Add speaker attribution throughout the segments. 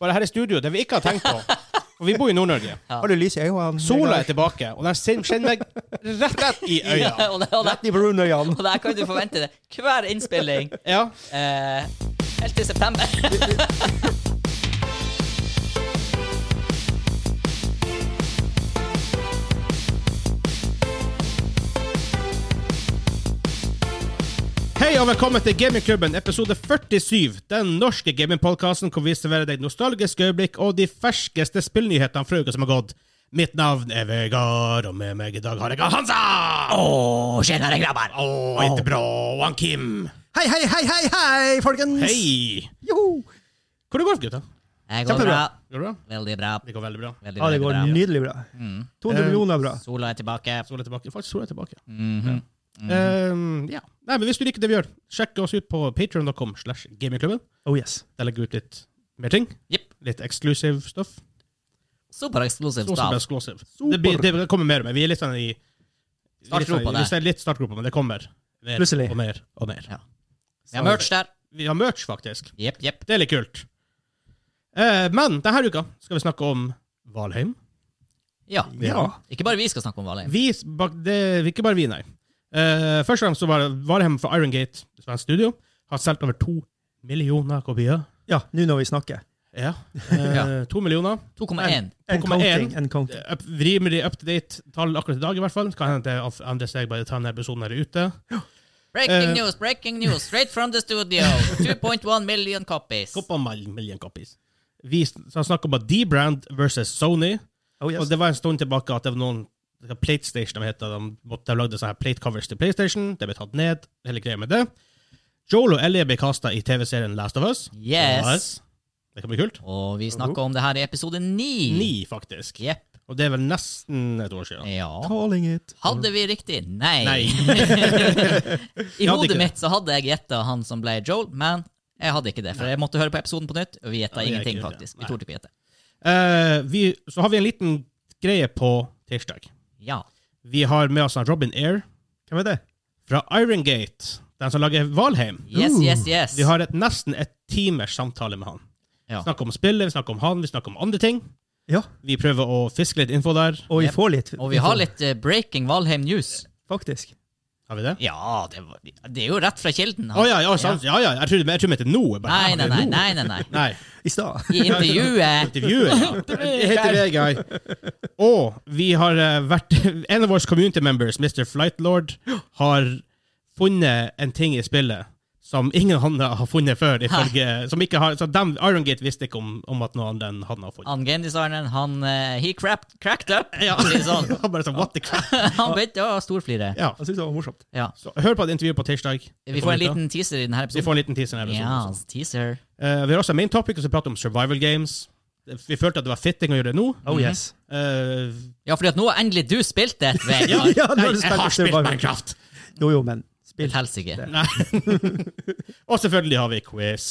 Speaker 1: Bare her i studio, det vi ikke har tenkt på. For vi bor i Nord-Norge.
Speaker 2: Har du lys i øynene?
Speaker 1: Sola er tilbake, og den skin- skinner meg rett i øya.
Speaker 3: og, der, og, der,
Speaker 2: Rett i brunøyene.
Speaker 3: og der kan du forvente det hver innspilling
Speaker 1: Ja.
Speaker 3: eh, helt til september.
Speaker 1: Hei og velkommen til Gamingklubben, episode 47. Den norske gamingpodkasten hvor vi serverer deg nostalgiske øyeblikk og de ferskeste spillnyhetene fra uka som har gått. Mitt navn er Vegard, og med meg i dag har jeg han Hansa!
Speaker 3: Åh, tjenere grabber!
Speaker 1: Å, ikke bra. Og han Kim.
Speaker 2: Hei, hei, hei, hei, hei, folkens!
Speaker 1: Hei.
Speaker 2: Joho!
Speaker 1: Hvor det går det, gutta?
Speaker 3: Det går bra.
Speaker 2: Kjempebra.
Speaker 1: Går det bra?
Speaker 3: Veldig bra.
Speaker 1: Det går veldig bra.
Speaker 3: Veldig,
Speaker 2: Ja, det
Speaker 3: veldig
Speaker 2: går
Speaker 3: bra. Mm.
Speaker 2: nydelig bra. 200 millioner bra.
Speaker 3: Sola er tilbake.
Speaker 1: Sola er tilbake. Faktisk, sola er tilbake.
Speaker 3: Mhm.
Speaker 1: Eh, ja. Nei, men hvis du liker det vi gjør, sjekk oss ut på patreon.com slash gamingklubben.
Speaker 2: Oh yes.
Speaker 1: Der legger vi ut litt mer ting.
Speaker 3: Jepp.
Speaker 1: Litt exclusive stuff.
Speaker 3: Super explosive
Speaker 1: Sånn som
Speaker 3: stav.
Speaker 1: exclusive.
Speaker 2: Super.
Speaker 1: Det, blir, det kommer mer med. Vi er litt sånn i
Speaker 3: Startgropa
Speaker 1: litt sånn-
Speaker 3: der.
Speaker 1: vi ser Litt startgropa, men det kommer. Mer
Speaker 2: Plutselig.
Speaker 1: Og mer og mer.
Speaker 3: Ja. Vi har merch der.
Speaker 1: Vi har merch, faktisk.
Speaker 3: Jepp, jepp.
Speaker 1: Det er litt kult. Eh, men denne uka skal vi snakke om Valheim.
Speaker 3: Ja.
Speaker 2: Ja.
Speaker 3: Ikke bare vi skal snakke om Valheim.
Speaker 1: Vi, bak- det, ikke bare vi, nei. Eh, først og fremst så var det Valheim fra Iron Gate, svensk studio, har solgt over to millioner kopier.
Speaker 2: Ja, nå når vi snakker.
Speaker 1: Ja. Eh, to millioner.
Speaker 3: 2,1.
Speaker 2: En
Speaker 1: 2,1.
Speaker 2: counting, en counting.
Speaker 1: up, rimelig up to date tall akkurat i dag, i hvert fall. Kan hende det endrer seg bare denne episoden er ute.
Speaker 3: Breaking
Speaker 1: Eh.
Speaker 3: news, breaking news, straight from the studio. 2.1 million copies.
Speaker 1: Couple mil- million copies. Vi s- så snakket om at D-Brand versus Sony.
Speaker 2: Oh
Speaker 1: Og
Speaker 2: yes.
Speaker 1: det var en stund tilbake at det var noen det var PlateStation de heter, de, måtte, de lagde sånne her plate covers til PlayStation. Det ble tatt ned. Hele greia med det. Joel og Ellie ble kasta i TV-serien Last of Us.
Speaker 3: Yes.
Speaker 1: Det kan bli kult.
Speaker 3: Og vi snakker om det her i episode 9.
Speaker 1: Ni, faktisk.
Speaker 3: Jepp.
Speaker 1: Og det er vel nesten et år siden.
Speaker 3: Ja.
Speaker 2: Calling it.
Speaker 3: Hadde vi riktig? Nei.
Speaker 1: Nei.
Speaker 3: I
Speaker 1: Jeg hadde
Speaker 3: hodet
Speaker 1: ikke
Speaker 3: mitt så hadde jeg gjetta han som ble Joel, men jeg hadde ikke det. For jeg måtte høre på episoden på nytt, og vi gjetta
Speaker 1: Ja, det er
Speaker 3: ingenting,
Speaker 1: ikke det.
Speaker 3: faktisk.
Speaker 1: Nei.
Speaker 3: Vi torde ikke gjette.
Speaker 1: Eh, vi, så har vi en liten greie på tirsdag.
Speaker 3: Ja.
Speaker 1: Vi har med oss han Robin Air
Speaker 2: Hvem er det?
Speaker 1: fra Iron Gate, den som lager Valheim.
Speaker 3: Yes,
Speaker 2: Uh.
Speaker 3: yes, yes.
Speaker 1: Vi har et, nesten et timers samtale med han.
Speaker 3: Ja.
Speaker 1: Vi snakker om spillet, vi snakker om han, vi snakker om andre ting.
Speaker 2: Ja.
Speaker 1: Vi prøver å fiske litt info der.
Speaker 2: Og vi
Speaker 3: Jep.
Speaker 2: får litt.
Speaker 3: Og vi har litt eh, breaking Valheim news.
Speaker 2: Faktisk.
Speaker 1: Har vi det?
Speaker 3: Ja, det, var, det er jo rett fra kilden.
Speaker 1: Å ja, ja, sant. ja, ja. Jeg trodde jeg trodde vi het nå. jeg bare,
Speaker 3: Nei,
Speaker 1: ja, det
Speaker 3: nei,
Speaker 1: er
Speaker 3: nei.
Speaker 1: nå.
Speaker 3: nei, nei, nei.
Speaker 1: nei.
Speaker 2: I stad.
Speaker 3: I intervjuet
Speaker 1: Intervjuet, ja. Jeg heter Vegard. Og vi har eh, vært En av våre community members, Mr. Flightlord, har funnet en ting i spillet som ingen andre har funnet før. Ifølge, som ikke har, så dem, Iron Gate visste ikke om, om at noen andre enn han har funnet.
Speaker 3: Han gamedesigneren, han eh, He crapped, cracked up.
Speaker 1: Ja.
Speaker 3: for å si det sånn.
Speaker 1: Han bare sånn, what the crap?
Speaker 3: Han begynte å storflire.
Speaker 1: Ja.
Speaker 2: Jeg synes det var morsomt.
Speaker 3: Ja.
Speaker 1: Så, hør på det intervjuet på tirsdag.
Speaker 3: Vi får en liten teaser i denne
Speaker 1: Vi
Speaker 3: episoden.
Speaker 1: får en liten teaser her.
Speaker 3: Ja, teaser.
Speaker 1: Eh, vi har også en main topic som prater om survival games. Vi følte at det var fitting å gjøre det nå.
Speaker 2: Oh yes.
Speaker 1: Eh,
Speaker 3: Ja, fordi at nå har endelig du spilt det,
Speaker 1: ja,
Speaker 3: Vegard.
Speaker 2: Ja,
Speaker 1: nei,
Speaker 2: nå er
Speaker 1: jeg har
Speaker 2: det spennende
Speaker 1: spilt
Speaker 2: survival.
Speaker 1: Minecraft!
Speaker 2: Jo, jo, men
Speaker 3: Det
Speaker 2: spill.
Speaker 3: teller ikke.
Speaker 1: Nei. og selvfølgelig har vi quiz.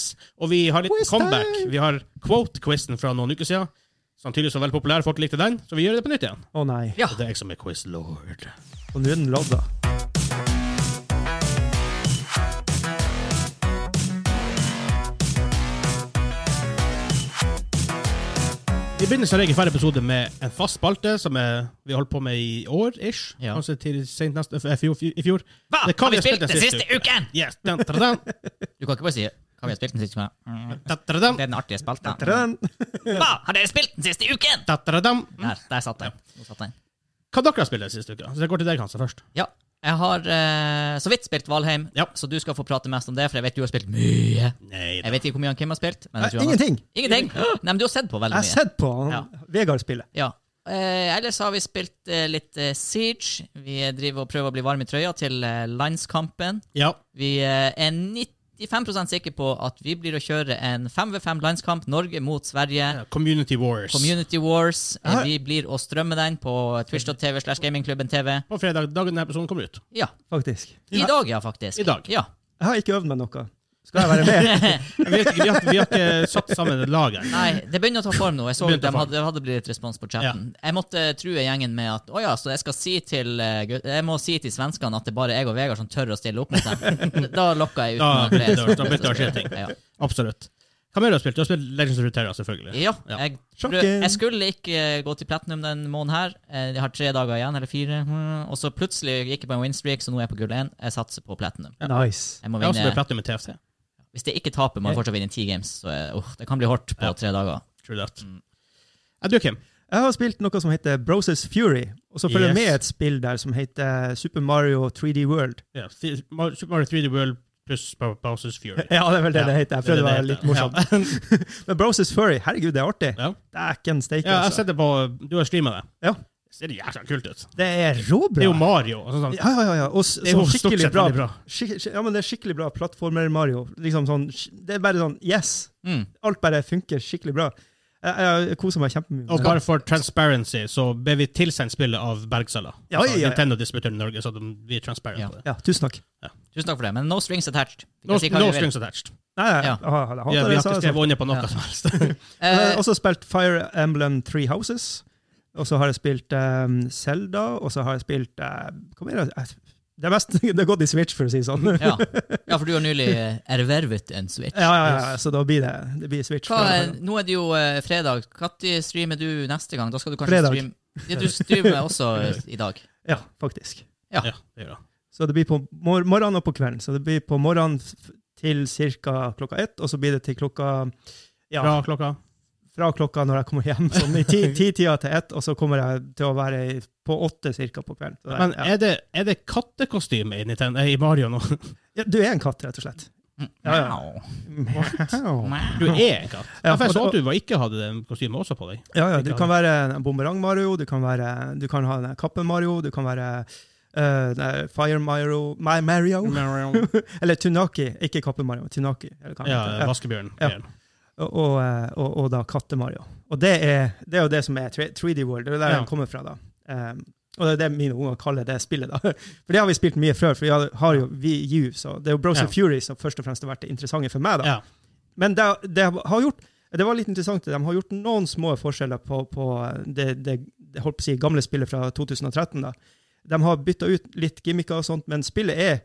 Speaker 1: Og vi har litt
Speaker 2: Quiz time!
Speaker 1: comeback. Vi har quote-quizen fra noen uker siden. Sannsynligvis var veldig populær, folk likte den, så vi gjør det på nytt igjen.
Speaker 2: Å nei.
Speaker 3: Ja.
Speaker 1: Og det er jeg som er quiz-lord.
Speaker 2: Og nå er den ladda.
Speaker 1: Vi begynner som regel hver episode med en fast spalte som er, vi har holdt på med i år, ish.
Speaker 3: Ja.
Speaker 1: Kanskje til sent neste, eh, fjor, i fjor.
Speaker 3: Hva
Speaker 1: Det kan
Speaker 3: har vi
Speaker 1: jeg
Speaker 3: spilt
Speaker 1: spille
Speaker 3: den siste uken?!
Speaker 1: Yes. Dun, dun, dun,
Speaker 3: Du kan ikke bare si Hva har vi spilt den siste uken? Mm,
Speaker 1: dun, dun, dun,
Speaker 3: Det er den artige spalten.
Speaker 2: Tren.
Speaker 3: Hva har dere spilt den siste uken?!
Speaker 1: dun, dun, dun.
Speaker 3: Der, der satt den. Nå satt den.
Speaker 1: Hva dere har spilt den siste uka? Så jeg går til deg, Hansa, først.
Speaker 3: Ja. Jeg har eh, så vidt spilt Valheim,
Speaker 1: Ja.
Speaker 3: så du skal få prate mest om det, for jeg vet du har spilt mye.
Speaker 1: Nei,
Speaker 3: Jeg vet ikke hvor mye han Kim har spilt. Men
Speaker 2: Nei,
Speaker 3: jeg tror han har...
Speaker 2: Ingenting.
Speaker 3: Ingenting! Nei, men du har sett på
Speaker 2: Jeg
Speaker 3: veldig
Speaker 2: har
Speaker 3: mye.
Speaker 2: sett på han. Vegard spille.
Speaker 3: Ja. Eh, ellers har vi spilt eh, litt eh, Siege. Vi driver og prøver å bli varme i trøya til eh, landskampen.
Speaker 1: Ja.
Speaker 3: Vi eh, er 95 sikre på at vi blir å kjøre en 5v5 landskamp Norge mot Sverige.
Speaker 1: Community Wars.
Speaker 3: Community Wars. Eh,
Speaker 2: Ja.
Speaker 3: Vi blir å strømme den på twitch.tv slash gamingklubben TV.
Speaker 1: På fredag, dagen denne episoden kommer ut.
Speaker 3: Ja.
Speaker 2: Faktisk.
Speaker 3: I dag, ja, faktisk.
Speaker 1: I dag.
Speaker 3: Ja.
Speaker 2: Jeg har ikke øvd meg noe. Skal jeg være med?
Speaker 1: Jeg vet ikke, vi, har, vi har ikke satt sammen et lag ennå.
Speaker 3: Nei, det begynner å ta form nå. Jeg så
Speaker 1: Det begynte
Speaker 3: de
Speaker 1: å ta form.
Speaker 3: hadde, det hadde blitt respons på chatten. Jeg måtte true gjengen med at å ja, så jeg skal si til eh, gut- Jeg må si til svenskene at det bare er jeg og Vegard som tør å stille opp mot dem. da lokka jeg ut
Speaker 1: Da-
Speaker 3: noen flere.
Speaker 1: da- da begynte det å skje ting.
Speaker 3: Ja.
Speaker 1: Absolutt. Hva mer har du spilt? Du har spilt Legends of Ruteria, selvfølgelig.
Speaker 3: Ja,
Speaker 1: Ja.
Speaker 3: jeg,
Speaker 2: Sjokken.
Speaker 3: prøv- jeg skulle ikke eh, gå til platinum den måneden her. Eh, Jeg har tre dager igjen, eller fire. Hmm, Og så plutselig gikk jeg på en winstreak, så nå er jeg på gull 1. Jeg satser på platinum.
Speaker 2: Nice.
Speaker 3: Jeg må
Speaker 1: Jeg har også
Speaker 2: eh,
Speaker 1: spilt
Speaker 3: vinne.
Speaker 1: Platinum i TFT.
Speaker 3: Hvis jeg ikke taper, må jeg fortsatt vinne ti games. Så eh, åh, det kan bli hardt på
Speaker 1: Ja.
Speaker 3: tre dager.
Speaker 1: True that.
Speaker 2: Mm.
Speaker 1: Ja, du, Kim.
Speaker 2: Jeg har spilt noe som heter Broses Fury, og så følger
Speaker 1: Yes.
Speaker 2: med et spill der som heter Super Mario 3D World.
Speaker 1: Ja, Super Mario 3D World pluss Bowsers Fury.
Speaker 2: Ja, det er vel det
Speaker 1: Ja,
Speaker 2: det heter. Jeg prøvde å være litt morsom.
Speaker 1: Ja.
Speaker 2: Men Broses Fury, herregud, det er artig.
Speaker 1: Ja.
Speaker 2: Dæken steike,
Speaker 1: Ja, jeg har
Speaker 2: altså.
Speaker 1: sett det på Du har streama det.
Speaker 2: Ja.
Speaker 1: Det ser jækla kult ut.
Speaker 2: Det er
Speaker 1: Det er jo
Speaker 2: råbra.
Speaker 1: Mario. og sånn.
Speaker 2: Ja, ja, ja, ja. Og s-
Speaker 1: Det er jo
Speaker 2: sånn
Speaker 1: stort
Speaker 2: skikkelig
Speaker 1: sett
Speaker 2: bra.
Speaker 1: veldig bra.
Speaker 2: Skik skik- ja, men det er skikkelig bra plattformer, Mario. Liksom sånn, det er bare sånn yes.
Speaker 3: Mm.
Speaker 2: Alt bare funker skikkelig bra. Jeg, jeg, jeg koser meg kjempemye.
Speaker 1: Og bare for transparency, så ble vi tilsendt spillet av Bergsala.
Speaker 2: Ja, ja, ja.
Speaker 1: Nintendo distributør i Norge, så de, vi er transparent
Speaker 3: Ja.
Speaker 1: på det.
Speaker 2: Ja, tusen takk.
Speaker 3: Tusen takk for det, men no strings attached. Vi kan
Speaker 1: No,
Speaker 3: si hva
Speaker 1: no
Speaker 3: vi vil.
Speaker 1: strings attached.
Speaker 2: Nei, nei,
Speaker 3: Ja.
Speaker 2: jeg hater det,
Speaker 1: Vi, vi har
Speaker 2: jeg
Speaker 1: ikke
Speaker 2: sa det
Speaker 1: skrevet
Speaker 2: sånn.
Speaker 1: under på noe
Speaker 3: Ja.
Speaker 1: som helst.
Speaker 2: Jeg
Speaker 3: Eh,
Speaker 2: har også spilt Fire Emblem Three Houses. Og så har jeg spilt um, Zelda, og så har jeg spilt eh, Hva mer? er det? Det er mest, det er gått i Switch, for å si det sånn.
Speaker 3: ja. ja, for du har nylig eh, ervervet en Switch.
Speaker 2: Ja, ja, ja, så da blir det, det blir Switch.
Speaker 3: Hva, er- nå er det jo eh, fredag. Når streamer du neste gang? Da skal du kanskje
Speaker 2: Fredag.
Speaker 3: streame ja, Du streamer også eh, i dag.
Speaker 2: Ja, faktisk.
Speaker 3: Ja.
Speaker 1: ja, det gjør det.
Speaker 2: Så det blir på mor morgenen og på kvelden. Så det blir på morgenen f- til ca. klokka ett, og så blir det til klokka ja,
Speaker 1: Bra klokka.
Speaker 2: fra klokka når jeg kommer hjem, sånn i ti- ti-tida til ett, og så kommer jeg til å være i- på åtte cirka på kvelden. Så det-
Speaker 1: Men
Speaker 2: ja.
Speaker 1: er det, er det kattekostyme i, Nintendo, eh, i Mario nå?
Speaker 2: ja, du er en katt, rett og slett. Ja, ja.
Speaker 3: Wow.
Speaker 1: Du er en katt.
Speaker 2: Ja,
Speaker 1: Ja, for jeg så
Speaker 2: og-
Speaker 1: at du var- ikke hadde den kostymet også på deg.
Speaker 2: Ja, ja, du kan være en Bumerang-Mario, du kan være du kan ha en Kappen-Mario, du kan være eh, nei, Fire Mario, My Mario, eller Tunaki, ikke Kappen-Mario, Tunaki. Eller hva han heter.
Speaker 1: Ja,
Speaker 2: Ja.
Speaker 1: vaskebjørn.
Speaker 2: Ja.
Speaker 1: Ja.
Speaker 2: og, og, eh, og, og da Katte-Mario. Og det er, det er jo det som er 3D World, det er der
Speaker 1: Ja.
Speaker 2: den kommer fra. da. Um, og det er det mine unger kaller det spillet. da. For det har vi spilt mye før, for vi har- har jo VU, så det er jo Bros
Speaker 1: Ja.
Speaker 2: and Fury som først og fremst har vært det interessante for meg. da.
Speaker 1: Ja.
Speaker 2: Men det, det har gjort det var litt interessant, de har gjort noen små forskjeller på, på det, det, det holdt på å si, gamle spillet fra 2013. da. De har bytta ut litt gimmicker og sånt, men spillet er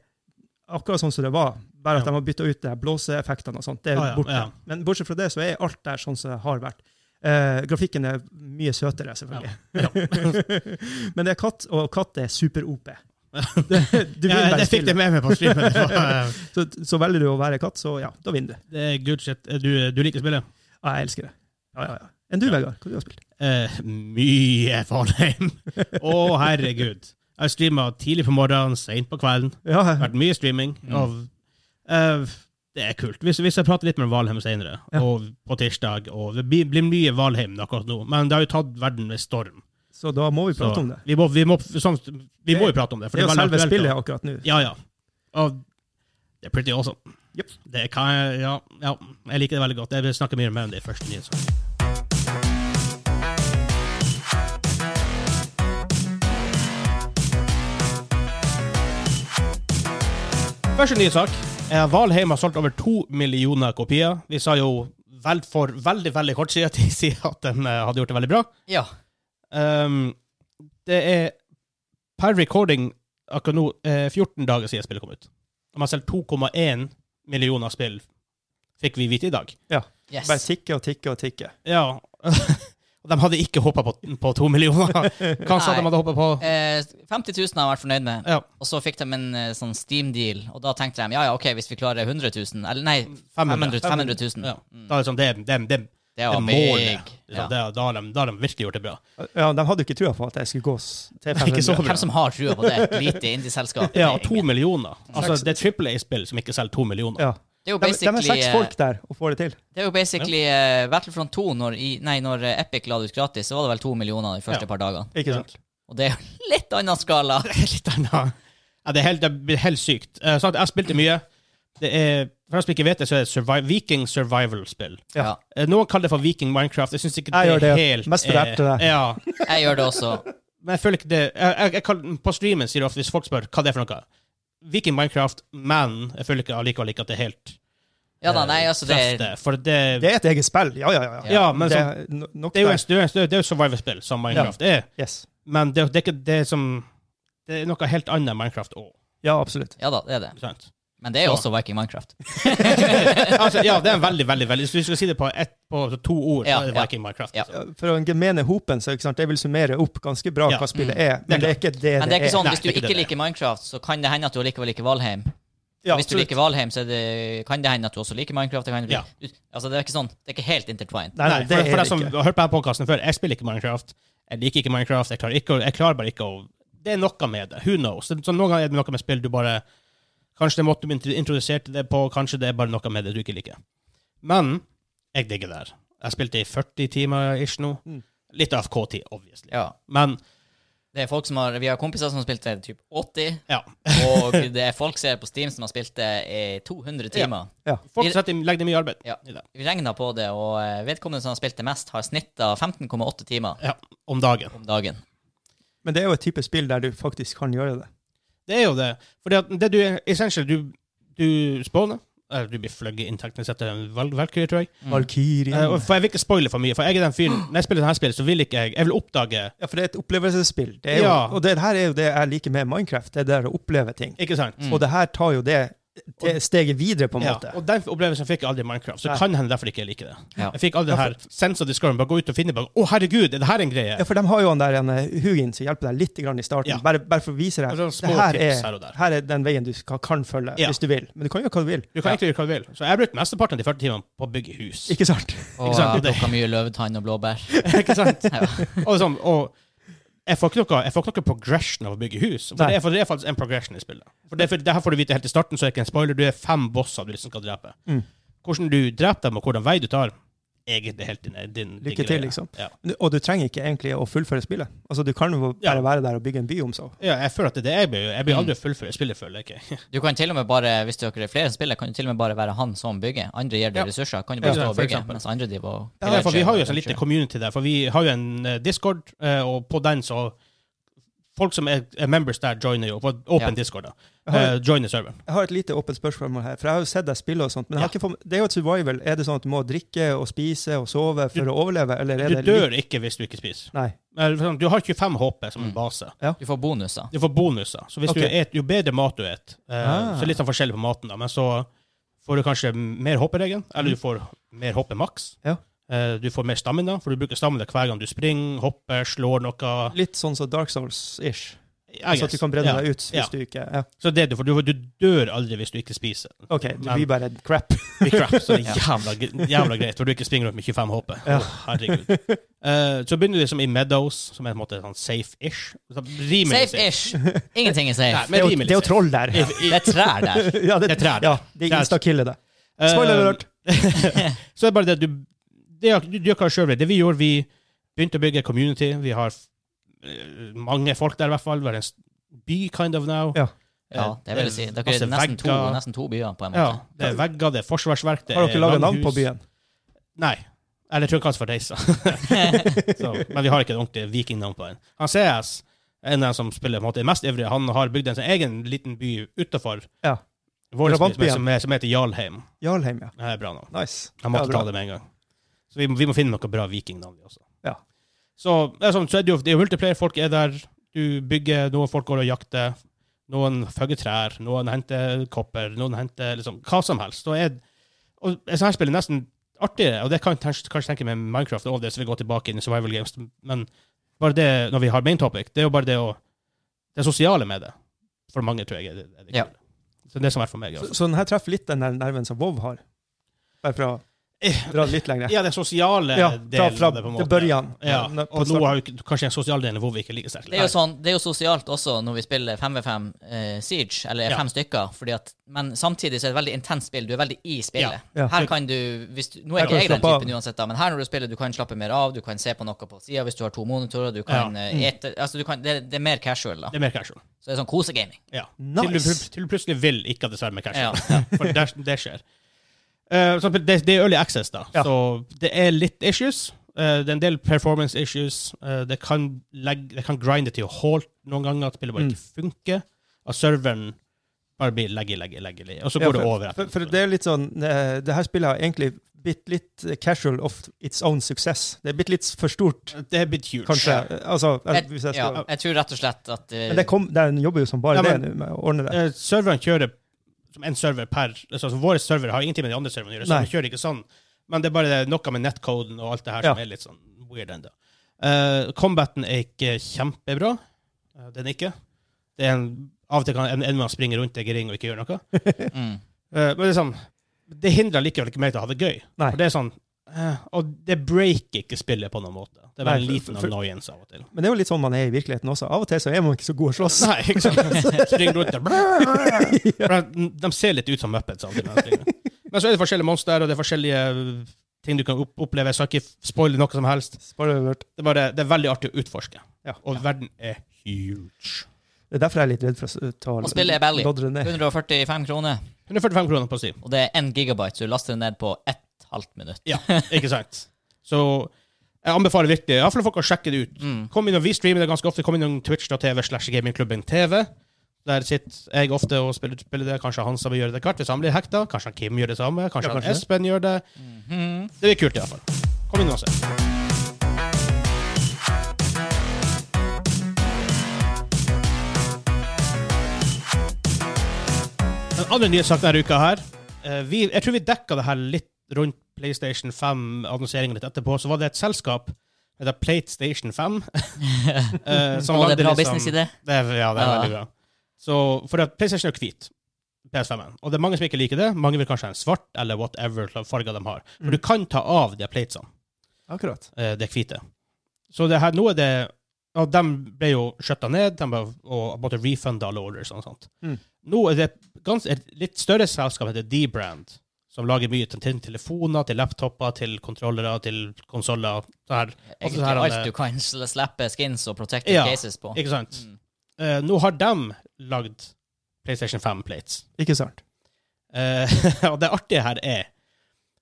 Speaker 2: akkurat sånn som det var. Bare at
Speaker 1: Ja.
Speaker 2: de har bytta ut det her blåseeffektene og sånt. Det er
Speaker 1: Ah, ja,
Speaker 2: Eh, borte.
Speaker 1: ja.
Speaker 2: Men bortsett fra det, så er alt der sånn som det har vært. Eh, grafikken er mye søtere, selvfølgelig. men det er katt, og katt er super-OP. Det- Du
Speaker 1: Ja,
Speaker 2: vinner bare
Speaker 1: jeg fikk det
Speaker 2: spillet.
Speaker 1: med meg på streamen. Det, var-
Speaker 2: Så, så velger du å være katt, så ja, da vinner du.
Speaker 1: det er good shit. Du, du liker spillet?
Speaker 2: Ja, jeg elsker det. Ja, ja, ja. Enn du,
Speaker 1: Ja.
Speaker 2: Vegard? Hva du har spilt?
Speaker 1: Eh, mye Valheim. Å, herregud. Jeg streama tidlig på morgenen, seint på kvelden.
Speaker 2: Ja,
Speaker 1: Det har vært mye streaming.
Speaker 3: Mm.
Speaker 1: Av, eh, det er kult. Hvis, hvis jeg prater litt med Valheim senere,
Speaker 2: Ja.
Speaker 1: og på tirsdag og Det blir, blir mye Valheim akkurat nå, men det har jo tatt verden med storm.
Speaker 2: så da må vi
Speaker 1: Så
Speaker 2: prate om det.
Speaker 1: Vi må, vi, må, sånn, vi må jo prate om det.
Speaker 2: Det er jo
Speaker 1: veldig
Speaker 2: selve
Speaker 1: aktuelt,
Speaker 2: spillet
Speaker 1: og-
Speaker 2: akkurat nå.
Speaker 1: Ja, ja. Og det er pretty awesome.
Speaker 2: Yep.
Speaker 1: Det kan jeg, ja, ja, jeg liker det veldig godt. Jeg vil snakke mye mer om det i første nyhetssak. Første nyhetssak. Eh, Valheim har solgt over to millioner kopier. Vi sa jo vel for veldig veldig kort siden til siden at de eh, hadde gjort det veldig bra.
Speaker 3: Ja.
Speaker 1: Ehm, det er per recording akkurat nå eh, 14 dager siden spillet kom ut. Om har selv 2,1 millioner spill fikk vi vite i dag.
Speaker 3: Yes.
Speaker 2: Bare tikke og tikke og tikke.
Speaker 1: Ja. Og de hadde ikke hoppa på, på to millioner. Hva sa de
Speaker 3: Nei.
Speaker 1: hadde hoppa på?
Speaker 3: Eh, 50 000 har jeg vært fornøyd med.
Speaker 1: Ja,
Speaker 3: Og så fikk de en eh, sånn Steam-deal, og da tenkte de ja, ja, ok, hvis vi klarer 100 000 Eller nei,
Speaker 1: 500.
Speaker 3: 500 500 000.
Speaker 1: Ja. Da er det sånn, det, det, det,
Speaker 3: Det
Speaker 1: det
Speaker 3: var
Speaker 1: er målet.
Speaker 3: big.
Speaker 1: Liksom,
Speaker 3: Ja.
Speaker 1: det, da, har de, da har de virkelig gjort det bra.
Speaker 2: Ja, De hadde jo ikke trua på at jeg skulle gå s- til 500.
Speaker 1: Ikke så bra.
Speaker 3: Hvem som har trua på det? Et lite indie-selskap.
Speaker 1: Ja,
Speaker 3: Det er
Speaker 1: to
Speaker 3: ingen-
Speaker 1: millioner. Altså, det er Triple A-spill som ikke selger to millioner.
Speaker 2: Ja.
Speaker 3: det er jo
Speaker 2: De, de er
Speaker 3: basically,
Speaker 2: seks
Speaker 3: eh,
Speaker 2: folk der og får det til.
Speaker 3: det er jo basically eh, Battlefront 2, når, i, nei, når eh, Epic la det ut gratis, så var det vel to millioner de første
Speaker 1: Ja.
Speaker 3: par dagene.
Speaker 2: Ikke
Speaker 1: Ja.
Speaker 2: sant?
Speaker 3: Og det er jo litt annen skala.
Speaker 1: Det er litt annet. Ja, det er helt, det blir helt sykt. Eh, sant, jeg spilte mye. Det er, for dem som ikke vet det, så er det survi Viking survival-spill.
Speaker 2: Ja.
Speaker 1: Eh, Noen kaller det for Viking Minecraft. Jeg syns ikke det
Speaker 2: Jeg gjør
Speaker 1: er
Speaker 2: det.
Speaker 1: helt
Speaker 2: Mest rart til deg.
Speaker 1: ja.
Speaker 3: Jeg gjør det også.
Speaker 1: Men jeg føler ikke det jeg, jeg, jeg, kaller- På streamen sier det ofte, hvis folk spør hva det er for noe Viking Minecraft, men jeg føler ikke allikevel ikke at det er helt
Speaker 3: Ja da, nei, altså, det er
Speaker 1: treffende, For Eh, det,
Speaker 2: Det er et eget spill. Ja, ja, ja. ja.
Speaker 1: Ja, men
Speaker 2: det,
Speaker 1: så,
Speaker 2: er no- nok
Speaker 1: det er jo
Speaker 2: der.
Speaker 1: en- det er jo en- det er jo survival-spill, som Minecraft er.
Speaker 2: Yes.
Speaker 1: Men det, det er ikke det som Det er noe helt annet enn Minecraft òg.
Speaker 2: Ja, absolutt.
Speaker 3: Ja da, det er det.
Speaker 1: Ikke sant?
Speaker 3: Men det er jo også Viking Minecraft.
Speaker 1: Altså, ja, det er en veldig, veldig, veldig Hvis vi skal si det på, ett, på to ord, så
Speaker 3: Ja,
Speaker 1: er det
Speaker 3: ja.
Speaker 1: Viking Minecraft.
Speaker 3: Ja.
Speaker 1: altså.
Speaker 2: Ja, For den gemene hopen, så ikke sant, jeg vil summere opp ganske bra
Speaker 1: Ja.
Speaker 2: hva spillet er,
Speaker 1: Det er
Speaker 2: men det er ikke det
Speaker 3: Men det er ikke sånn,
Speaker 1: Eh, Nei,
Speaker 3: hvis du
Speaker 1: det er ikke
Speaker 3: ikke
Speaker 1: det det
Speaker 3: liker Minecraft, så kan det hende at du allikevel liker Valheim.
Speaker 2: Ja,
Speaker 3: hvis du
Speaker 2: absolutt.
Speaker 3: liker Valheim, så er det, kan det hende at du også liker Minecraft. Det, kan,
Speaker 1: Ja.
Speaker 3: du, altså, det er ikke sånn, det er ikke helt intertwined.
Speaker 2: Nei, nei,
Speaker 1: Nei,
Speaker 2: det
Speaker 1: for, for
Speaker 2: er
Speaker 1: deg som
Speaker 2: det ikke.
Speaker 1: har hørt på denne podcasten før, jeg spiller ikke Minecraft. Jeg liker ikke Minecraft. Jeg klarer, ikke, å- jeg klarer bare ikke å Det er noe med det. Who knows? Så, så noen ganger er det noe med spill du bare Kanskje det er måten du intro- introduserte det på, kanskje det er bare noe med det du ikke liker. Men jeg digger det her. Jeg spilte i 40 timer ish nå.
Speaker 2: Mm.
Speaker 1: Litt AFK-tid, obviously.
Speaker 3: Ja.
Speaker 1: Men
Speaker 3: Det er folk som har, vi har kompiser som har spilt det typ 80,
Speaker 1: ja.
Speaker 3: og det er folk ser på Steam som har spilt det i 200 timer.
Speaker 1: Folk setter, legger ned mye arbeid
Speaker 3: Ja.
Speaker 1: i det
Speaker 3: Vi regna på det, og eh, vedkommende som har spilt det mest, har snitta 15,8 timer
Speaker 1: om dagen.
Speaker 3: om dagen.
Speaker 2: Men det er jo et type spill der du faktisk kan gjøre det.
Speaker 1: Det er jo det. For det du essentielt du, du spawner eller Du blir fløyet i inntekten hvis dette er en val- valkyrie, tror jeg.
Speaker 2: Valkyrien.
Speaker 1: Eh, og- for Jeg vil ikke spoile for mye, for jeg er den fyren Når jeg spiller dette spillet, så vil ikke jeg Jeg vil oppdage
Speaker 2: Ja, for det er et opplevelsesspill. Det er jo,
Speaker 1: Ja.
Speaker 2: Og det her er jo det jeg liker med Minecraft, det der å oppleve ting.
Speaker 1: Ikke sant?
Speaker 3: Mm.
Speaker 2: Og det her tar jo det, det steget videre, på en
Speaker 1: Ja,
Speaker 2: måte.
Speaker 1: og den opplevelsen fikk jeg aldri i Minecraft, så
Speaker 2: Nei.
Speaker 1: kan hende derfor ikke jeg liker det.
Speaker 3: Ja.
Speaker 1: Jeg fikk aldri den her sense of discovery. Bare gå ut og finne bare, Å, herregud, er det her en greie?
Speaker 2: Ja, for de har jo han der en, eh, Hugin som hjelper deg litt grann i starten,
Speaker 1: Ja.
Speaker 2: bare, bare for å vise deg.
Speaker 1: Altså, små
Speaker 2: det her
Speaker 1: tips
Speaker 2: er,
Speaker 1: her og der.
Speaker 2: her er den veien du skal, kan følge,
Speaker 1: Ja.
Speaker 2: hvis du vil. Men du kan gjøre hva du vil.
Speaker 1: Du kan egentlig gjøre hva du vil. Så jeg har brukt mesteparten av de 40 timene på å bygge hus.
Speaker 2: Ikke sant?
Speaker 3: Og
Speaker 1: Ikke sant?
Speaker 3: jeg plukka mye løvetann og blåbær.
Speaker 1: ikke sant?
Speaker 3: Ja.
Speaker 1: Og, liksom, og jeg får ikke noe, jeg får ikke noe progression av å bygge hus. For
Speaker 2: Nei.
Speaker 1: det, er, for det er faktisk en progression i spillet. For det, for det her får du vite helt i starten, så er det ikke en spoiler. Du er fem bosser du liksom skal drepe.
Speaker 2: Mm.
Speaker 1: Hvordan du dreper dem, og hvordan vei du tar, egentlig helt din, din, din
Speaker 2: Lykke til, liksom.
Speaker 1: Ja.
Speaker 2: Og du trenger ikke egentlig å fullføre spillet. Altså, du kan jo
Speaker 1: Ja.
Speaker 2: bare være der og bygge en by om så.
Speaker 1: Ja, jeg føler at det er det jeg blir. Jeg blir
Speaker 2: Mm.
Speaker 1: aldri å fullføre spillet, føler jeg ikke.
Speaker 3: Du kan til og med bare, Hvis dere er flere spillere, kan du til og med bare være han som bygger. Andre gir deg
Speaker 1: Ja.
Speaker 3: ressurser. Kan du bare
Speaker 1: Ja,
Speaker 3: stå og
Speaker 1: for
Speaker 3: bygge,
Speaker 1: eksempel.
Speaker 3: mens andre driver og
Speaker 1: Ja, for vi har jo en sånn
Speaker 3: Adventure.
Speaker 1: liten community der, for vi har jo en eh, Discord, eh, og på den så Folk som er, er members der, joiner jo. På åpen
Speaker 3: Ja.
Speaker 1: Discord, da.
Speaker 2: Jeg har,
Speaker 1: Eh, joiner serveren.
Speaker 2: jeg har et lite åpent spørsmål her, for jeg har jo sett deg spille og sånt, men jeg har
Speaker 1: Ja.
Speaker 2: ikke fått, det er jo et survival. Er det sånn at du må drikke og spise og sove for å overleve, eller er
Speaker 1: Du
Speaker 2: det litt-
Speaker 1: dør ikke hvis du ikke spiser.
Speaker 2: Nei.
Speaker 1: Eh, for sånn, Du har 25 HP som en base.
Speaker 3: Du får bonuser.
Speaker 1: Du får bonuser. Så hvis
Speaker 2: Mm. Ok.
Speaker 1: du et, jo bedre mat du et, eh,
Speaker 2: Ah.
Speaker 1: så er det litt sånn forskjellig på maten, da. men så får du kanskje mer HP-regelen, eller du får mer HP maks.
Speaker 2: Mm. Ja.
Speaker 1: Eh, du får mer stamina, for du bruker stamina hver gang du springer, hopper, slår noe.
Speaker 2: Litt sånn som Dark Souls-ish.
Speaker 1: I
Speaker 2: Altså
Speaker 1: guess.
Speaker 2: at du kan bredde
Speaker 1: Ja.
Speaker 2: deg ut hvis
Speaker 1: Ja.
Speaker 2: du ikke ja.
Speaker 1: Så det er du, for du, du dør aldri hvis du ikke spiser.
Speaker 2: OK, du
Speaker 1: Men-
Speaker 2: blir bare crap.
Speaker 1: Blir crap, så det
Speaker 3: Ja.
Speaker 1: er jævla, jævla greit, for du ikke springer rundt med 25 HP.
Speaker 2: Ja.
Speaker 1: Å, herregud. Eh, så begynner du liksom i Meadows, som er på en måte sånn safe-ish. Så rimelig
Speaker 3: Safe-ish. Ingenting
Speaker 1: Nei,
Speaker 3: er safe.
Speaker 2: Det
Speaker 1: men
Speaker 2: er jo,
Speaker 1: rimelig
Speaker 2: det er jo
Speaker 1: safe.
Speaker 2: troll der.
Speaker 3: Det er trær der.
Speaker 2: Ja, det,
Speaker 1: Det er trær.
Speaker 2: Ja, de
Speaker 1: Trær.
Speaker 2: instakiller det. Spoiler
Speaker 1: Eh,
Speaker 2: alert.
Speaker 1: Så er det bare det at du det, er- du, du gjør hva selv vil. Det vi gjorde, vi begynte å bygge community. Vi har eh, mange folk der, i hvert fall. Vi har en s- by kind of now.
Speaker 2: Ja.
Speaker 1: Eh,
Speaker 3: Ja, det vil jeg si. Dere
Speaker 1: masse
Speaker 3: er nesten to,
Speaker 1: vegger.
Speaker 3: nesten to byer på en
Speaker 1: Ja,
Speaker 3: måte.
Speaker 1: det er vegger, det er forsvarsverk. Det
Speaker 2: Har dere
Speaker 1: er
Speaker 2: laga navn på
Speaker 1: langhus.
Speaker 2: byen?
Speaker 1: Nei. Eller jeg tror kanskje for Deisa. Så, men vi har ikke et ordentlig vikingnavn på den. Han CS, en av dem som spiller på en måte, er mest ivrig, han har bygd en sin egen liten by utafor
Speaker 2: Ja.
Speaker 1: vår by, som,
Speaker 2: Drabantbyen.
Speaker 1: er- som, er- som heter Jarlheim.
Speaker 2: Jarlheim, ja.
Speaker 1: Det er bra navn.
Speaker 2: Nice.
Speaker 1: Han
Speaker 2: Ja,
Speaker 1: måtte
Speaker 2: bra.
Speaker 1: ta det med en gang. Så vi, må- vi må finne noe bra vikingnavn, vi også.
Speaker 2: Ja.
Speaker 1: Så, det er sånn, så er det, jo, det er jo multiplayer, folk er der, du bygger, noen folk går og jakter, noen føgger trær, noen henter kopper, noen henter liksom hva som helst. Så er, og sånn her spiller nesten artigere, og det kan jeg kanskje, kanskje tenke med Minecraft og det, så vi går tilbake inn i survival games, men bare det, når vi har main topic, det er jo bare det å, det sosiale med det. For mange, tror jeg, er det, er det
Speaker 3: Ja.
Speaker 1: kule. Så det som er for meg,
Speaker 2: Så,
Speaker 1: altså.
Speaker 2: så den her treffer litt den der nerven som Vov har. Bare for å dra det litt lenger.
Speaker 1: Eh, Ja, det sosiale
Speaker 2: Ja, fra,
Speaker 1: eh, delen
Speaker 2: fra
Speaker 1: av det, på en måte.
Speaker 2: det børjan.
Speaker 1: Ja,
Speaker 2: Nå- på
Speaker 1: og nå
Speaker 2: starten.
Speaker 1: har vi ikke- kanskje en sosial del hvor vi ikke er like sterke.
Speaker 3: Det er jo sånn, det er jo sosialt også når vi spiller 5v5 eh, Siege, eller
Speaker 1: Ja.
Speaker 3: fem stykker, fordi at, men samtidig så er det et veldig intenst spill. Du er veldig i spillet.
Speaker 2: Ja. Ja.
Speaker 3: Her kan du, hvis du Nå
Speaker 2: Her
Speaker 3: er
Speaker 2: kan
Speaker 3: ikke jeg
Speaker 2: du
Speaker 3: den
Speaker 2: slappe av.
Speaker 3: typen uansett, da, men her når du spiller, du kan slappe mer av, du kan se på noe på sida hvis du har to monitorer, du kan
Speaker 1: Ja.
Speaker 3: eh, ete altså du kan, det, det er mer casual, da.
Speaker 1: Det er mer casual.
Speaker 3: Så det er sånn kosegaming.
Speaker 1: Ja. Til, du,
Speaker 2: Nice.
Speaker 1: pl- til du plutselig vil ikke ha dessert med casual.
Speaker 3: Ja.
Speaker 1: For det, det skjer. Eh, så det, det er early access, da.
Speaker 2: Ja.
Speaker 1: Så det er litt issues. Eh, det er en del performance issues. Eh, det, kan legge, det kan grinde til å halt noen ganger, at spillet
Speaker 2: Mm.
Speaker 1: bare ikke funker. At serveren bare blir leggy, leggy, leggy. Og så går
Speaker 2: Ja,
Speaker 1: det
Speaker 2: for-
Speaker 1: over. etter-
Speaker 2: For, for det er litt sånn eh, Det her spillet har egentlig blitt litt eh, casual of its own success. Det er blitt litt for stort,
Speaker 1: det er blitt huge.
Speaker 2: kanskje. Altså,
Speaker 3: Jeg,
Speaker 2: hvis jeg
Speaker 3: ja,
Speaker 2: skal
Speaker 3: jeg tror rett og slett at eh,
Speaker 2: Men det kom, den jobber jo som bare
Speaker 1: Ja,
Speaker 2: det
Speaker 1: men-
Speaker 2: nå, med å ordne det.
Speaker 1: Eh, serveren kjører som en server per altså, altså, Vår server har ingenting med de andre serverne å gjøre, så
Speaker 2: Nei.
Speaker 1: vi kjører ikke sånn. Men det er bare noe med nettkoden og alt det her som
Speaker 2: Ja.
Speaker 1: er litt sånn weird ennå. Eh, combaten er ikke kjempebra. Eh, den er ikke. Det er en, av og til kan en, en man springe rundt deg i ring og ikke gjøre noe.
Speaker 3: Mm.
Speaker 1: Eh, men det er sånn Det hindrer likevel ikke meg til å ha det gøy.
Speaker 2: Nei.
Speaker 1: For det er sånn eh, Og det breaker ikke spillet på noen måte. Det er
Speaker 2: Nei,
Speaker 1: bare en
Speaker 2: for-
Speaker 1: liten
Speaker 2: for-
Speaker 1: annoyance av og til.
Speaker 2: Men det er jo litt sånn man er i virkeligheten også. Av og til så er man ikke så god å slåss.
Speaker 1: Nei, ikke sant? Springer rundt der. brr, brr. For De ser litt ut som Muppets. alltid når de springer. Men så er det forskjellige monstre, og det er forskjellige uh, ting du kan opp oppleve. Så jeg skal ikke spoile noe som helst.
Speaker 2: Spoiler alert.
Speaker 1: Det er, bare, det er veldig artig å utforske.
Speaker 2: Ja.
Speaker 1: Og verden er huge.
Speaker 2: Det er derfor jeg er litt redd for å s- eh, ta
Speaker 3: Og spillet er billig.
Speaker 2: dodre ned.
Speaker 3: 145 kroner,
Speaker 1: 145 kroner på Steam.
Speaker 3: og det er 1 gigabyte, så du laster det ned på ett halvt minutt.
Speaker 1: Ja, ikke sant? Så jeg anbefaler virkelig, iallfall folk å sjekke det ut.
Speaker 3: Mm.
Speaker 1: Kom innom, Vi streamer det ganske ofte. Kom innom Twitch.tv slash gamingklubben TV. Der sitter jeg ofte og spiller, spiller det. Kanskje Hansa vil gjøre det kvart hvis han blir hekta. Kanskje han Kim gjør det samme. Kanskje,
Speaker 2: Ja,
Speaker 1: han
Speaker 2: kanskje det.
Speaker 1: Espen gjør det.
Speaker 3: Mhm.
Speaker 1: Det blir kult, iallfall. Kom innom og se. Den andre nyhetssaken denne uka her eh, vi, Jeg tror vi dekka det her litt rundt PlayStation 5-annonseringen litt etterpå. Så var det et selskap det heter PlayStation 5. eh, som
Speaker 3: Og
Speaker 1: lagde
Speaker 3: det er bra
Speaker 1: liksom-
Speaker 3: businessidé.
Speaker 1: det er, ja, det er
Speaker 3: Ja.
Speaker 1: veldig bra. Så, for at PlayStation er jo hvit, PS5-en, og det er mange som ikke liker det. Mange vil kanskje ha en svart eller whatever farger de har. For
Speaker 2: Mm.
Speaker 1: du kan ta av de platesene,
Speaker 2: Akkurat.
Speaker 1: eh, det hvite. Så det her, nå er det og De ble jo skjøtta ned de ble, og måtte refunde alle orders. og sånt.
Speaker 2: Mm.
Speaker 1: Nå er det gans, et litt større selskap som heter D-Brand, som lager mye til, til telefoner, til laptoper, til kontrollere, til konsoller.
Speaker 3: Egentlig
Speaker 1: Altså, her er
Speaker 3: alt
Speaker 1: det-
Speaker 3: du kan sl- slappe skins og protected
Speaker 1: Ja,
Speaker 3: cases på.
Speaker 1: Ikke sant?
Speaker 3: Mm.
Speaker 1: Eh, nå har de lagd PlayStation 5-plates.
Speaker 2: Ikke sant?
Speaker 1: Eh, og det artige her er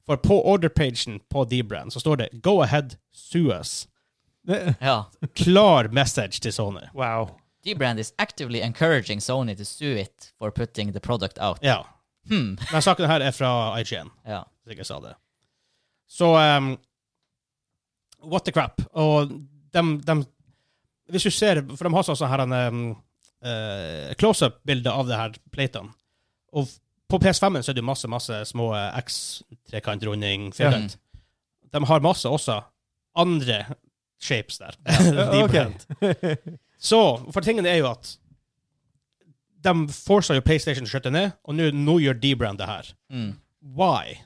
Speaker 1: For på orderpagen på D-brand så står det 'Go ahead, sue us'.
Speaker 2: Det-
Speaker 3: Ja.
Speaker 1: Klar message til Sony.
Speaker 2: Wow.
Speaker 3: D-Brand is actively encouraging Sony to sue it for putting the product out.
Speaker 1: Ja.
Speaker 3: Hmm.
Speaker 1: Denne saken her er fra IGN,
Speaker 3: Ja.
Speaker 1: hvis ikke jeg sa det. Så ehm, What the crap. Og dem, dem Hvis du ser For de har sånn sånn her en ehm, eh, close-up-bilde av det her platene. Og f- på PS5-en så er det jo masse, masse små eh, X, trekantrunding, firkant.
Speaker 3: Mm.
Speaker 1: De har masse også andre shapes der.
Speaker 2: Ja, ok.
Speaker 1: Deepland. Så, for tingen er jo at de forsa jo PlayStation til å skjøtte ned, og nå- nå gjør D-Brand det her.
Speaker 3: Mm.
Speaker 1: Why?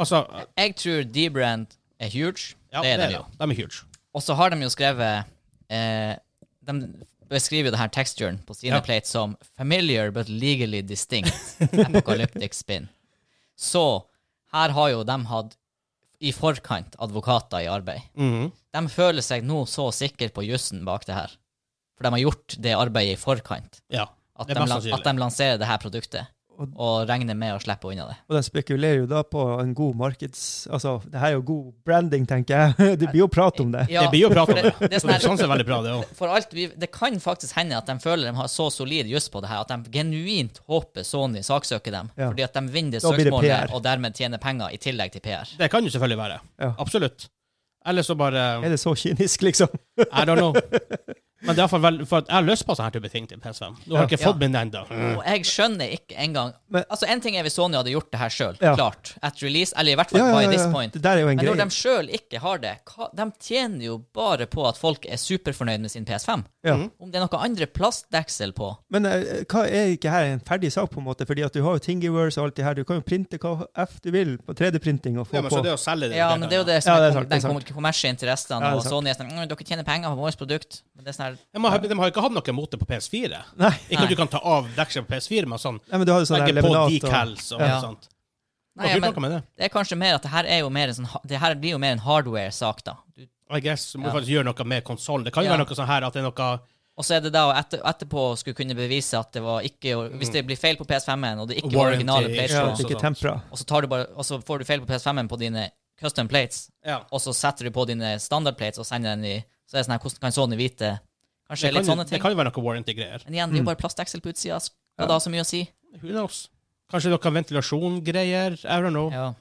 Speaker 1: Altså
Speaker 3: Jeg tror D-Brand er huge.
Speaker 1: ja,
Speaker 3: det er den jo.
Speaker 1: De er huge.
Speaker 3: Og så har de jo skrevet eh, De beskriver jo det her texturen på sine
Speaker 1: Ja.
Speaker 3: plates som 'familiar but legally distinct apocalyptic spin'. Så her har jo de hatt i forkant advokater i arbeid.
Speaker 1: Mhm.
Speaker 3: De føler seg nå så sikre på jussen bak det her. For de har gjort det arbeidet i forkant.
Speaker 1: Ja.
Speaker 3: At
Speaker 1: Det
Speaker 3: de,
Speaker 1: er mest
Speaker 3: lan-
Speaker 1: sannsynlig.
Speaker 3: at de lanserer det her produktet
Speaker 2: Og-
Speaker 3: og regner med å slippe unna det.
Speaker 2: Og den spekulerer jo da på en god markeds... Altså, det her er jo god branding, tenker jeg. Det blir jo prat om det.
Speaker 3: Ja,
Speaker 1: Det blir jo prat om
Speaker 3: for
Speaker 1: det.
Speaker 3: det er
Speaker 1: Så
Speaker 3: sånn
Speaker 1: det
Speaker 3: her-
Speaker 1: sånn sett er veldig bra, det òg.
Speaker 3: For alt vi, Det kan faktisk hende at de føler de har så solid juss på det her at de genuint håper Sony saksøker dem,
Speaker 2: Ja.
Speaker 3: fordi at de vinner det
Speaker 2: Da blir det
Speaker 3: søksmålet
Speaker 2: PR.
Speaker 3: og dermed tjener penger i tillegg til PR.
Speaker 1: Det kan jo selvfølgelig være.
Speaker 2: Ja.
Speaker 1: Absolutt. Eller så bare
Speaker 2: Er det så kynisk, liksom?
Speaker 1: I don't know. Men det er i hvert fall vel- for at jeg har lyst på sånne her type ting til PS5. Nå har jeg ikke
Speaker 3: Ja.
Speaker 1: fått min ennå.
Speaker 3: Og jeg skjønner ikke engang
Speaker 2: Mm. Men-
Speaker 3: Altså, En ting er hvis Sony hadde gjort det her sjøl,
Speaker 2: Ja.
Speaker 3: klart, at release, eller i hvert fall by this point.
Speaker 2: Det der er jo en
Speaker 3: Men når
Speaker 2: greie.
Speaker 3: de sjøl ikke har det, hva, de tjener jo bare på at folk er superfornøyd med sin PS5.
Speaker 2: Ja.
Speaker 1: Mm.
Speaker 3: Om det er noe andre plastdeksel på
Speaker 2: Men eh, hva er ikke her en ferdig sak, på en måte? Fordi at du har jo Thingiverse og alt det her. Du kan jo printe hva F du vil på 3D-printing og få
Speaker 1: Ja, men så
Speaker 2: på.
Speaker 1: det å selge det
Speaker 3: Ja, men det er jo det som
Speaker 2: Ja, det er
Speaker 3: er, kom-
Speaker 2: sant, det er
Speaker 3: den kom-
Speaker 2: sant.
Speaker 3: kommersielle
Speaker 2: Ja,
Speaker 3: interessen,
Speaker 2: det er
Speaker 3: og
Speaker 2: sant.
Speaker 3: Sony er sånn mm, 'Dere tjener penger på vårt produkt.' Men det er sånn her
Speaker 1: Ja, men har- de har jo ikke hatt noe mot det på PS4.
Speaker 2: Nei.
Speaker 1: Ikke at du kan ta av dekselet på PS4, men sånn
Speaker 2: Nei, men du har jo sånn der
Speaker 1: legge på
Speaker 2: lemonat og
Speaker 1: decals og
Speaker 3: Ja.
Speaker 1: sånt. Hva
Speaker 3: Nei,
Speaker 1: tror du
Speaker 3: men
Speaker 1: noe med det?
Speaker 3: det er kanskje mer at det her er jo mer en sånn ha- Det her blir jo mer en hardware-sak, da. Du-
Speaker 1: I guess må
Speaker 3: Ja.
Speaker 1: faktisk gjøre noe med konsollen. Det kan jo
Speaker 3: Ja.
Speaker 1: være noe sånn her at det er noe
Speaker 3: Og så er det da å etter, etterpå skulle kunne bevise at det var ikke Hvis det blir feil på PS5-en, og det ikke var
Speaker 1: Warranty.
Speaker 3: originale
Speaker 2: ja,
Speaker 1: og
Speaker 3: plates,
Speaker 2: at du ikke
Speaker 1: sånt.
Speaker 2: tempra.
Speaker 3: og så tar du bare Og så får du feil på PS5-en på dine custom plates,
Speaker 1: Ja.
Speaker 3: og så setter du på dine standard plates og sender den i Så er det sånn her Hvordan kan Sony vite Kanskje
Speaker 1: Det
Speaker 3: litt
Speaker 1: kan, jo-
Speaker 3: sånne
Speaker 1: det
Speaker 3: ting.
Speaker 1: kan jo være noe warranty-greier.
Speaker 3: Men igjen, det er jo bare plastdeksel på utsida. Skal det ha så mye å si?
Speaker 1: Who knows? Kanskje noe ventilasjongreier? I don't know.
Speaker 3: Ja.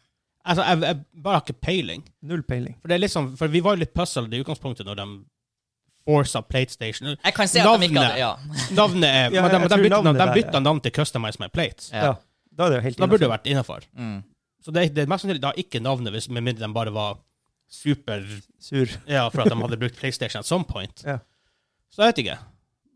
Speaker 1: Altså, jeg, jeg bare har ikke peiling.
Speaker 2: Null peiling.
Speaker 1: For, det er litt sånn, for vi var jo litt puzzled i utgangspunktet når de Forza PlateStation.
Speaker 3: Jeg kan se at de ikke
Speaker 1: Navnet.
Speaker 3: hadde Ja.
Speaker 1: Navnet er,
Speaker 2: Ja,
Speaker 1: men de,
Speaker 2: jeg
Speaker 1: de,
Speaker 2: tror
Speaker 1: bytter, navn-
Speaker 2: navnet der,
Speaker 1: de bytter
Speaker 2: ja.
Speaker 1: navn til Customize My Plates.
Speaker 3: ja.
Speaker 2: Ja. Da er det jo helt
Speaker 1: Da burde det
Speaker 2: innenfor.
Speaker 1: vært innafor.
Speaker 3: Mm.
Speaker 1: Så det, det er mest sannsynlig da ikke navnet, hvis, med mindre de bare var super
Speaker 2: sur.
Speaker 1: Ja, for at de hadde brukt PlayStation at some point.
Speaker 2: Ja.
Speaker 1: Så jeg vet ikke.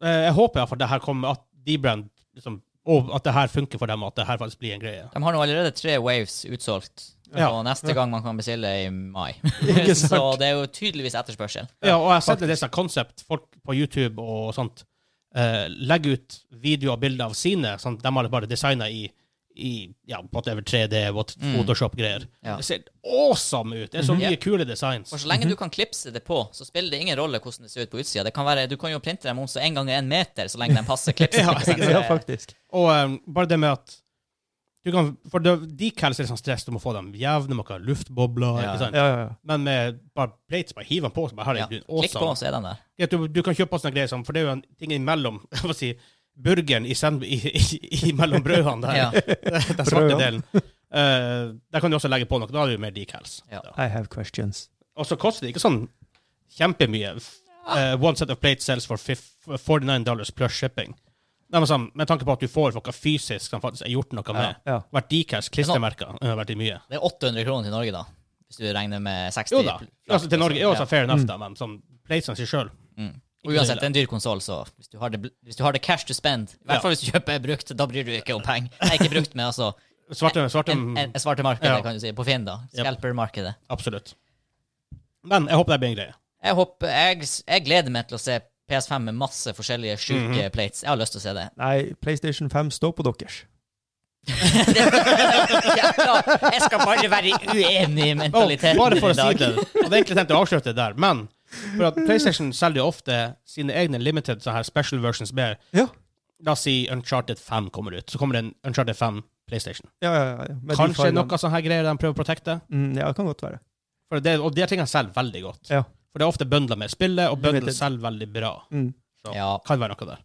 Speaker 1: Eh, Jeg håper iallfall det her kommer, at de brand liksom, Og at det her funker for dem, og at det her faktisk blir en greie.
Speaker 3: De har nå allerede tre waves utsolgt.
Speaker 1: Ja.
Speaker 3: Og neste gang man kan bestille er i mai.
Speaker 2: Ikke sant?
Speaker 3: Så det er jo tydeligvis etterspørsel.
Speaker 1: Ja, og jeg har sett en del sånne konsept, folk på YouTube og sånt, eh, legger ut videoer og bilder av sine, sånn, de har bare designa i, i ja, whatever 3D, what,
Speaker 3: Mm.
Speaker 1: Photoshop-greier.
Speaker 3: Ja.
Speaker 1: Det ser awesome ut! Det er så
Speaker 3: Mhm.
Speaker 1: mye kule designs.
Speaker 3: For så lenge du kan klipse det på, så spiller det ingen rolle hvordan det ser ut på utsida. Det kan være, du kan jo printe dem om så en gang er en meter, så lenge den passer klipset.
Speaker 1: Ja,
Speaker 3: ikke sant?
Speaker 2: Ja, faktisk.
Speaker 1: Og eh, bare det med at du kan, For det- decals er litt sånn stress, du må få dem jevne, man kan ha luftbobler
Speaker 3: Ja.
Speaker 1: ikke sant?
Speaker 2: Ja, ja, ja.
Speaker 1: Men med bare plates, bare hiv den på, så bare her
Speaker 3: Ja.
Speaker 1: er du
Speaker 3: Klikk på, altså. så er den der.
Speaker 1: Ja, Du, du kan kjøpe sånne greier som For det er jo en ting imellom hva skal jeg si, burgeren i, sand, i, i, i mellom brødene der.
Speaker 3: Ja.
Speaker 1: Den svarte
Speaker 2: Brødene.
Speaker 1: delen. Eh, der kan du også legge på noe. Da er det jo mer decals.
Speaker 3: Ja.
Speaker 1: Da.
Speaker 2: I have questions.
Speaker 1: Og så koster det ikke sånn kjempemye. F- eh, one set of plates sells for fif- 49 dollars plus shipping. Nei, men sånn, med tanke på at du får noe fysisk som faktisk er gjort noe med.
Speaker 2: Ja.
Speaker 1: Vært decals, klistremerker, det har vært i mye.
Speaker 3: Det er 800 kroner til Norge, da. Hvis du regner med 60
Speaker 1: Jo da. Altså, til Norge er også fair enough,
Speaker 2: Mm.
Speaker 1: da, men sånn platesene seg sjøl
Speaker 3: Mm. Og uansett, det er en dyr konsoll, så hvis du, har det, bl- hvis du har det cash to spend, i
Speaker 1: Ja.
Speaker 3: hvert fall hvis du kjøper brukt, da bryr du deg ikke om penger. Nei, ikke brukt, men altså
Speaker 1: Svarte, svarte
Speaker 3: en, en, en svarte markedet,
Speaker 1: Mm. Ja.
Speaker 3: kan du si, på Finn, da.
Speaker 1: Yep.
Speaker 3: Scalper-markedet.
Speaker 1: Absolutt. Men jeg håper det blir en greie.
Speaker 3: Jeg, håper- jeg, jeg gleder meg til å se PS5 med masse forskjellige sjuke
Speaker 1: Mhm.
Speaker 3: plates. Jeg har lyst til å se det.
Speaker 2: Nei, PlayStation 5 står på deres.
Speaker 3: Jævla, jeg skal bare være uenig i
Speaker 1: Å,
Speaker 3: mentaliteten
Speaker 1: bare for å
Speaker 3: i dag.
Speaker 1: si det. Jeg hadde egentlig tenkt å avslutte det der, men for at PlayStation selger jo ofte sine egne limited sånne her special versions med
Speaker 2: Ja.
Speaker 1: La oss si Uncharted 5 kommer ut. Så kommer det en Uncharted 5 PlayStation.
Speaker 2: Ja, ja, ja, ja. Med de
Speaker 1: Kanskje
Speaker 2: fargene.
Speaker 1: noe sånne her greier de prøver å protekte.
Speaker 2: Mm, Ja, det kan godt være.
Speaker 1: For det, og de tingene selger veldig godt.
Speaker 2: Ja.
Speaker 1: For det er ofte bundla med spillet, og
Speaker 2: Limited.
Speaker 1: bundla selger veldig bra.
Speaker 2: Mm.
Speaker 3: Ja,
Speaker 1: Kan være noe der.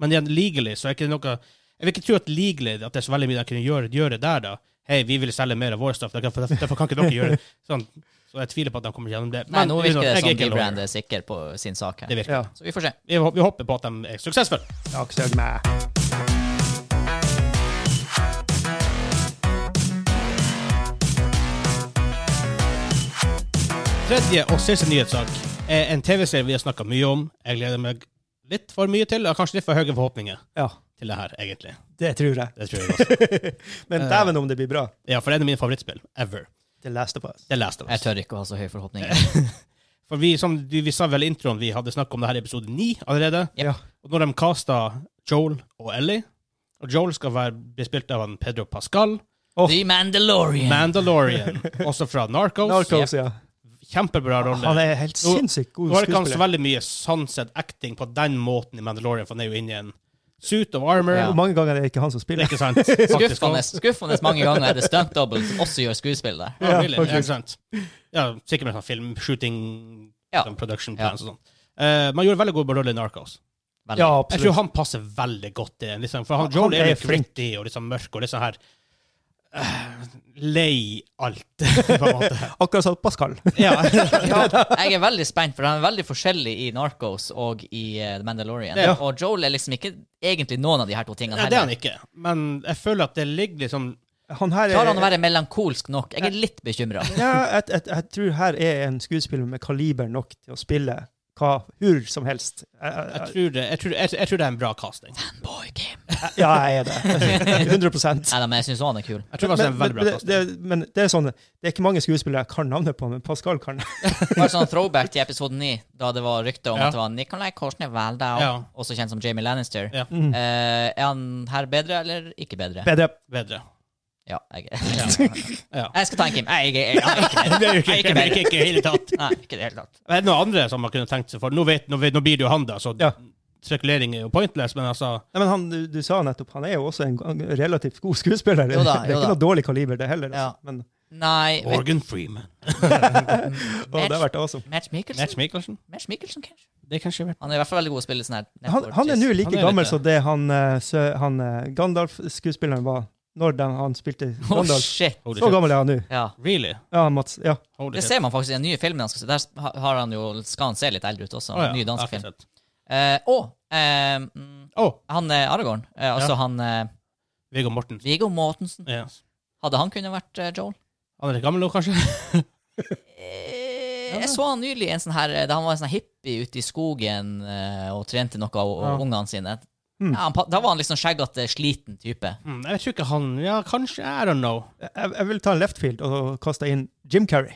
Speaker 1: Men igjen, legally så er ikke det noe Jeg vil ikke tro at legally at det er så veldig mye de kunne gjøre, gjøre der, da. Hei, vi vil selge mer av vår stoff, derfor, derfor kan ikke dere gjøre det. Sånn. Så jeg tviler på at de kommer gjennom det.
Speaker 3: Nei,
Speaker 1: you
Speaker 3: nå
Speaker 1: know,
Speaker 3: virker det
Speaker 1: liksom,
Speaker 3: sånn
Speaker 1: jeg er
Speaker 3: som
Speaker 1: ikke
Speaker 3: de
Speaker 1: en lawyer.
Speaker 3: brand er sikker på sin sak her.
Speaker 1: Det virker.
Speaker 2: Ja.
Speaker 3: Så vi får se.
Speaker 1: Vi, hå- vi håper på at de er suksessfulle.
Speaker 2: Aksjøg meg.
Speaker 1: Tredje og siste nyhetssak er en TV-serie vi har snakka mye om. Jeg gleder meg litt for mye til, og kanskje litt for høye forhåpninger
Speaker 2: Ja,
Speaker 1: til det her, egentlig.
Speaker 2: det tror jeg.
Speaker 1: Det tror jeg også.
Speaker 2: Men dæven om det blir bra.
Speaker 1: Ja, for det er en av mine favorittspill ever.
Speaker 2: The Last of Us.
Speaker 1: Det leste
Speaker 3: Jeg
Speaker 1: jeg.
Speaker 3: tør ikke å ha så høye forhåpninger.
Speaker 1: For vi, som du, vi sa vel i introen, vi hadde snakka om det her i episode ni allerede.
Speaker 2: Ja.
Speaker 1: Og når de casta Joel og Ellie og Joel skal være bli spilt av han Pedro Pascal,
Speaker 3: The Mandalorian.
Speaker 1: Mandalorian, også fra Narcos.
Speaker 2: Narcos, ja.
Speaker 1: Kjempebra rolle.
Speaker 2: Han er helt
Speaker 1: Nå-
Speaker 2: sinnssykt god
Speaker 1: Nå har det ikke han så
Speaker 2: skuespiller.
Speaker 1: veldig mye sunset acting på den måten i Mandalorian, for han er jo inne i en suit of armor.
Speaker 3: Ja.
Speaker 2: Hvor mange ganger er det ikke han som
Speaker 1: Det
Speaker 2: spiller?
Speaker 1: er ikke sant? Faktisk.
Speaker 3: Skuffende, skuffende mange ganger er det stunt double som også gjør skuespill der.
Speaker 1: Ja,
Speaker 2: Ja,
Speaker 1: really.
Speaker 2: faktisk.
Speaker 1: ja, ikke sant? ja, sikkert med sånn film, shooting,
Speaker 3: Ja.
Speaker 1: sånn production
Speaker 3: Ja.
Speaker 1: plans og sånn. Eh, man gjorde veldig god rolle i Narcos.
Speaker 3: Veldig.
Speaker 2: Ja,
Speaker 1: Jeg tror
Speaker 2: absolutt.
Speaker 1: han passer veldig godt i den. Liksom, for han,
Speaker 2: Han-
Speaker 1: Joel
Speaker 2: han
Speaker 1: er
Speaker 2: er
Speaker 1: litt gritty og litt sånn mørk og litt sånn her eh, Lei alt, på en måte.
Speaker 2: Akkurat som Pascal.
Speaker 1: Ja.
Speaker 3: Ja, jeg er veldig spent, for han er veldig forskjellig i Narcos og i eh, The Mandalorian.
Speaker 1: Ja.
Speaker 3: Og Joel er liksom ikke egentlig noen av de her to tingene
Speaker 1: Nei, det er han
Speaker 3: heller.
Speaker 1: ikke. Men jeg føler at det ligger liksom
Speaker 2: Han her er
Speaker 3: Klarer han å være melankolsk nok? Jeg er litt bekymra.
Speaker 2: ja, jeg, jeg, jeg tror her er en skuespiller med kaliber nok til å spille hva hur som helst. Jeg,
Speaker 1: Jeg
Speaker 2: jeg,
Speaker 1: tror det, jeg tror, jeg, jeg tror det er en bra casting.
Speaker 2: jeg, ja, jeg er det. 100
Speaker 3: Nei da, men jeg syns han er kul.
Speaker 1: Jeg tror faktisk det er en veldig bra
Speaker 2: det,
Speaker 1: casting.
Speaker 2: det, men det er sånn, det er ikke mange skuespillere jeg kan navnet på, men Pascal kan.
Speaker 3: Bare sånn throwback til episode 9, da det var rykter om
Speaker 1: Ja.
Speaker 3: at det var Nicolai Korsne Waldau,
Speaker 1: Ja.
Speaker 3: også kjent som Jamie Lannister.
Speaker 1: Ja.
Speaker 2: Mm.
Speaker 3: Eh, er han her bedre eller ikke bedre?
Speaker 2: Bedre.
Speaker 1: Bedre.
Speaker 3: ja, jeg,
Speaker 1: Ja. Ja.
Speaker 3: jeg skal ta en Kim. Nei, Jeg, jeg, jeg, jeg, er ikke
Speaker 1: Det er jo ikke, ikke,
Speaker 3: Jeg er ikke bedre.
Speaker 1: ikke, ikke i hele tatt.
Speaker 3: bedre. Nei, ikke i det hele tatt.
Speaker 1: Er det noen andre som man kunne tenkt seg for? Nå, vet, nå, vet, nå blir det jo han, da, så
Speaker 2: Ja.
Speaker 1: spekulering er jo pointless, men altså
Speaker 2: Nei, men han, du, du sa nettopp, han er jo også en g- relativt god skuespiller.
Speaker 3: Jo da,
Speaker 2: det er
Speaker 3: jo da.
Speaker 2: ikke noe dårlig kaliber, det heller.
Speaker 3: Ja.
Speaker 2: Altså. Men
Speaker 3: Nei vet,
Speaker 1: Morgan Freeman.
Speaker 2: å, det har vært awesome.
Speaker 3: Match
Speaker 1: Match
Speaker 3: Mikkelsen?
Speaker 1: Michelsen?
Speaker 3: Match Mikkelsen, kanskje?
Speaker 1: Det er kanskje vært
Speaker 3: Han er i hvert fall veldig god å spille sånn her.
Speaker 2: Han, han er
Speaker 1: Han
Speaker 2: nå like
Speaker 3: network-
Speaker 1: er litt
Speaker 2: gammel
Speaker 1: det.
Speaker 2: som det han, eh, sø- han eh, Gandalf-skuespilleren var når de, han spilte
Speaker 3: Oh,
Speaker 2: Gandalf.
Speaker 3: shit.
Speaker 1: Holy
Speaker 2: Så
Speaker 1: shit.
Speaker 2: gammel er han nå.
Speaker 3: Ja.
Speaker 1: Really?
Speaker 2: Ja, Mats. Ja.
Speaker 1: Holy
Speaker 3: Det
Speaker 1: shit.
Speaker 3: ser man faktisk i den nye filmen han skal se. Der ha- har han jo, skal han se litt eldre ut også.
Speaker 1: Å, ja.
Speaker 3: Ny dansk
Speaker 1: Jeg
Speaker 3: film.
Speaker 1: har ikke sett.
Speaker 3: Eh, og eh, mm,
Speaker 1: Å,
Speaker 3: han eh, Aragorn, eh, altså han eh,
Speaker 1: Viggo Mortensen.
Speaker 3: Viggo Mortensen,
Speaker 1: Ja.
Speaker 3: hadde han kunnet vært eh, Joel?
Speaker 1: Han er litt gammel nå, kanskje?
Speaker 3: Eh, jeg så han nylig i en sånn her, eh, da han var en sånn hippie ute i skogen eh, og trente noe av
Speaker 2: Ja.
Speaker 3: ungene sine.
Speaker 2: Mm.
Speaker 3: Ja, han, pa- da var han liksom skjeggete, sliten type.
Speaker 1: Mm, jeg tror ikke han Ja, kanskje. I don't know.
Speaker 2: Jeg, jeg vil ta en left field og kaste inn Jim Carrey.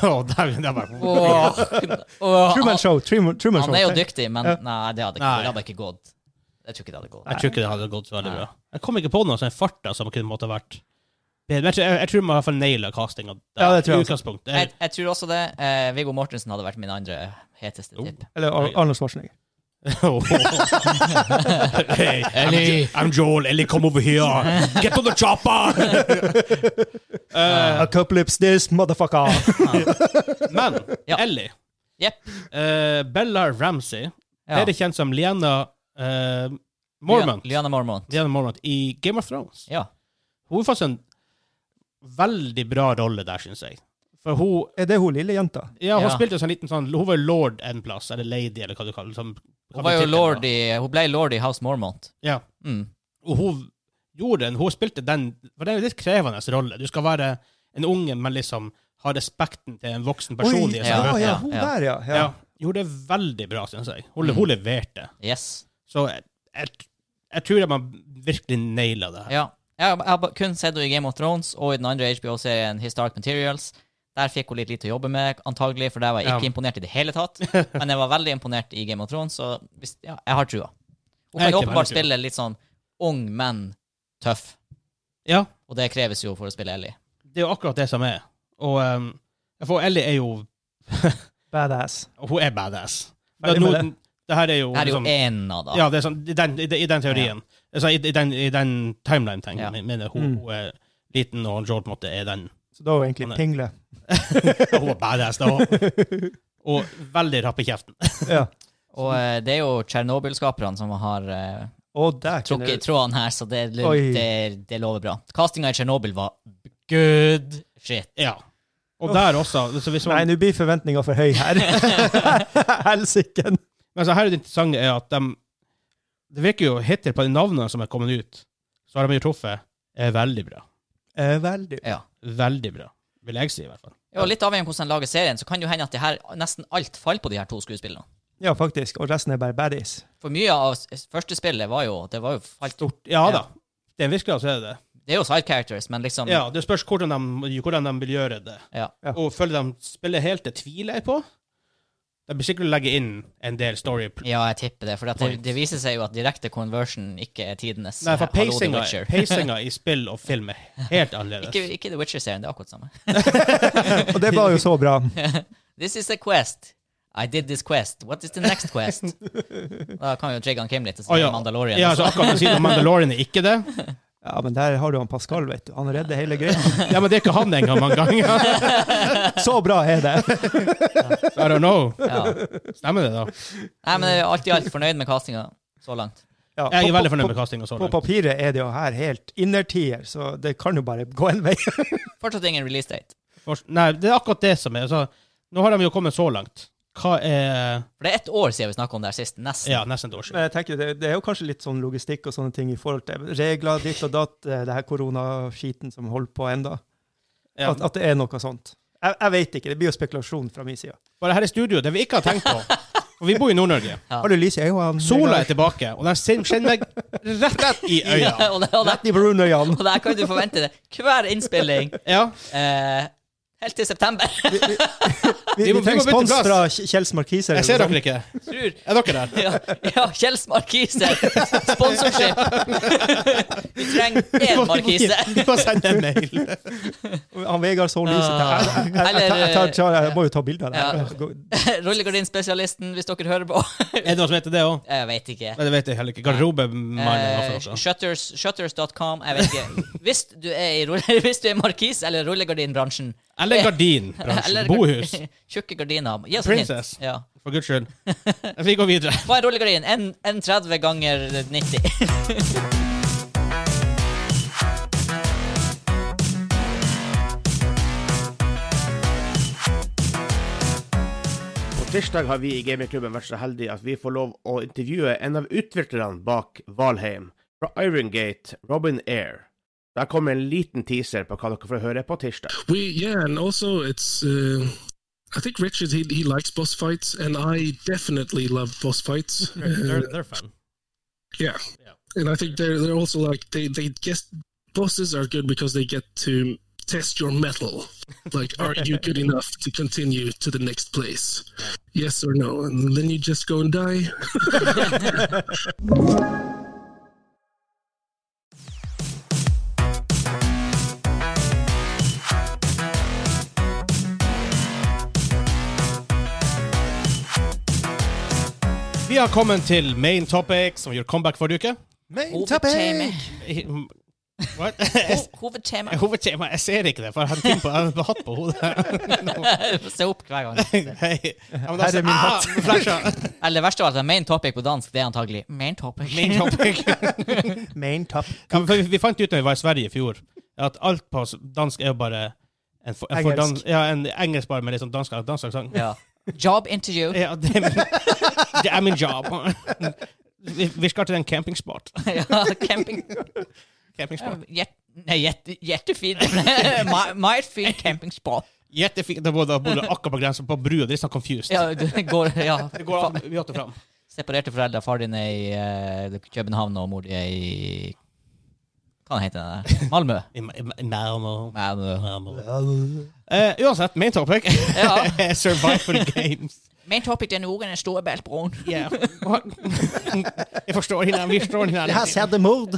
Speaker 1: Å, der, der var
Speaker 3: Åh, åh,
Speaker 2: Truman
Speaker 3: han,
Speaker 2: Show. Truman, Truman
Speaker 3: Ah, han
Speaker 2: Show.
Speaker 3: er jo dyktig, men
Speaker 2: Ja.
Speaker 3: nei, det hadde ikke,
Speaker 1: Nei.
Speaker 3: det hadde ikke gått. Jeg tror ikke det hadde gått.
Speaker 1: Jeg tror ikke det hadde gått så veldig
Speaker 3: Nei.
Speaker 1: bra. Jeg kom ikke på noe sånn farta som kunne måtte vært bedre. Jeg, tror- jeg tror man i hvert fall naila castinga.
Speaker 2: Ja, det tror jeg også.
Speaker 1: Utgangspunkt. Det
Speaker 3: Jeg,
Speaker 1: er,
Speaker 3: jeg tror også det. Eh, Viggo Mortensen hadde vært min andre heteste
Speaker 1: Oh.
Speaker 3: tipp.
Speaker 2: Eller Ar- Arnold Schwarzenegger.
Speaker 1: hey,
Speaker 3: Ellie.
Speaker 1: I'm, I'm Joel. Ellie, come over here. Get on the chopper!
Speaker 2: A couple lips this motherfucker.
Speaker 1: Men
Speaker 3: Ja.
Speaker 1: Ellie
Speaker 3: Jepp.
Speaker 1: eh, Bella Ramsey
Speaker 3: Ja.
Speaker 1: bedre kjent som Liana eh, Mormont.
Speaker 3: Lyanna- Lyanna Mormont.
Speaker 1: Liana Mormont i Game of Thrones.
Speaker 3: Ja.
Speaker 1: Hun har faktisk en veldig bra rolle der, syns jeg. For hun
Speaker 2: er det hun lille jenta?
Speaker 1: Ja, hun
Speaker 3: Ja.
Speaker 1: spilte jo sånn liten sånn Hun var jo lord en plass, eller lady, eller hva du kaller det. Sånn, hva
Speaker 3: Hun, var jo
Speaker 1: tittelen
Speaker 3: lord
Speaker 1: var.
Speaker 3: i, hun ble lord i House Mormont.
Speaker 1: Ja.
Speaker 3: Mm.
Speaker 1: Og hun gjorde den, hun spilte den For det er en litt krevende rolle. Du skal være en unge, men liksom ha respekten til en voksen person. i en sånn
Speaker 2: ja,
Speaker 1: møte.
Speaker 2: ja,
Speaker 3: ja, Mm.
Speaker 2: hun
Speaker 3: ja.
Speaker 2: der, ja. ja.
Speaker 1: Ja. Gjorde det veldig bra, syns jeg. Hun, hun leverte.
Speaker 3: Yes.
Speaker 1: Så jeg, jeg, jeg tror at man virkelig naila det her.
Speaker 3: Ja. Jeg har, jeg har ba- kun sett henne i Game of Thrones og i den andre HBO-serien Historic Materials. Der fikk hun litt lite å jobbe med, antagelig, for der var jeg ikke
Speaker 1: Ja.
Speaker 3: imponert i det hele tatt. Men jeg var veldig imponert i Game of Thrones, så hvis, ja, jeg har trua.
Speaker 1: Jeg
Speaker 3: Hun kan
Speaker 1: er ikke
Speaker 3: åpenbart
Speaker 1: veldig trua.
Speaker 3: spille litt sånn ung, men tøff.
Speaker 1: Ja.
Speaker 3: Og det kreves jo for å spille Ellie.
Speaker 1: Det er jo akkurat det som er. Og um, for Ellie er jo
Speaker 2: Badass.
Speaker 1: Hun er badass.
Speaker 2: Ferdig med
Speaker 1: Nå- det her er jo
Speaker 3: Her er jo
Speaker 1: liksom-
Speaker 3: én av, da.
Speaker 1: Ja, det er sånn, i den, i den- i den teorien. Altså, i, i den, i den timeline-tenken
Speaker 3: Ja.
Speaker 1: min, mener jeg, hun,
Speaker 2: Mm.
Speaker 1: hun er liten, og Joel på en måte er den.
Speaker 2: Så da er hun egentlig
Speaker 1: Nei.
Speaker 2: pingle.
Speaker 1: Hun er badass, da. Og veldig rapp i kjeften.
Speaker 2: Ja.
Speaker 3: Og eh, det er jo Tsjernobyl-skaperne som har eh,
Speaker 2: Og der kunne
Speaker 3: trukket i trådene her, så det, det,
Speaker 2: Oi.
Speaker 3: det, det lover bra. Castinga i Tsjernobyl var good shit.
Speaker 1: Ja. Og der også. Så hvis
Speaker 2: Nei,
Speaker 1: man,
Speaker 2: nå blir forventninga for høy her. Helsiken.
Speaker 1: men så her er det interessante er at de, det virker jo hittil på de navnene som er kommet ut, så har de jo truffet, er veldig bra.
Speaker 2: Eh, Veldig.
Speaker 3: Ja.
Speaker 1: Veldig bra, vil jeg si i hvert fall.
Speaker 3: Og litt avhengig av hvordan de lager serien, så kan det jo hende at det her, nesten alt faller på de her to skuespillene.
Speaker 2: Ja, faktisk. Og resten er bare baddies.
Speaker 3: For mye av s- første spillet var jo Det, var jo falt,
Speaker 1: Stort. Ja da.
Speaker 3: Ja.
Speaker 1: Det er virkelig så er det det.
Speaker 3: det er jo side characters, men liksom
Speaker 1: Ja, det spørs hvordan de, hvordan de vil gjøre det.
Speaker 3: Ja.
Speaker 2: Ja.
Speaker 1: Og føler de spiller helt, det tviler jeg på. De blir sikkert å legge inn en del story.
Speaker 3: Ja, jeg tipper det, for at det, det viser seg jo at direkte conversion ikke er tidenes eh,
Speaker 1: Nei, for
Speaker 3: Hallo, The
Speaker 1: pacinga,
Speaker 3: Witcher.
Speaker 1: pacinga i spill og film er helt annerledes.
Speaker 3: Ikke, ikke The Witcher-serien, det er akkurat samme.
Speaker 2: Og det var jo så bra.
Speaker 3: This is a quest. I did this quest. What is the next quest? da kan jo Jagan Kim litt og
Speaker 1: Å,
Speaker 3: si
Speaker 1: ja.
Speaker 3: Mandalorian.
Speaker 1: Ja,
Speaker 3: også.
Speaker 1: altså akkurat å si at Mandalorian er ikke det.
Speaker 2: Ja, men der har du han Pascal, vet du. Han redder hele greia.
Speaker 1: Ja, men det er ikke han engang mange ganger.
Speaker 2: Så bra er det.
Speaker 1: I don't know.
Speaker 3: ja.
Speaker 1: Stemmer det, da?
Speaker 3: Nei, men jeg er alt i alt fornøyd med castinga så langt.
Speaker 2: Ja,
Speaker 1: Jeg er
Speaker 2: på-
Speaker 1: veldig fornøyd
Speaker 2: på-
Speaker 1: med sånn. castinga så
Speaker 2: På
Speaker 1: langt.
Speaker 2: papiret er det jo her helt innertier, så det kan jo bare gå en vei.
Speaker 3: Fortsatt ingen release date.
Speaker 1: For- Nei, det er akkurat det som er. Altså, nå har de jo kommet så langt. Hva er
Speaker 3: For det er ett år siden vi snakka om det her sist. Nesten.
Speaker 1: Ja, nesten et år siden.
Speaker 2: Men jeg tenker det, det er jo kanskje litt sånn logistikk og sånne ting i forhold til regler, ditt og datt, eh, det her koronaskiten som holder på enda.
Speaker 1: Ja.
Speaker 2: At, at det er noe sånt. Jeg, jeg vet ikke, det blir jo spekulasjon fra min side.
Speaker 1: Bare her i studio, det vi ikke har tenkt på. For vi bor i Nord-Norge.
Speaker 2: Har du lys i øynene?
Speaker 1: Sola er tilbake, og den sin- kjenner meg rett i øya.
Speaker 3: og, det, og, det,
Speaker 2: Rett i brunøyene.
Speaker 3: og der kan du forvente det hver innspilling
Speaker 1: Ja.
Speaker 3: eh, helt til september.
Speaker 2: Vi,
Speaker 1: Vi må-
Speaker 2: vi
Speaker 1: vi må
Speaker 2: trenger
Speaker 1: bytte
Speaker 2: spons
Speaker 1: plass.
Speaker 2: fra Kj- Kjells Markiser.
Speaker 1: Jeg
Speaker 2: eller
Speaker 1: ser
Speaker 2: noe
Speaker 1: dere ikke.
Speaker 3: Tror.
Speaker 1: Er dere der?
Speaker 3: Ja, ja Kjells markise. Sponsorship. vi trenger én markise.
Speaker 1: Vi må sende en mail.
Speaker 2: sånt. Han Vegard så lyset her. Jeg, jeg, jeg,
Speaker 3: Eller,
Speaker 2: jeg, tar- tar- jeg må jo ta bilder av det.
Speaker 3: Ja.
Speaker 2: her. Gå-
Speaker 3: Rullegardinspesialisten, hvis dere hører på.
Speaker 1: Er det noe som heter det òg?
Speaker 3: Jeg vet ikke.
Speaker 1: Det vet jeg heller ikke. Garderobemannen.
Speaker 3: Eh, shutters, shutters.com, jeg vet ikke. Hvis du er i rulle, hvis du er markis eller rullegardinbransjen
Speaker 1: Eller
Speaker 3: eller
Speaker 1: gardinbransjen.
Speaker 3: gar-
Speaker 1: Bohus.
Speaker 3: Tjukke gardiner. Gi oss
Speaker 1: Princess.
Speaker 3: en hint. Ja.
Speaker 1: For guds skyld. Vi går videre.
Speaker 3: Hva er rullegardin? En- en 30 ganger 90.
Speaker 4: tirsdag har vi i gamingklubben vært så heldige at vi får lov å intervjue en av utviklerne bak Valheim, fra Irongate, Robin Air. Der kommer en liten teaser på hva dere får høre på tirsdag.
Speaker 5: We yeah, and also it's uh, I think Richard he he likes boss fights, and I definitely love boss fights.
Speaker 1: They're,
Speaker 5: Uh,
Speaker 1: they're fun.
Speaker 5: yeah,
Speaker 1: Yeah.
Speaker 5: and I think they're they're also like they they guess bosses are good because they get to test your metal. Like, are you good enough to continue to the next place? Yes or no, and then you just go and die.
Speaker 1: Vi har kommet til main topic, som gjør comeback forrige uke.
Speaker 2: Main
Speaker 3: Hovedtema.
Speaker 1: What?
Speaker 3: Ho- Hovedtema.
Speaker 1: Hovedtema Jeg ser ikke det, for jeg har en ting på, jeg har en hatt på hodet.
Speaker 3: Se opp hver gang.
Speaker 1: Hei. Ja, men da-
Speaker 2: Her er min
Speaker 1: Ah,
Speaker 2: hatt.
Speaker 1: flasha.
Speaker 3: Eller det verste av alt, at main topic på dansk, det er antagelig main topic.
Speaker 1: Main topic.
Speaker 2: Main top.
Speaker 1: Ja, men for vi, vi fant ut da vi var i Sverige i fjor, at alt på s- dansk er jo bare en, for, en, for
Speaker 2: Engelsk.
Speaker 1: dans- ja, en engelsk bare med litt sånn dansk dansk aksent.
Speaker 3: Ja. Job interview.
Speaker 1: Ja, det er min, det er min job. Vi, vi skal til en campingspot.
Speaker 3: Ja, camping.
Speaker 1: campingspot.
Speaker 3: Jet- Nei, jette- jättefin. Ma- Meget fin campingspot.
Speaker 1: Jettefint. Da bodde bodde akkurat på grensen på brua. Det er sånn confused.
Speaker 3: Ja, det går, ja.
Speaker 1: Det går an. Vi åtte fram.
Speaker 3: Separerte foreldre. Far din er i eh, København, og mor di er i Hva heter den der? Malmö.
Speaker 1: I- i- i Malmö.
Speaker 3: Malmö.
Speaker 1: Malmö. Eh, uansett, main topic
Speaker 3: Ja.
Speaker 1: er survival games.
Speaker 3: Main topic denne uken er Storebeltbroen.
Speaker 1: Yeah. Jeg forstår henne. Vi forstår henne.
Speaker 2: Det her ser det mord.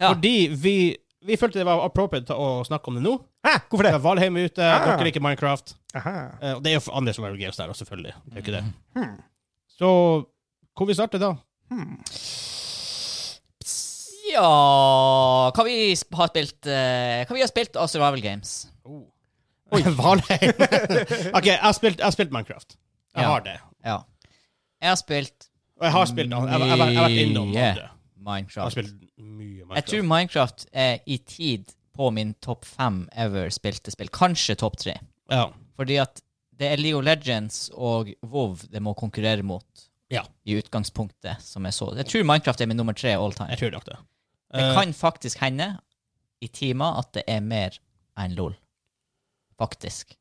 Speaker 3: Ja.
Speaker 1: Fordi vi, vi følte det var appropriate til å snakke om det nå.
Speaker 2: Hæ, hvorfor Ah, det?
Speaker 1: Det er Valheim er ute,
Speaker 2: Ah.
Speaker 1: dere liker Minecraft.
Speaker 2: Aha. Mm. Hmm.
Speaker 1: Eh, Og det er jo andre som er games der, også, selvfølgelig. Det er jo ikke det. Så hvor vi starter da?
Speaker 3: Ja Hva vi sp- har spilt eh, Hva vi har spilt av Survival Games?
Speaker 1: Oi, Valheim! ok, jeg har spilt, jeg har spilt Minecraft. Jeg
Speaker 3: Ja.
Speaker 1: har det.
Speaker 3: Ja. Jeg har spilt
Speaker 1: Og jeg har spilt Jeg, jeg, jeg, jeg har vært innom
Speaker 3: Mye
Speaker 1: andre. Jeg har
Speaker 3: Minecraft.
Speaker 1: spilt mye
Speaker 3: Jeg
Speaker 1: Minecraft.
Speaker 3: tror Minecraft er i tid på min topp fem ever spilte spill. Kanskje topp tre.
Speaker 1: Ja.
Speaker 3: Fordi at det er League of Legends og WoW det må konkurrere mot
Speaker 1: ja,
Speaker 3: i utgangspunktet, som jeg så. Jeg tror Minecraft er min nummer tre all time.
Speaker 1: jeg tror nok det.
Speaker 3: Det
Speaker 1: Eh,
Speaker 3: kan faktisk hende i timer at det er mer enn LOL. Faktisk.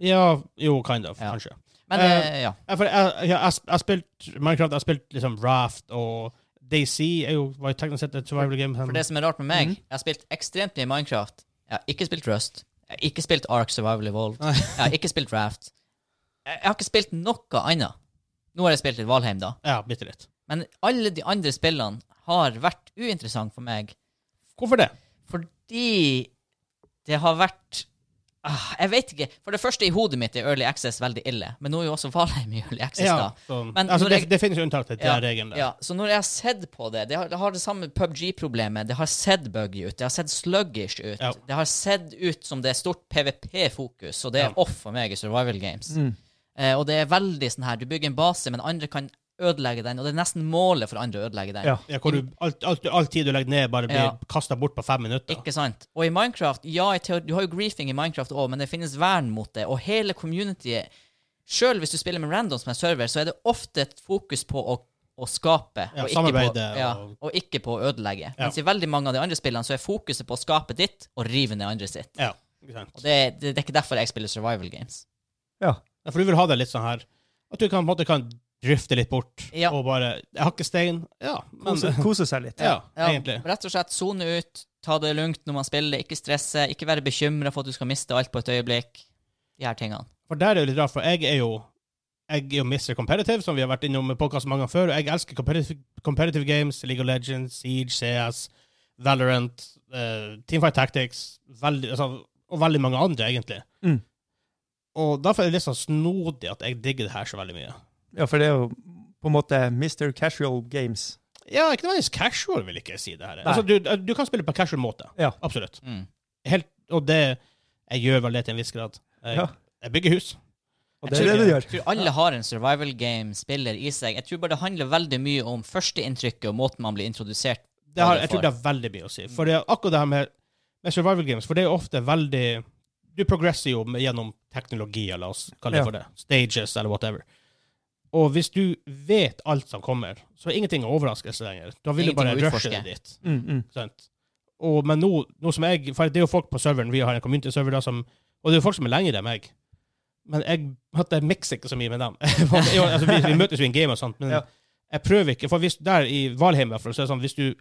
Speaker 1: Ja, jo, kind of,
Speaker 3: Ja.
Speaker 1: kanskje.
Speaker 3: Men
Speaker 1: Eh,
Speaker 3: eh, ja.
Speaker 1: Jeg, for jeg, jeg, jeg, jeg har spilt Minecraft, jeg har spilt liksom Raft og Daisy er jo, var jo teknisk sett et survival game.
Speaker 3: For det som er rart med
Speaker 1: Mhm.
Speaker 3: meg, jeg har spilt ekstremt mye Minecraft. Jeg har ikke spilt Rust. Jeg har ikke spilt Ark Survival Evolved. Jeg har ikke spilt Raft. Jeg jeg har ikke spilt noe annet. Nå har jeg spilt litt Valheim, da.
Speaker 1: Ja, bitte litt.
Speaker 3: Men alle de andre spillene har vært uinteressante for meg
Speaker 1: Hvorfor det?
Speaker 3: fordi det har vært ah, Jeg vet ikke. For det første, i hodet mitt er Early Access veldig ille. Men nå er jo også Valheim i Early Access, da.
Speaker 1: så,
Speaker 3: Men
Speaker 1: altså,
Speaker 3: når
Speaker 1: det,
Speaker 3: jeg-
Speaker 1: det finnes jo unntak til den regelen der.
Speaker 3: ja, så når jeg har sett på det Det har det, har det samme PubG-problemet. Det har sett buggy ut. Det har sett sluggish ut.
Speaker 1: Ja.
Speaker 3: Det har sett ut som det er stort PVP-fokus, og det er
Speaker 1: Ja.
Speaker 3: off for meg i survival games. Eh, og det er veldig sånn her Du bygger en base, men andre kan ødelegge den, og det er nesten målet for andre å ødelegge den.
Speaker 2: Ja.
Speaker 1: Ja, hvor du, alt, alt, all tid du legger ned, bare blir
Speaker 3: Ja.
Speaker 1: kastet kasta bort på fem minutter.
Speaker 3: Ikke sant? Og i Minecraft, ja, i teori, du har jo griefing i Minecraft òg, men det finnes vern mot det, og hele communityet Sjøl hvis du spiller med randoms med server, så er det ofte et fokus på å, å skape,
Speaker 1: Ja,
Speaker 3: og, ikke på,
Speaker 1: samarbeide
Speaker 3: ja,
Speaker 1: og-
Speaker 3: og ikke på å ødelegge. Mens i veldig mange av de andre spillene så er fokuset på å skape ditt og rive ned andre sitt.
Speaker 1: Ja, ikke sant.
Speaker 3: Og det, det, det er ikke derfor jeg spiller survival games.
Speaker 2: Ja.
Speaker 1: Ja, For du vil ha det litt sånn her At du kan, på en måte kan drifte litt bort
Speaker 3: Ja.
Speaker 1: og bare Jeg har ikke stein. Ja, men eh,
Speaker 2: Kose, kose seg litt.
Speaker 1: ja, egentlig.
Speaker 3: Rett og slett sone ut, ta det lugnt når man spiller, ikke stresse, ikke være bekymra for at du skal miste alt på et øyeblikk. De her tingene.
Speaker 1: For der er det litt rart, for jeg er jo jeg er jo Mr. Competitive, som vi har vært innom på podcast mange ganger før. Og jeg elsker competitive, competitive games, League of Legends, Siege, CS, Valorant, eh, Teamfight Tactics veldig, altså, og veldig mange andre, egentlig.
Speaker 2: Mm.
Speaker 1: Og derfor er det litt sånn snodig at jeg digger det her så veldig mye.
Speaker 2: Ja, for det er jo på en måte Mr. Casual Games.
Speaker 1: Ja, ikke nødvendigvis casual, vil ikke jeg si det her.
Speaker 2: Nei.
Speaker 1: Altså, du, du kan spille på casual måte.
Speaker 2: Ja.
Speaker 1: Absolutt.
Speaker 3: Mm.
Speaker 1: Helt, og det Jeg gjør vel det til en viss grad. Jeg,
Speaker 2: Ja.
Speaker 1: jeg bygger hus.
Speaker 2: Og
Speaker 3: Jeg
Speaker 2: det er det
Speaker 3: tror-
Speaker 2: du gjør.
Speaker 3: Jeg tror alle har en survival game-spiller i seg. Jeg tror bare det handler veldig mye om førsteinntrykket og måten man blir introdusert
Speaker 1: Det har,
Speaker 3: Hva det
Speaker 1: jeg tror
Speaker 3: får. Mm.
Speaker 1: det har veldig mye å si. For det er akkurat det her med, med survival games, for det er jo ofte veldig du progresser jo med- gjennom teknologier, la oss kalle det
Speaker 2: Ja.
Speaker 1: for det. Stages eller whatever. Og hvis du vet alt som kommer, så er ingenting en overraskelse lenger. Da vil
Speaker 3: Ingenting
Speaker 1: du
Speaker 3: å
Speaker 1: bare rushe det
Speaker 3: utforske.
Speaker 1: dit.
Speaker 2: Mm, mm.
Speaker 1: Sant? Og, men nå, nå som jeg For det er jo folk på serveren vi har en community-server da som Og det er jo folk som er lenger enn meg. Men jeg, at jeg mikser ikke så mye med dem. altså, vi, vi møtes jo i en game og sånt, men
Speaker 2: Ja.
Speaker 1: jeg prøver ikke. For hvis, der i Valheim, i hvert fall, så er det sånn hvis du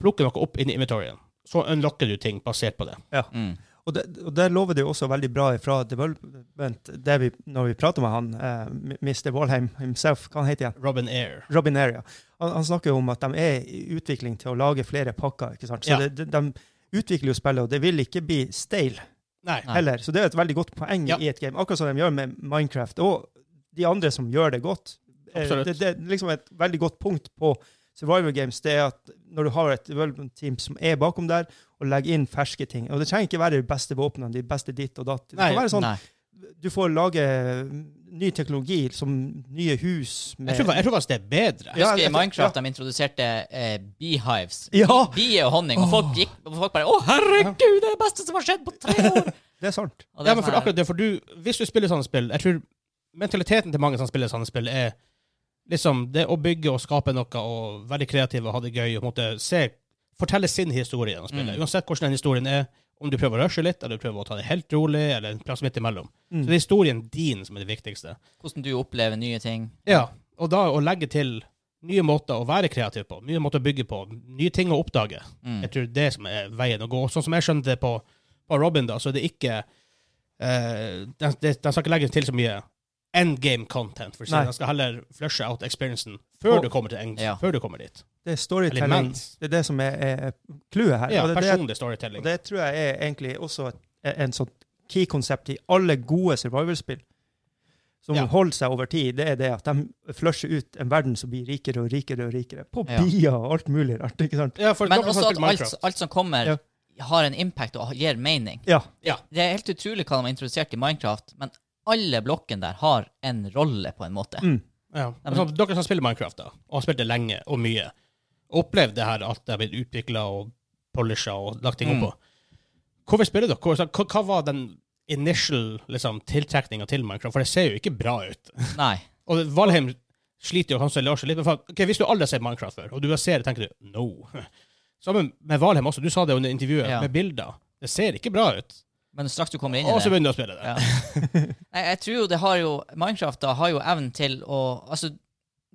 Speaker 1: plukker noe opp inni inventoryen, så unlocker du ting basert på det.
Speaker 3: Mm.
Speaker 2: Og det, og det lover det jo også veldig bra fra Development, det vi, når vi prater med han, eh, Mr. Walheim himself, hva han heter igjen?
Speaker 1: Robin Air.
Speaker 2: Robin Area. Han, han snakker jo om at de er i utvikling til å lage flere pakker, ikke sant? Så
Speaker 1: Ja.
Speaker 2: det, de, de utvikler jo spillet, og det vil ikke bli stale
Speaker 1: Nei.
Speaker 3: Nei.
Speaker 2: heller. Så det er et veldig godt poeng
Speaker 1: Ja.
Speaker 2: i et game, akkurat som de gjør med Minecraft, og de andre som gjør det godt. Eh,
Speaker 1: Absolutt.
Speaker 2: Det, det er liksom et veldig godt punkt på survival games, det er at når du har et development team som er bakom der, og legger inn ferske ting, og det trenger ikke være de beste våpnene, de beste ditt og datt. Det
Speaker 1: Nei,
Speaker 2: kan være sånn,
Speaker 3: Nei.
Speaker 2: du får lage mm, ny teknologi, som nye hus.
Speaker 1: Jeg tror, fa- jeg tror faktisk det er bedre.
Speaker 2: Ja,
Speaker 3: Husker
Speaker 2: jeg-
Speaker 3: i Minecraft de introduserte eh, beehives.
Speaker 2: Ja!
Speaker 3: Bi- Bier og honning. Og folk, gikk, og folk bare 'Å, herregud, det er det beste som har skjedd på tre år!'
Speaker 2: Det er sant.
Speaker 3: Og det er
Speaker 1: Ja, men
Speaker 3: sånn
Speaker 1: for
Speaker 3: her-
Speaker 1: akkurat det, for du, hvis du spiller sånne spill, jeg tror mentaliteten til mange som spiller sånne spill, er liksom det å bygge og skape noe og være kreativ og ha det gøy og på en måte se, fortelle sin historie gjennom spillet.
Speaker 3: Mm.
Speaker 1: Uansett hvordan den historien er, om du prøver å rushe litt, eller du prøver å ta det helt rolig, eller en plass midt imellom.
Speaker 2: Mm.
Speaker 1: Så det er historien din som er det viktigste.
Speaker 3: Hvordan du opplever nye ting.
Speaker 1: Ja, og da å legge til nye måter å være kreativ på, nye måter å bygge på, nye ting å oppdage.
Speaker 3: Mm.
Speaker 1: Jeg tror det som er veien å gå. Sånn som jeg skjønte det på, på Robin, da, så er det ikke eh, De de- de skal ikke legge til så mye endgame content. for å si.
Speaker 2: Nei.
Speaker 1: De skal heller flushe out experiencen før,
Speaker 2: Og-
Speaker 1: du, kommer til end,
Speaker 3: Ja.
Speaker 1: før du kommer dit.
Speaker 2: Det er
Speaker 1: Eller
Speaker 2: storytelling.
Speaker 1: mens.
Speaker 2: Det er det som er, er clouet her.
Speaker 1: Ja,
Speaker 2: og, det, det,
Speaker 1: personlig storytelling.
Speaker 2: og det tror jeg er egentlig også et, en sånn key-konsept i alle gode survival-spill, som
Speaker 1: Ja.
Speaker 2: holder seg over tid. Det er det at de flusher ut en verden som blir rikere og rikere og rikere. På
Speaker 3: Ja.
Speaker 2: bier og alt mulig rart. ikke sant?
Speaker 1: ja, for
Speaker 3: Men
Speaker 1: dere som
Speaker 3: også at
Speaker 1: spiller
Speaker 3: alt,
Speaker 1: Minecraft.
Speaker 3: alt som kommer, har en impact og gir mening.
Speaker 2: Ja.
Speaker 3: Det er helt utrolig hva de har introdusert i Minecraft, men alle blokkene der har en rolle, på en måte.
Speaker 2: Mm.
Speaker 1: Ja. Men sånn, dere som spiller Minecraft, da, og har spilt det lenge og mye, opplevd det her at det har blitt utvikla og polisha og lagt
Speaker 3: Mm.
Speaker 1: ting opp på. Hvorfor spiller dere? Hvor- så Hva, hva var den initial liksom, tiltrekninga til Minecraft? For det ser jo ikke bra ut.
Speaker 2: Mm.
Speaker 3: Nei.
Speaker 1: Og Valheim sliter jo kanskje Lars litt med for at- ok, Hvis du aldri har sett Minecraft før, og du bare ser det, tenker du no. Sammen med Valheim også, du sa det under intervjuet,
Speaker 3: Ja.
Speaker 1: med bilder. Det ser ikke bra ut.
Speaker 3: Men straks du kommer inn i
Speaker 1: Og så
Speaker 3: det
Speaker 1: begynner du å spille det.
Speaker 3: Ja. Nei, jeg tror jo det har jo Minecraft da har jo evnen til å Altså,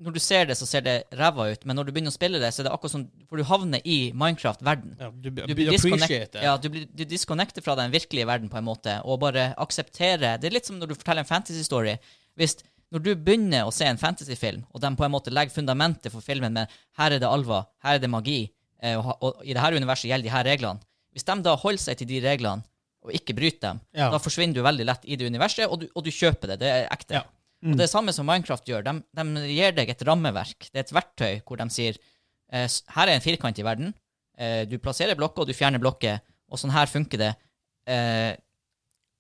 Speaker 3: når du ser det, så ser det ræva ut, men når du begynner å spille det, så er det akkurat som For du havner i Minecraft-verden.
Speaker 1: Ja, du
Speaker 3: Du
Speaker 1: begynner
Speaker 3: blir,
Speaker 1: å
Speaker 3: disconnect,
Speaker 1: appreciate det.
Speaker 3: ja, du blir du disconnecter fra den virkelige verden på en måte, og bare aksepterer Det er litt som når du forteller en fantasy-story. Hvis når du begynner å se en fantasyfilm, og de på en måte legger fundamentet for filmen med her er det alver, her er det magi, eh, og, ha- og i dette universet gjelder de her reglene Hvis de da holder seg til de reglene, og ikke bryter dem,
Speaker 1: Ja.
Speaker 3: da forsvinner du veldig lett i det universet, og du, og du kjøper det. Det er ekte.
Speaker 1: Ja. Mm.
Speaker 3: Og det er det samme som Minecraft gjør. De, de gir deg et rammeverk. Det er et verktøy hvor de sier eh, s- her er en firkant i verden. Eh, du plasserer blokker, og du fjerner blokker. Og sånn her funker det. Eh,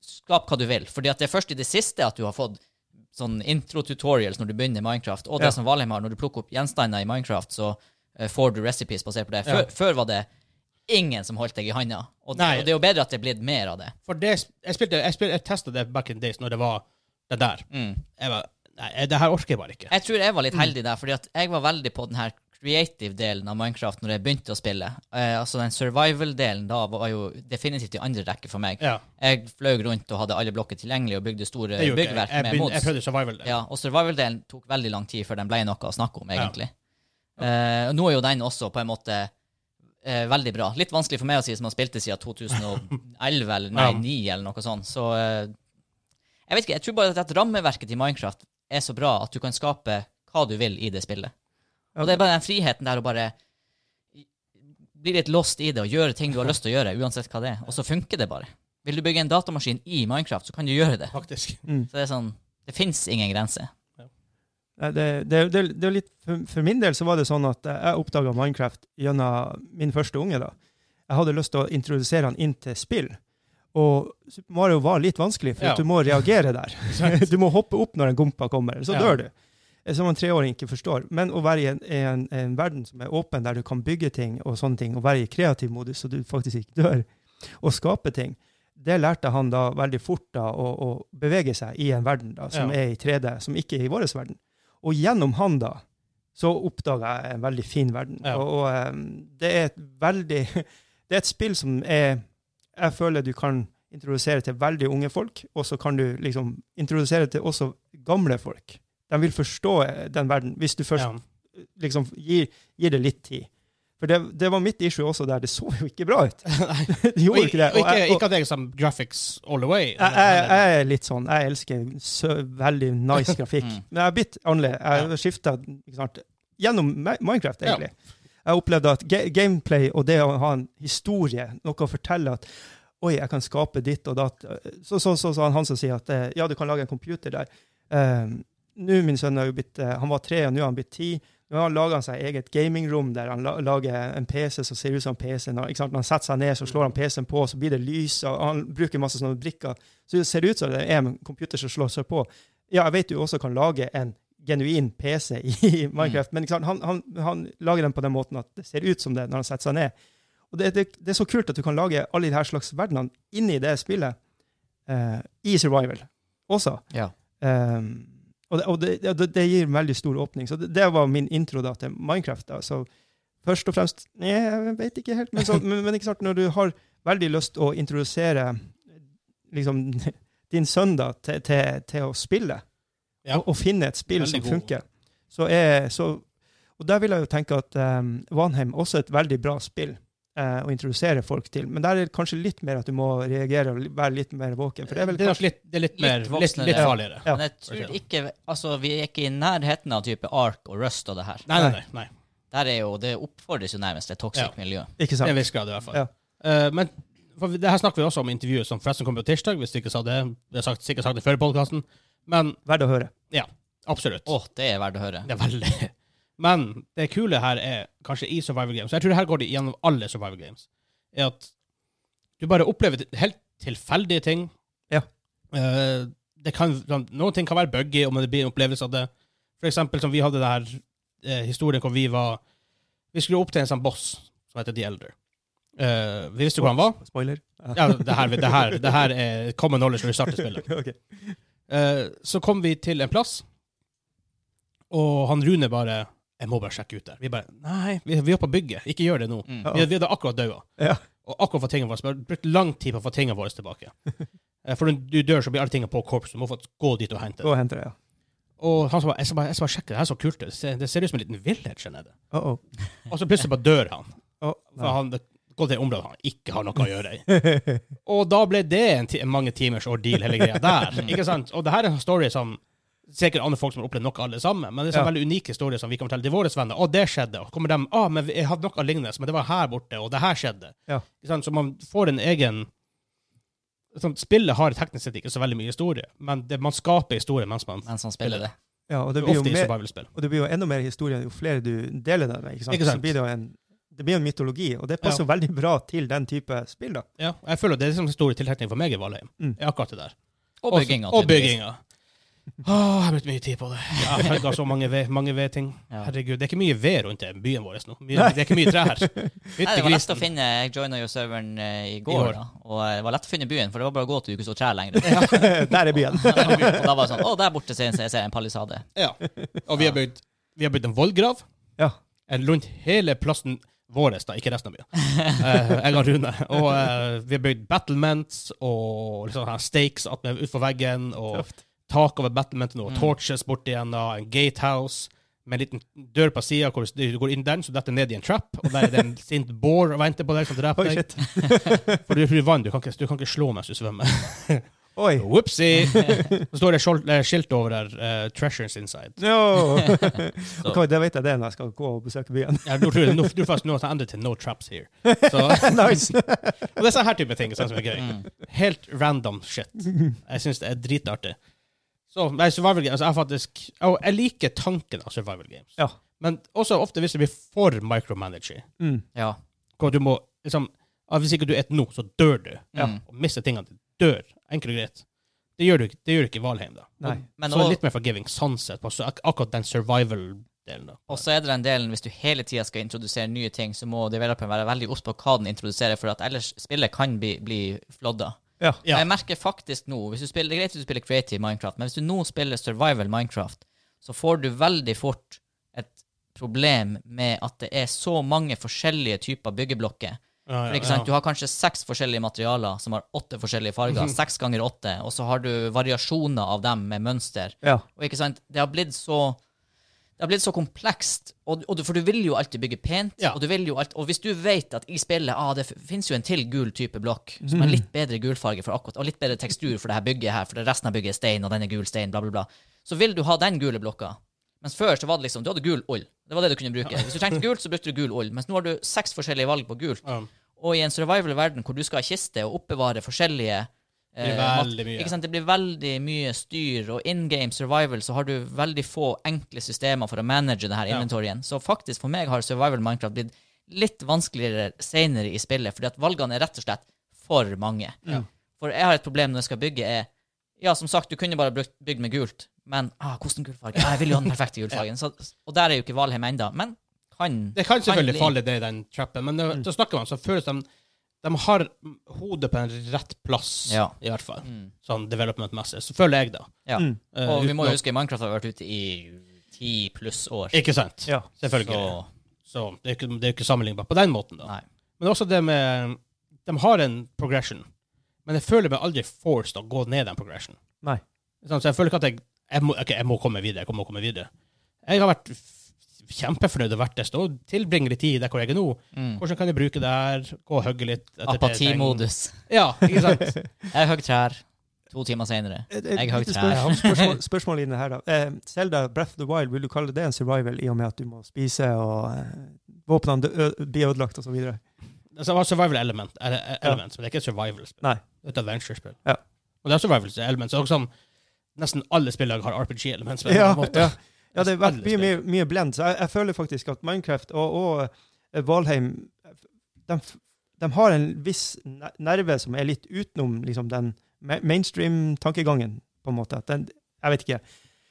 Speaker 3: skap hva du vil. Fordi at det er først i det siste at du har fått sånn intro-tutorials når du begynner i Minecraft, og det
Speaker 2: Ja.
Speaker 3: som Valheim har, når du plukker opp gjenstander i Minecraft, så eh, får du recipes basert på det. Før, før var det ingen som holdt deg i handa, og, det-
Speaker 1: Nei.
Speaker 3: og det er jo bedre at det er blitt mer av det.
Speaker 1: For det, jeg, spilte, jeg, spilte, jeg testet det back in days, når det var det der.
Speaker 3: Mm.
Speaker 1: Jeg var, nei, det her orker jeg bare ikke.
Speaker 3: Jeg tror jeg var litt heldig der, fordi at jeg var veldig på den her creative delen av Minecraft når jeg begynte å spille. Eh, altså den survival-delen da var jo definitivt i andre rekke for meg.
Speaker 1: Ja,
Speaker 3: Jeg fløy rundt og hadde alle blokker tilgjengelig og bygde store
Speaker 1: det gjorde ikke jeg.
Speaker 3: byggverk
Speaker 1: Jeg,
Speaker 3: med
Speaker 1: begynte- jeg
Speaker 3: mods.
Speaker 1: prøvde survival der.
Speaker 3: Ja, og survival-delen tok veldig lang tid før den ble noe å snakke om, egentlig.
Speaker 1: Ja.
Speaker 3: Eh, og nå er jo den også på en måte eh, veldig bra. Litt vanskelig for meg å si som har spilt det siden 2011 eller nei,
Speaker 1: Ja.
Speaker 3: 9 eller noe sånt. Så eh, jeg vet ikke, jeg tror bare at dette rammeverket til Minecraft er så bra at du kan skape hva du vil i det spillet.
Speaker 2: Ja.
Speaker 3: Og det er bare den friheten der å bare bli litt lost i det og gjøre ting du har lyst til å gjøre, uansett hva det er. Og så funker det bare. Vil du bygge en datamaskin i Minecraft, så kan du gjøre det.
Speaker 1: Faktisk.
Speaker 3: Så det er sånn, det fins ingen grenser.
Speaker 2: Nei, eh, Det, det, det, det er litt, for, for min del så var det sånn at eh, jeg oppdaga Minecraft gjennom min første unge. da. Jeg hadde lyst til å introdusere han inn til spill. Og Super Mario var litt vanskelig, for
Speaker 1: Ja.
Speaker 2: at du må reagere der.
Speaker 1: Sant.
Speaker 2: Du må hoppe opp når en gompa kommer, eller så
Speaker 1: Ja.
Speaker 2: dør du. Eh, Som en treåring ikke forstår. Men å være i en, i en, en verden som er åpen, der du kan bygge ting og sånne ting, og være i kreativ modus så du faktisk ikke dør, og skape ting, det lærte han da veldig fort da, å, å bevege seg i en verden da, som
Speaker 1: Ja.
Speaker 2: er i 3D, som ikke er i vår verden. Og gjennom han da, så oppdaga jeg en veldig fin verden.
Speaker 1: Ja.
Speaker 2: Og, og em, det er et veldig Det er et spill som er Jeg føler du kan introdusere til veldig unge folk, og så kan du liksom introdusere til også gamle folk. De vil forstå eh, den verden, hvis du først
Speaker 1: Ja.
Speaker 2: liksom gir, gir det litt tid. For det, det var mitt issue også der. Det så jo ikke bra ut. Det
Speaker 1: Og,
Speaker 2: gjorde ikke det.
Speaker 1: ikke,
Speaker 2: Og jeg- og-
Speaker 1: ikke at jeg er sånn graphics all the way.
Speaker 2: jeg, jeg, jeg er litt sånn. Jeg elsker sø, veldig nice grafikk.
Speaker 3: Mm.
Speaker 2: Men jeg er blitt annerledes. Jeg har skifta gjennom Mi- Minecraft,
Speaker 1: Ja.
Speaker 2: egentlig. Jeg opplevde at ga gameplay og det å ha en historie, noe å fortelle at Oi, jeg kan skape ditt og datt. eh, Så så- så- så han, han som sier at eh, ja, du kan lage en computer der. Eh, nå, min sønn, har jo blitt, eh, han var tre, og nå er han blitt ti. Nå har han laga seg eget gamingrom der han la- lager en PC som ser ut som PC-en. og, Ikke sant? Når han setter seg ned, så slår han PC-en på, så blir det lys, og han bruker masse sånne brikker. Så det ser ut som det er en computer som slår seg på. Ja, jeg vet du også kan lage en genuin PC i Minecraft, men ikke sant? Han, han, han lager den på den måten at det ser ut som det når han setter seg ned. Og det, det, det er så kult at du kan lage alle de her slags verdenene inni det spillet eh, i survival også.
Speaker 3: Ja.
Speaker 2: Ehm, og det, og det, det, det gir en veldig stor åpning. Så det, det var min intro da til Minecraft. da, så først og fremst Nei, jeg vet ikke helt. Men, så, men, men ikke sant, når du har veldig lyst å introdusere liksom, din sønn da, til, til, til å spille,
Speaker 1: Ja.
Speaker 2: og, og finne et spill
Speaker 1: Veldig
Speaker 2: som
Speaker 1: god.
Speaker 2: funker, så er så, Og der vil jeg jo tenke at um, Vanheim også er et veldig bra spill eh, å introdusere folk til. Men der er det kanskje litt mer at du må reagere og være litt mer våken. For det er vel
Speaker 1: det er nok litt, det er litt,
Speaker 3: Litt
Speaker 1: mer, litt,
Speaker 3: voksne,
Speaker 1: litt
Speaker 3: ja.
Speaker 1: farligere.
Speaker 2: Ja.
Speaker 3: Men jeg tror ikke Altså, vi er ikke i nærheten av type Ark og Rust og det her.
Speaker 1: Nei, nei, nei. nei.
Speaker 3: Der er jo, Det oppfordres jo nærmest til et toxic
Speaker 1: Ja.
Speaker 3: miljø.
Speaker 2: Ikke
Speaker 1: Det er
Speaker 2: sant?
Speaker 1: en viss grad, i hvert fall.
Speaker 2: Ja.
Speaker 1: Eh, men for vi- det her snakker vi også om i intervjuet som forresten kommer på tirsdag, hvis du ikke sa det. Det er sagt, sikkert sagt det før i podkasten, men
Speaker 2: Verdt å høre.
Speaker 1: absolutt.
Speaker 3: Å, det er verdt å høre.
Speaker 1: Det er veldig Men det kule her er kanskje i survival games, og jeg tror det her går det gjennom alle survival games, er at du bare opplever til- helt tilfeldige ting.
Speaker 2: Ja.
Speaker 1: Eh, det kan, sånn, noen ting kan være buggy, om det blir en opplevelse av det. For eksempel som vi hadde det her eh, historien hvor vi var Vi skulle opp til en sånn boss som heter The Elder. Eh, vi visste hvor han var.
Speaker 2: Spoiler.
Speaker 1: Ja, det her, det her, det her er common knowledge når vi starter spillet.
Speaker 2: Ok.
Speaker 1: Eh, så kom vi til en plass, og han Rune bare 'Jeg må bare sjekke ut der'. Vi bare 'Nei, vi, vi er på bygget. Ikke gjør det nå'.
Speaker 3: Mm.
Speaker 1: Vi, vi hadde akkurat daua,
Speaker 2: Ja.
Speaker 1: og akkurat fått tingene våre. så vi har Brukt lang tid på å få tingene våre tilbake. Eh, for når du dør, så blir alle tingene på korps. Du må få gå dit og hente
Speaker 2: Gå
Speaker 1: det.
Speaker 2: og henter det, ja.
Speaker 1: Og han sa bare 'Jeg skal bare, jeg skal bare sjekke, det her er så kult ut. Det ser, det ser ut som en liten villager nede'.
Speaker 2: Uh -oh.
Speaker 1: Og så plutselig bare dør han.
Speaker 2: Oh,
Speaker 1: For han går til et område han ikke har noe å gjøre i. Og da ble det en ti mange timers ordeal, hele greia der. ikke sant? Og det her er en story som sikkert andre folk som har opplevd noe alle sammen, men det er en
Speaker 2: Ja.
Speaker 1: veldig unik historie som vi kan fortelle til våre venner. Å, det skjedde. Og kommer de, å, men vi- jeg hadde noe lignende, men det var her borte, og det her skjedde.
Speaker 2: Ja.
Speaker 1: Ikke sant? Så man får en egen sånn, Spillet har teknisk sett ikke så veldig mye historie, men det, man skaper historie mens man
Speaker 3: Mens han spiller det.
Speaker 2: ja og, det blir jo
Speaker 1: Ofte i
Speaker 2: mer,
Speaker 1: survival-spill.
Speaker 2: og det blir jo enda mer historie jo flere du deler det med. Ikke sant?
Speaker 1: Ikke sant?
Speaker 2: Så blir det, jo en, det blir jo en mytologi, og det passer jo veldig bra til den type spill. da.
Speaker 1: Ja, og jeg føler det er liksom en stor tiltrekning for meg i Valheim.
Speaker 2: Mm.
Speaker 1: er Akkurat det der.
Speaker 3: Og
Speaker 1: Også-
Speaker 3: bygginga.
Speaker 1: Og
Speaker 3: tydeligvis.
Speaker 1: bygginga. Åh, jeg har brukt mye tid på det. Ja, jeg har så mange ved- mange ved-ting.
Speaker 3: Ja.
Speaker 1: Herregud, det er ikke mye ved rundt i byen vår nå. Mye,
Speaker 2: Nei.
Speaker 1: det er ikke mye trær.
Speaker 3: Nei, det
Speaker 1: Fytti
Speaker 3: var lett
Speaker 1: grisen.
Speaker 3: å finne Jeg joina jo serveren eh, i går,
Speaker 1: går.
Speaker 3: da, og eh, det var lett å finne byen, for det var bare å gå til du ikke så trær lenger.
Speaker 2: der er byen.
Speaker 3: og da var det sånn Å, der borte ser jeg- ser jeg en palisade.
Speaker 1: Ja. Og vi har bygd, vi har bygd en vollgrav
Speaker 2: Ja.
Speaker 1: eh, rundt hele plassen vår, da, ikke resten av byen. Eh, jeg og Rune. Og eh, vi har bygd battlements og liksom her stakes at vi er utfor veggen, og
Speaker 2: Tøft.
Speaker 1: tak over battlementen og
Speaker 3: Mm.
Speaker 1: torches borti en av en gatehouse. Med en liten dør på sida hvor du går inn den, så detter ned i en trap. Og der er det en sint boar og venter på deg som dreper
Speaker 2: Oi,
Speaker 1: deg.
Speaker 2: shit.
Speaker 1: For du er i vann, du kan, ikke, du kan ikke slå mens du svømmer.
Speaker 2: Oi.
Speaker 1: Whoopsie! Så står det skjold- eh, skilt over der. eh, 'Treasures inside'.
Speaker 2: No. Ok, det vet jeg det når jeg skal gå og besøke byen.
Speaker 1: Ja, nå tror jeg nå, du faktisk nå har jeg endret til 'No traps here'. Så,
Speaker 2: nice.
Speaker 1: og det er sånn her type ting sånn som er gøy.
Speaker 3: Mm.
Speaker 1: Helt random shit. Jeg syns det er dritartig. Så, nei, survival games, jeg faktisk og Jeg liker tanken av survival games.
Speaker 2: Ja.
Speaker 1: Men også ofte hvis det blir for micromanaging,
Speaker 2: Mm.
Speaker 3: Ja.
Speaker 1: hvor du må liksom ah, Hvis ikke du et nå, så dør du.
Speaker 2: Ja.
Speaker 3: Mm.
Speaker 1: Og mister tingene dine. Dør. Enkelt og greit. Det gjør du, ikke- det gjør du ikke i Valheim, da.
Speaker 2: Nei.
Speaker 3: Men
Speaker 1: så
Speaker 3: og-
Speaker 1: litt mer forgiving sånn sett, på så ak akkurat den survival-delen. da.
Speaker 3: Og så er det den delen, hvis du hele tida skal introdusere nye ting, så må developeren være veldig obs på hva den introduserer, for at ellers spillet kan bli, bli flodda.
Speaker 2: Ja.
Speaker 1: Ja.
Speaker 3: Og Jeg merker faktisk nå hvis du spiller, Det er greit at du spiller creative Minecraft, men hvis du nå spiller survival Minecraft, så får du veldig fort et problem med at det er så mange forskjellige typer byggeblokker.
Speaker 1: Ja,
Speaker 3: For
Speaker 1: ja,
Speaker 3: ikke sant, Du
Speaker 1: ja.
Speaker 3: har kanskje seks forskjellige materialer som har åtte forskjellige farger. Seks ganger åtte. Og så har du variasjoner av dem med mønster.
Speaker 2: Ja.
Speaker 3: Og ikke sant, det har blitt så det har blitt så komplekst, og, og du, for du vil jo alltid bygge pent.
Speaker 1: Ja.
Speaker 3: Og, du vil jo alt, og hvis du vet at i spillet ah, det fins jo en til gul type blokk, som har litt bedre gulfarge for akkurat, og litt bedre tekstur for det her bygget her, for det resten av bygget er stein, og den er gul stein, bla, bla, bla, så vil du ha den gule blokka. Mens før så var det liksom, du hadde gul ull. Det var det du kunne bruke. Hvis du trengte gult, så brukte du gul ull. Mens nå har du seks forskjellige valg på gult.
Speaker 1: Ja.
Speaker 3: Og i en survival-verden hvor du skal ha kiste og oppbevare forskjellige eh,
Speaker 1: Det blir
Speaker 3: mat-
Speaker 1: veldig mye.
Speaker 3: Ikke sant? Det blir veldig mye styr, og in game survival så har du veldig få enkle systemer for å manage det her
Speaker 1: Ja.
Speaker 3: inventoryen. Så faktisk for meg har survival Minecraft blitt litt vanskeligere senere i spillet, fordi at valgene er rett og slett for mange. For jeg har et problem når jeg skal bygge, er Ja, som sagt, du kunne bare brukt, bygd med gult, men ah, hvordan gulfarge? Ah, jeg vil jo ha den perfekte gulfargen. Så, og der er jo ikke Valheim ennå, men kan
Speaker 1: Det kan selvfølgelig
Speaker 3: bli.
Speaker 1: falle det i den trappen, men
Speaker 3: Mm.
Speaker 1: det, da snakker man så føles de de har hodet på en rett plass,
Speaker 3: Ja.
Speaker 1: i hvert fall.
Speaker 3: Mm.
Speaker 1: Sånn development-messig. Så føler jeg det.
Speaker 3: Ja.
Speaker 2: Mm.
Speaker 1: Eh,
Speaker 3: Og vi
Speaker 1: uten
Speaker 3: må
Speaker 1: å-
Speaker 3: jo huske Minecraft har vært ute i ti pluss år.
Speaker 1: Ikke sant?
Speaker 2: Ja.
Speaker 1: Selvfølgelig.
Speaker 3: Så-
Speaker 1: Så, det er ikke, det er ikke sammenlignbart på den måten, da.
Speaker 3: Nei.
Speaker 1: Men også det med De har en progression, men jeg føler meg aldri forced å gå ned den progression.
Speaker 2: Nei.
Speaker 1: Sånn, Så jeg føler ikke at jeg jeg må, ok, jeg må komme videre. Jeg må komme videre. Jeg har vært f- kjempefornøyd og vært det. Stå tilbringer litt tid der hvor jeg er nå.
Speaker 3: Mm.
Speaker 1: Hvordan kan jeg bruke det her? Gå og hugge litt. etter det
Speaker 3: Apatimodus.
Speaker 1: jeg trenger. Ja, ikke sant?
Speaker 3: Jeg hogg trær to timer senere.
Speaker 2: Et, et,
Speaker 3: Jeg har
Speaker 2: lite
Speaker 3: ikke trær.
Speaker 2: spørs- spørsmål, spørsmål inn her, da. Eh, Zelda Breath of the Wild, vil du kalle det en survival, i og med at du må spise og eh, våpnene dø- ø- blir ødelagt og så videre?
Speaker 1: Altså, det var survival element, ele- elements, men det er ikke et survival-spill.
Speaker 2: Nei.
Speaker 1: Det er et adventure-spill.
Speaker 2: Ja.
Speaker 1: Og det er survival elements. Og sånn, nesten alle spillere har RPG-elements.
Speaker 2: Ja, ja. Ja, det har vært
Speaker 1: Alle
Speaker 2: mye, mye, mye blend, så jeg, jeg føler faktisk at Minecraft og, og eh, Valheim de, f- de har en viss ne- nerve som er litt utenom liksom, den ma- mainstream-tankegangen, på en måte. At Den, jeg vet ikke.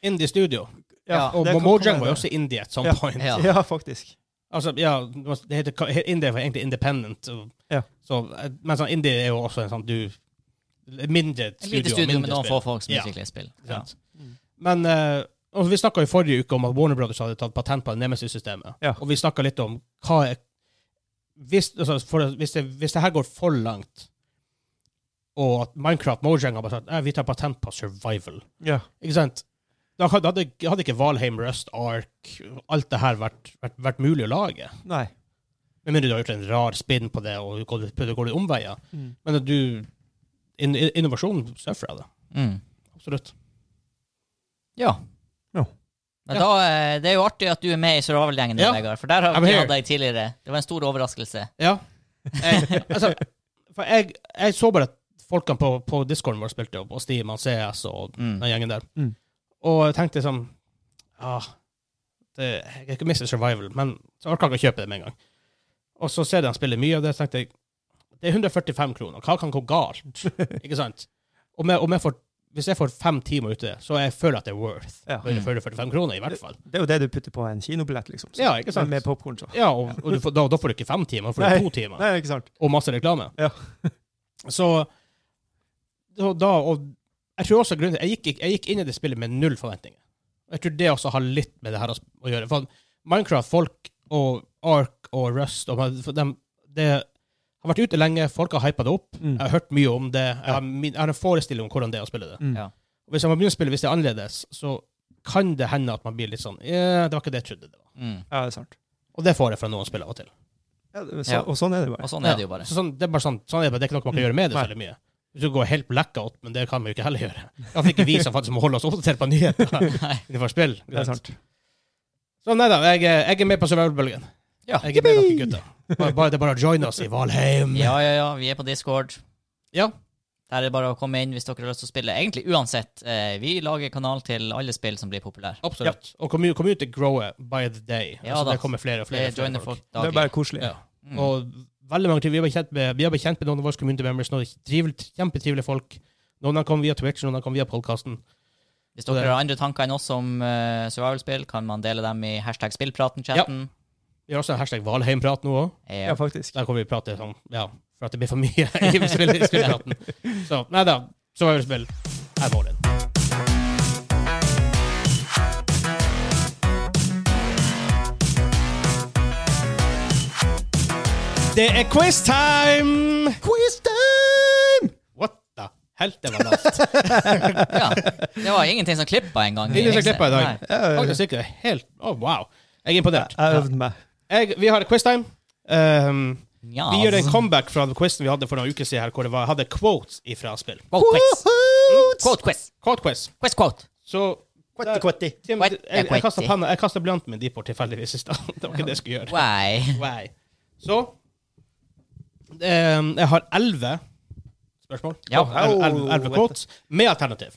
Speaker 1: Indie Studio.
Speaker 3: Ja,
Speaker 1: Og
Speaker 2: det kan
Speaker 1: Mojang
Speaker 2: komme-
Speaker 1: var jo også indie at some
Speaker 2: Ja.
Speaker 1: point.
Speaker 3: Ja.
Speaker 2: Ja, faktisk.
Speaker 1: Altså, ja, det var- det heter, he- indie var egentlig independent. Og,
Speaker 2: Ja.
Speaker 1: så, eh, men sånn, indie er jo også en sånn du Mindre
Speaker 3: Et
Speaker 1: studio,
Speaker 3: lite studio med
Speaker 1: mindre
Speaker 3: noen få
Speaker 1: spill.
Speaker 3: folk som
Speaker 1: Ja.
Speaker 3: utvikler spill. Ja.
Speaker 1: sant?
Speaker 2: Mm.
Speaker 1: Men eh, og vi snakka i forrige uke om at Warner Brothers hadde tatt patent på Nemesis-systemet.
Speaker 2: Ja.
Speaker 1: Og vi snakka litt om hva er hvis, altså, for, hvis, det, hvis det her går for langt, og at Minecraft Mojang har bare sagt "Eh, vi tar patent på survival
Speaker 2: Ja.
Speaker 1: Ikke sant? Da hadde, hadde- hadde ikke Valheim, Rust, Ark, alt det her vært, vært, vært mulig å lage.
Speaker 2: Nei.
Speaker 1: Med mindre du har gjort en rar spinn på det og gått- prøvd å gå litt omveier.
Speaker 2: Mm.
Speaker 1: Men at du in, in, Innovasjon surfer jeg det.
Speaker 3: Mm.
Speaker 1: Absolutt.
Speaker 3: ja.
Speaker 2: Ja.
Speaker 3: Men
Speaker 1: Ja.
Speaker 3: da, eh, det er jo artig at du er med i survival-gjengen,
Speaker 1: Ja.
Speaker 3: Vegard, for der har
Speaker 1: I'm
Speaker 3: vi
Speaker 1: here.
Speaker 3: hatt deg tidligere. Det var en stor overraskelse.
Speaker 1: Ja. Jeg, altså, for jeg, jeg så bare at folkene på, på discorden vår spilte opp, og Steam og CS og
Speaker 3: Mm.
Speaker 1: den gjengen der.
Speaker 2: Mm.
Speaker 1: Og jeg tenkte sånn Ja, det, jeg er ikke Mr. Survival, men så orka jeg ikke å kjøpe det med en gang. Og så ser jeg han spiller mye, og det tenkte jeg Det er 145 kroner. Hva kan gå galt? ikke sant? Om jeg, om jeg får, hvis jeg får fem timer ute, så jeg føler at det er worth
Speaker 2: Ja.
Speaker 1: 145 kroner, i hvert fall.
Speaker 2: Det er jo det du putter på en kinobillett, liksom. Så-
Speaker 1: Ja, ikke sant?
Speaker 2: Med popkorn, så.
Speaker 1: Ja, og, og du får, da, da får du ikke fem timer, da får
Speaker 2: Nei.
Speaker 1: du to timer.
Speaker 2: Nei, ikke sant.
Speaker 1: Og masse reklame.
Speaker 2: Ja.
Speaker 1: Så da, da og Jeg tror også grunnen til jeg gikk, jeg gikk inn i det spillet med null forventninger. Og Jeg tror det også har litt med det her å s- å gjøre. For Minecraft-folk og Ark og Rust og for dem, Det har vært ute lenge, folk har hypa det opp.
Speaker 2: Mm.
Speaker 1: Jeg har hørt mye om det. Jeg har, min, jeg har en forestilling om hvordan det er å spille det.
Speaker 2: Mm.
Speaker 3: Ja.
Speaker 1: Og Hvis man begynner å spille hvis det er annerledes, så kan det hende at man blir litt sånn eh, Det var ikke det jeg trodde det var.
Speaker 3: Mm.
Speaker 2: Ja, det er sant.
Speaker 1: Og det får jeg fra noen spill av og til.
Speaker 2: Ja, det- så,
Speaker 3: Ja.
Speaker 2: Og sånn er det bare.
Speaker 3: Og sånn er det jo
Speaker 1: Ja,
Speaker 3: bare. Mm.
Speaker 1: Så sånn, det er bare sånn, sånn er det, bare, det er ikke noe man kan gjøre med det så veldig mye. Hvis du går helt blackout, men det kan vi jo ikke heller gjøre. Iallfall ikke vi som faktisk må holde oss oppdatert på nyheter
Speaker 3: Nei.
Speaker 1: innenfor spill.
Speaker 2: Det er sant.
Speaker 1: Så nei da, jeg, er- jeg er med på survival-bølgen.
Speaker 3: Ja.
Speaker 1: Jeg er med dere gutter. Bare, bare, det er bare å joine oss i Valheim.
Speaker 3: ja, ja, ja. Vi er på Discord.
Speaker 1: Ja.
Speaker 3: Der er det bare å komme inn hvis dere har lyst til å spille. Egentlig uansett. eh, Vi lager kanal til alle spill som blir populære.
Speaker 1: Absolutt. Og commu- community grower by the day.
Speaker 3: Ja
Speaker 1: altså,
Speaker 3: da.
Speaker 1: det kommer flere og flere,
Speaker 3: Det
Speaker 1: og
Speaker 3: joiner
Speaker 1: flere folk.
Speaker 3: folk Mm.
Speaker 2: Det er
Speaker 3: daglig.
Speaker 2: bare koselig.
Speaker 1: Ja. Og veldig mange til- vi har blitt kjent med, vi har blitt kjent med noen av våre community members, noen trivel- kjempetrivelige folk. Noen av dem kom via Twitch, noen av dem kom via podkasten.
Speaker 3: Hvis
Speaker 1: Og
Speaker 3: dere
Speaker 1: det-
Speaker 3: har andre tanker enn oss om eh, survival-spill, kan man dele dem i hashtag spillpraten-chatten.
Speaker 1: Vi har også hashtag Valheim-prat nå òg.
Speaker 3: Eh,
Speaker 2: Ja, faktisk.
Speaker 1: Der kommer vi til å prate sånn, ja, for at det blir for mye i spill- spillpraten. Så nei da. Survival-spill er målet. Det er quiz time! Quiz time! What the hell, det var lavt.
Speaker 3: Ja. Det var ingenting som klippa engang.
Speaker 1: Ingen som klipper i dag.
Speaker 3: Nei.
Speaker 1: Faktisk ikke. Helt Å, wow. Jeg er imponert.
Speaker 2: Jeg øvde meg.
Speaker 1: Jeg, vi har quiz time. Um,
Speaker 3: Ja. altså,
Speaker 1: vi gjør en comeback fra quizen vi hadde for noen uker siden, her, hvor det var, jeg hadde quotes ifra spill.
Speaker 3: Quote quiz. Quote quiz.
Speaker 1: Quote quiz.
Speaker 3: Quiz quote.
Speaker 1: Så der-
Speaker 2: Quotti-quotti.
Speaker 1: Tim,
Speaker 3: Quote-
Speaker 1: jeg, jeg kasta
Speaker 3: quote.
Speaker 1: penna. Jeg kastet blyanten min dit bort tilfeldigvis i stad. Det var ikke det jeg skulle gjøre.
Speaker 3: Why?
Speaker 1: Why? Så um, Jeg har elleve spørsmål.
Speaker 3: Ja.
Speaker 1: Elleve- elleve- Elleve quotes med alternativ.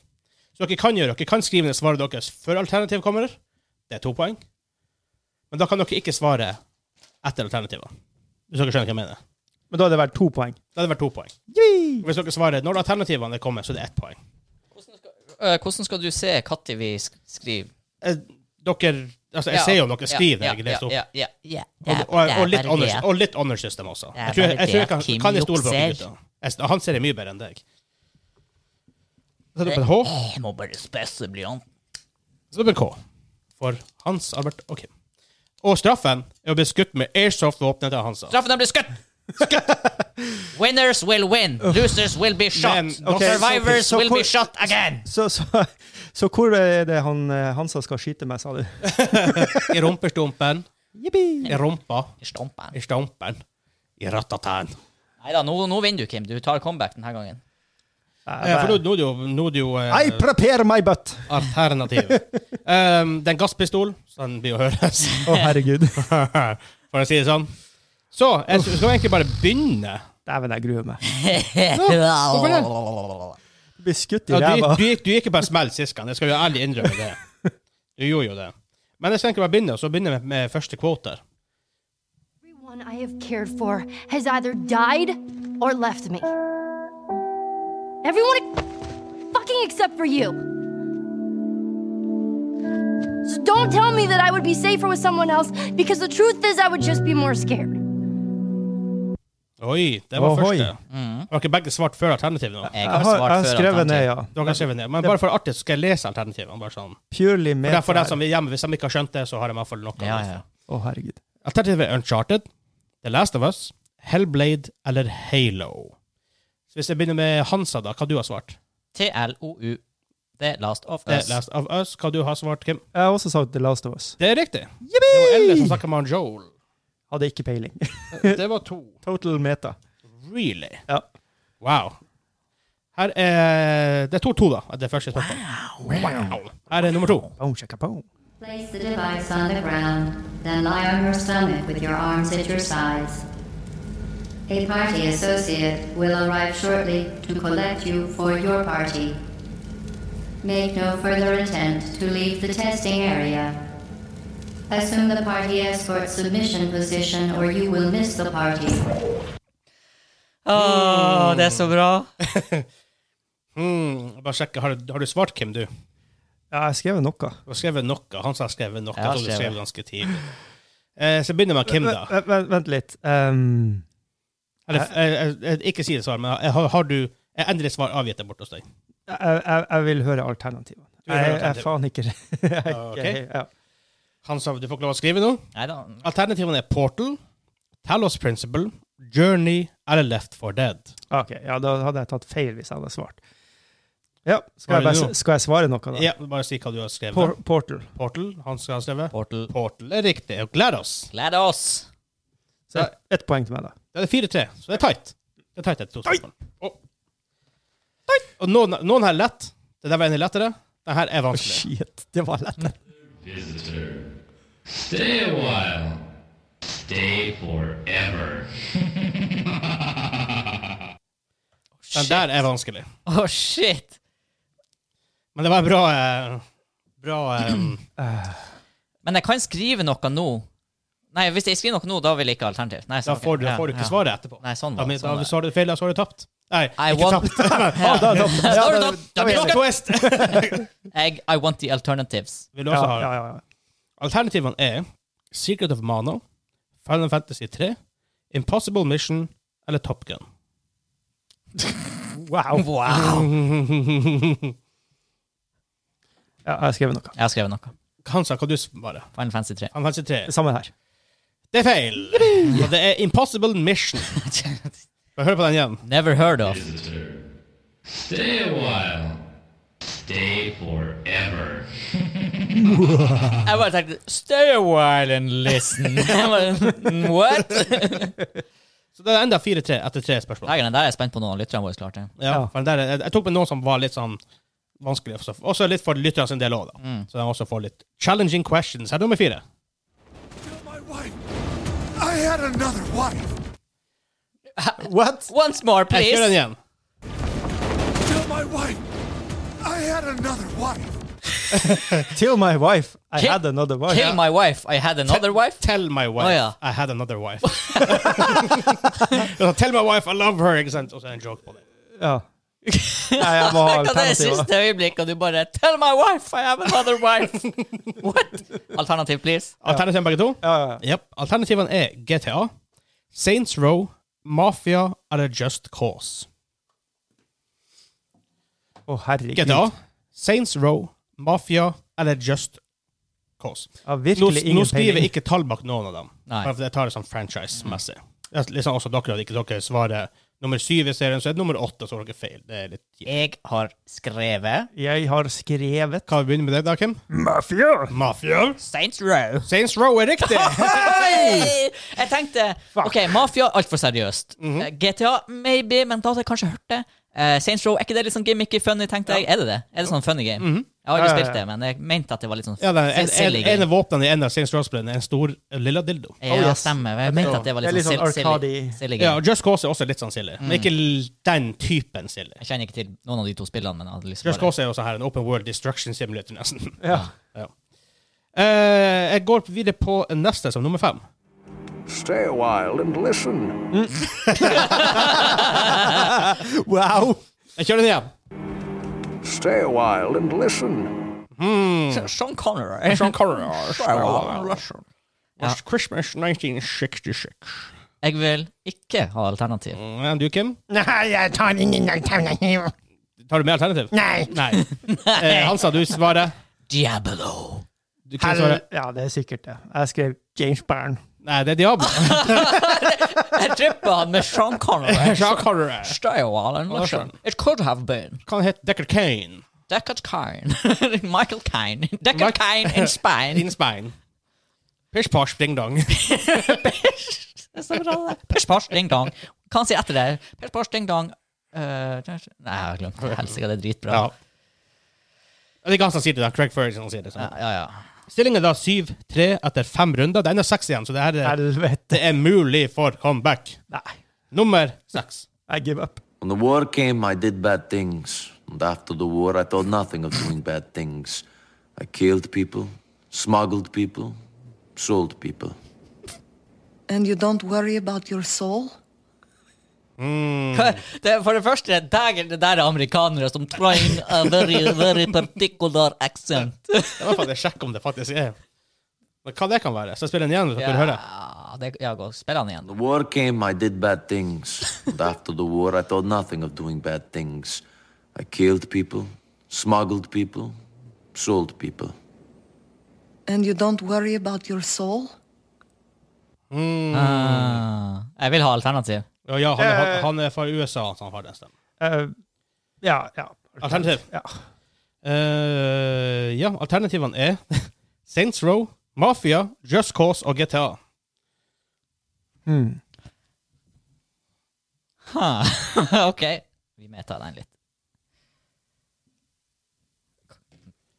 Speaker 1: Så dere kan gjøre, dere kan skrive ned svaret deres før alternativ kommer. Det er to poeng. Men da kan dere ikke svare etter alternativet. Hvis dere skjønner hva jeg mener.
Speaker 2: Men da hadde det vært to poeng.
Speaker 1: Da hadde det vært to poeng. Hvis dere svarer når alternativene er kommet, så er det ett poeng.
Speaker 3: Øh, Hvordan skal du se når vi sk- skriver?
Speaker 1: Eh, Dere, altså, jeg ser jo om dere skriver det jeg leser opp.
Speaker 3: Ja, ja, ja.
Speaker 1: Og, og, og, litt honor, og litt honor system også.
Speaker 3: Det er
Speaker 1: Jeg tror jeg,
Speaker 3: bare
Speaker 1: jeg, tror
Speaker 3: det
Speaker 1: jeg kan,
Speaker 3: at Kim
Speaker 1: kan jeg stole på dere
Speaker 3: jukser.
Speaker 1: gutta. Jeg- Han ser det mye bedre enn deg. Så det er på en H,
Speaker 3: Jeg må bare spesse blyanten.
Speaker 1: så det er på en K. For Hans Albert og Kim. Og straffen er å bli skutt med airsoft-våpenet til Hansa.
Speaker 3: Straffen den blir skutt! Winners will win. Losers will be shot.
Speaker 1: Men-
Speaker 3: Og
Speaker 1: ok, så-
Speaker 3: Survivors
Speaker 2: så
Speaker 3: will
Speaker 2: hvor-
Speaker 3: be shot again.
Speaker 2: Så, så, så hvor er det han, eh, Hansa skal skyte meg, sa du?
Speaker 1: I rumpestumpen, i rumpa,
Speaker 3: Stompen.
Speaker 1: i stampen, i ratatan.
Speaker 3: Neida, nå, nå vinner du, Kim. Du tar comeback denne gangen.
Speaker 1: Eh, For nå- nå er det jo, nå er det jo eh,
Speaker 2: I prepare my butt!
Speaker 1: alternativ. Um, det er en gasspistol, så den blir å høres.
Speaker 2: Å, herregud.
Speaker 1: For å si det sånn. Så jeg skal egentlig bare begynne.
Speaker 2: Dæven, jeg gruer meg.
Speaker 1: hvorfor
Speaker 2: Du blir skutt i
Speaker 1: Ja, du,
Speaker 2: ræva.
Speaker 1: gikk- du, gikk- du gikk ikke på en smell sist gang, jeg skal jo ærlig innrømme det. Du gjorde jo det. Men jeg skal egentlig bare begynne, og så begynner jeg med, med første kvote. her.
Speaker 6: Everyone I have cared for has either died or left me. Everyone fucking except for you. So don't tell me that I would be safer with someone else because the truth is I would just be more scared.
Speaker 1: Oi, det var
Speaker 2: Ohoi.
Speaker 1: første.
Speaker 3: Mm.
Speaker 1: Har ikke begge svart før alternativet nå?
Speaker 3: Jeg
Speaker 2: Jeg har, jeg har skrevet ned,
Speaker 3: alternativ.
Speaker 2: ja.
Speaker 1: Dere har skrevet ned. Men bare for artig så skal jeg lese alternativene. bare sånn.
Speaker 2: Purely
Speaker 1: For dem- For dem
Speaker 2: meta.
Speaker 1: som er hjemme, Hvis de ikke har skjønt det, så har de i hvert fall noe. å
Speaker 3: Ja,
Speaker 1: lese.
Speaker 3: ja.
Speaker 2: Å, herregud.
Speaker 1: Alternativet er Uncharted, The Last of Us, Hellblade eller Halo. Så Hvis jeg begynner med Hansa, da, hva du har svart?
Speaker 3: TLOU. The Last of
Speaker 1: The
Speaker 3: Us.
Speaker 1: Last of Us, hva du har svart, Kim?
Speaker 2: Jeg har også sagt The Last of Us.
Speaker 1: Det er riktig. Det var Ellie som snakka med han Joel.
Speaker 2: Hadde ikke peiling.
Speaker 1: Det var to.
Speaker 2: Total meta.
Speaker 1: Really?
Speaker 2: Ja.
Speaker 1: Wow. Her er Det er to-to, da. Det er første spørsmålet. Wow. Her er nummer to.
Speaker 2: Boom, shaka, boom.
Speaker 7: Place the device on the ground, then lie on your stomach with your arms at your sides. A party associate will arrive shortly to collect you for your party. Make no further attempt to leave the testing area. Assume the party escort submission position or you will miss the party.
Speaker 3: Åh, det er så bra.
Speaker 1: Hmm, jeg bare sjekke. Har, du- har du svart, Kim, du?
Speaker 2: Ja, jeg skrev noe.
Speaker 1: Du har skrevet noe. Han sa skrevet noe.
Speaker 3: Jeg har
Speaker 1: Jeg tror du skrev
Speaker 3: skrevet.
Speaker 1: ganske tidlig. Eh, så begynner jeg med Kim, da.
Speaker 2: Vent, vent, vent litt. Um,
Speaker 1: Eller, jeg, jeg, jeg, ikke si det svar, men jeg, har, har du jeg endelig svar avgitt der borte hos deg?
Speaker 2: jeg, jeg, jeg vil høre alternativene.
Speaker 1: vil høre
Speaker 2: Jeg, jeg
Speaker 1: alternativ.
Speaker 2: faen ikke jeg, er ikke-
Speaker 1: Ok.
Speaker 2: ja.
Speaker 1: Han sa du får ikke lov å skrive noe.
Speaker 3: Neida.
Speaker 1: Alternativene er Portal, Talos Principle, Journey eller Left 4 Dead.
Speaker 2: Ok, ja, da hadde jeg tatt feil hvis jeg hadde svart. Ja, skal
Speaker 1: Svarer
Speaker 2: jeg,
Speaker 1: du?
Speaker 2: bare, skal jeg svare noe, da?
Speaker 1: Ja, bare si hva du har skrevet.
Speaker 2: Por Portal.
Speaker 1: Portal, han skal ha skrevet.
Speaker 3: Portal.
Speaker 1: Portal er riktig. og Gled oss.
Speaker 3: Gled oss.
Speaker 2: Så ett et poeng til meg, da.
Speaker 1: Det er 4-3, så det er tight. Det er tight etter to spørsmål. Og, og noen, noen her er lett. Det der var en lettere. Den her er vanskelig.
Speaker 2: Shit, det var lett.
Speaker 8: Visitor. Stay a while. Stay forever.
Speaker 3: Oh,
Speaker 1: Den der er vanskelig.
Speaker 3: Åh, shit.
Speaker 1: Men det var en bra eh, Bra
Speaker 3: Mm.
Speaker 1: eh,
Speaker 3: Men jeg kan skrive noe nå. Nei, hvis jeg skriver noe nå, da vil jeg ikke ha alternativ. Nei,
Speaker 1: Da
Speaker 3: sånn, ok.
Speaker 1: får du, da får du
Speaker 3: Ja,
Speaker 1: ikke
Speaker 3: ja.
Speaker 1: svaret etterpå.
Speaker 3: Nei, sånn
Speaker 1: Da,
Speaker 3: var
Speaker 1: men,
Speaker 3: det. Sånn
Speaker 1: da,
Speaker 3: var det.
Speaker 1: så har du feil, da, så har du tapt. Nei,
Speaker 3: I
Speaker 1: ikke
Speaker 3: want-
Speaker 1: tapt.
Speaker 3: Ja.
Speaker 2: Da, da,
Speaker 3: Da
Speaker 2: ja,
Speaker 3: har du
Speaker 2: da-
Speaker 3: tapt.
Speaker 2: da
Speaker 3: Da blir
Speaker 2: vet
Speaker 3: det
Speaker 2: jeg.
Speaker 1: Quest.
Speaker 3: Jeg, I want the alternatives.
Speaker 1: Vil du også
Speaker 2: Ja,
Speaker 1: ha
Speaker 2: ja, ja.
Speaker 1: Alternativene er Secret of Mana, Final Fantasy 3, Impossible Mission eller Top Gun.
Speaker 2: Wow.
Speaker 3: Wow.
Speaker 2: Ja, jeg har skrevet noe.
Speaker 3: Jeg har skrevet noe.
Speaker 1: Hansa, hva du svare?
Speaker 3: Final Fantasy 3.
Speaker 1: Han Hansa 3.
Speaker 2: Samme her.
Speaker 1: Det er feil! Og det er Impossible Mission. Får jeg høre på den igjen?
Speaker 3: Never heard of.
Speaker 8: Visitor. Stay a while. Stay forever.
Speaker 3: Jeg bare tenkte Stay a while and listen. Jeg bare, What?
Speaker 1: Så det er enda 4-3 etter tre spørsmål.
Speaker 3: Dagen, den der er jeg spent på noen av lytterne våre klarte.
Speaker 1: Ja, for den der, jeg, jeg tok med noen som var litt sånn vanskelig, også, også litt for lytterne sin del òg, da.
Speaker 2: Mm.
Speaker 1: Så de også får litt challenging questions. Her er nummer fire.
Speaker 9: My wife. I had another wife.
Speaker 2: What?
Speaker 3: Once more,
Speaker 1: Jeg kjører den
Speaker 3: please.
Speaker 1: igjen.
Speaker 9: Kill my wife. I had another wife.
Speaker 2: Till my wife. I
Speaker 3: Kill-
Speaker 2: had another wife.
Speaker 3: Kill my wife. I had another wife.
Speaker 1: Tell my wife
Speaker 3: Å, ja.
Speaker 1: I had another wife. Altså, Tell my wife I love her, ikke sant? Og så er det en joke på det.
Speaker 2: Ja. Nei, jeg må ha
Speaker 3: Hva det er
Speaker 2: alternativer.
Speaker 3: siste øyeblikk, og du bare Tell my wife I have another wife. What? Alternativ, please.
Speaker 1: Alternativene begge to?
Speaker 2: Ja, ja, ja.
Speaker 1: Yep. Alternativene er GTA, Saints Row, Mafia eller Just Cause.
Speaker 2: Å, herregud.
Speaker 1: GTA, Saints Row, Mafia eller Just Cause.
Speaker 2: Ja,
Speaker 1: Nå,
Speaker 2: virkelig ingen
Speaker 1: nå skriver
Speaker 2: peiling.
Speaker 1: jeg ikke tall bak noen av dem.
Speaker 3: Nei.
Speaker 1: Bare fordi jeg tar det sånn franchise-messig. Det er Liksom også dere at ikke dere svarer nummer syv i serien, så er det nummer åtte, så har dere feil. Det er litt kjipt.
Speaker 3: Jeg har skrevet
Speaker 2: Jeg har skrevet
Speaker 1: Kan vi begynne med det, da, Kim?
Speaker 2: Mafia!
Speaker 1: Mafia.
Speaker 3: Saints Row.
Speaker 1: Saints Row er riktig!
Speaker 3: Hei! Jeg tenkte OK, Mafia altfor seriøst.
Speaker 1: Mhm.
Speaker 3: Eh, GTA maybe, men da hadde jeg kanskje hørt det. Eh, Saints Row, er ikke det litt sånn gimmicky funny, tenkte jeg? Er det det? Er det sånn funny game?
Speaker 1: Mhm.
Speaker 3: Jeg har aldri
Speaker 2: Ja, ja, ja.
Speaker 3: spilt det, men jeg mente at det var litt sånn
Speaker 1: ja, det er en, en,
Speaker 3: silly
Speaker 1: en
Speaker 3: game.
Speaker 1: av våpnene i en av Saints Row-spillene er en stor eh, lilla dildo.
Speaker 3: Ja,
Speaker 2: Oh, yes.
Speaker 3: stemmer. Jeg mente at det var
Speaker 2: Det er
Speaker 3: litt,
Speaker 2: litt
Speaker 3: sånn
Speaker 2: sånn
Speaker 3: sil- silly,
Speaker 2: arcade-y.
Speaker 3: silly game.
Speaker 1: Ja, og Just Cause er også litt sånn silly, men ikke l- den typen silly.
Speaker 3: Jeg kjenner ikke til noen av de to spillene, men jeg hadde lyst til
Speaker 1: Just
Speaker 3: å bare-
Speaker 1: Cause er jo sånn her en open world destruction simulator, nesten.
Speaker 2: Ja.
Speaker 1: Eh, jeg går videre på neste som nummer fem.
Speaker 9: Stay a while and listen.
Speaker 2: Wow!
Speaker 1: Jeg kjører den igjen.
Speaker 9: Stay a while and listen.
Speaker 3: Sean Connery.
Speaker 1: Hmm. Sean Connery. Christmas 1966.
Speaker 3: Jeg vil ikke ha alternativ.
Speaker 1: Mm, Du, Kim?
Speaker 10: Nei, jeg tar ingen alternativ.
Speaker 1: Tar du med alternativ?
Speaker 10: Nei.
Speaker 1: Nei. Eh, Hansa, du svarer.
Speaker 3: Diablo.
Speaker 1: Du kan svare.
Speaker 2: Ja, det er sikkert det. Jeg skrev James Byrne.
Speaker 1: Nei, det er Diablo.
Speaker 3: Jeg trippa han med Sean Connery.
Speaker 1: Sean Connery.
Speaker 3: Style Allen Larson. It could have been.
Speaker 1: Kan hete Decker Kane.
Speaker 3: Deckard Kine. Michael Kine. Deckard
Speaker 1: Mike-
Speaker 3: Kine in Spain.
Speaker 1: Din spein. Pish posh ding dong.
Speaker 3: Det er så bra, det. Pish posh, ding dong. Kan si etter det. Pish posh, ding dong. Eh, nei, jeg har glemt det. Helsike, det er dritbra.
Speaker 1: Ja. Det er ikke han som sier det, da. Craig Ferguson sier det.
Speaker 3: Ja,
Speaker 1: Sånn.
Speaker 3: ja, ja.
Speaker 1: Stillingen er da 7-3 etter fem runder. Det er ennå seks igjen, så det her er,
Speaker 2: Helvete.
Speaker 1: det er mulig for comeback.
Speaker 2: Nei,
Speaker 1: Nummer seks.
Speaker 2: jeg give up.
Speaker 11: When the war came, I did bad things. And after the war, I thought nothing of doing bad things. I killed people, smuggled people, sold people.
Speaker 10: And you don't worry about your soul?
Speaker 3: Hva- Det, er- for det første, dagen det der er amerikanere som trying a very, very particular accent.
Speaker 1: Det var faktisk sjekk om det faktisk er Men Hva det kan være? Så jeg spiller den igjen, så får dere høre.
Speaker 3: Ja, det, ja, gå. Spill han igjen.
Speaker 11: When the war came, I did bad things. And after the war, I thought nothing of doing bad things. I killed people, smuggled people, sold people.
Speaker 10: And you don't worry about your soul?
Speaker 3: Ah, jeg vil ha alternativ.
Speaker 1: Ja, ja han, er,
Speaker 3: Eh.
Speaker 1: han er fra USA, så han har den stemmen.
Speaker 2: Eh, ja, ja.
Speaker 1: Alternativ.
Speaker 2: Ja.
Speaker 1: Eh, ja, alternativene er Saints Row, Mafia, Just Cause og GTA.
Speaker 3: Ha, ok. Vi medtar den litt.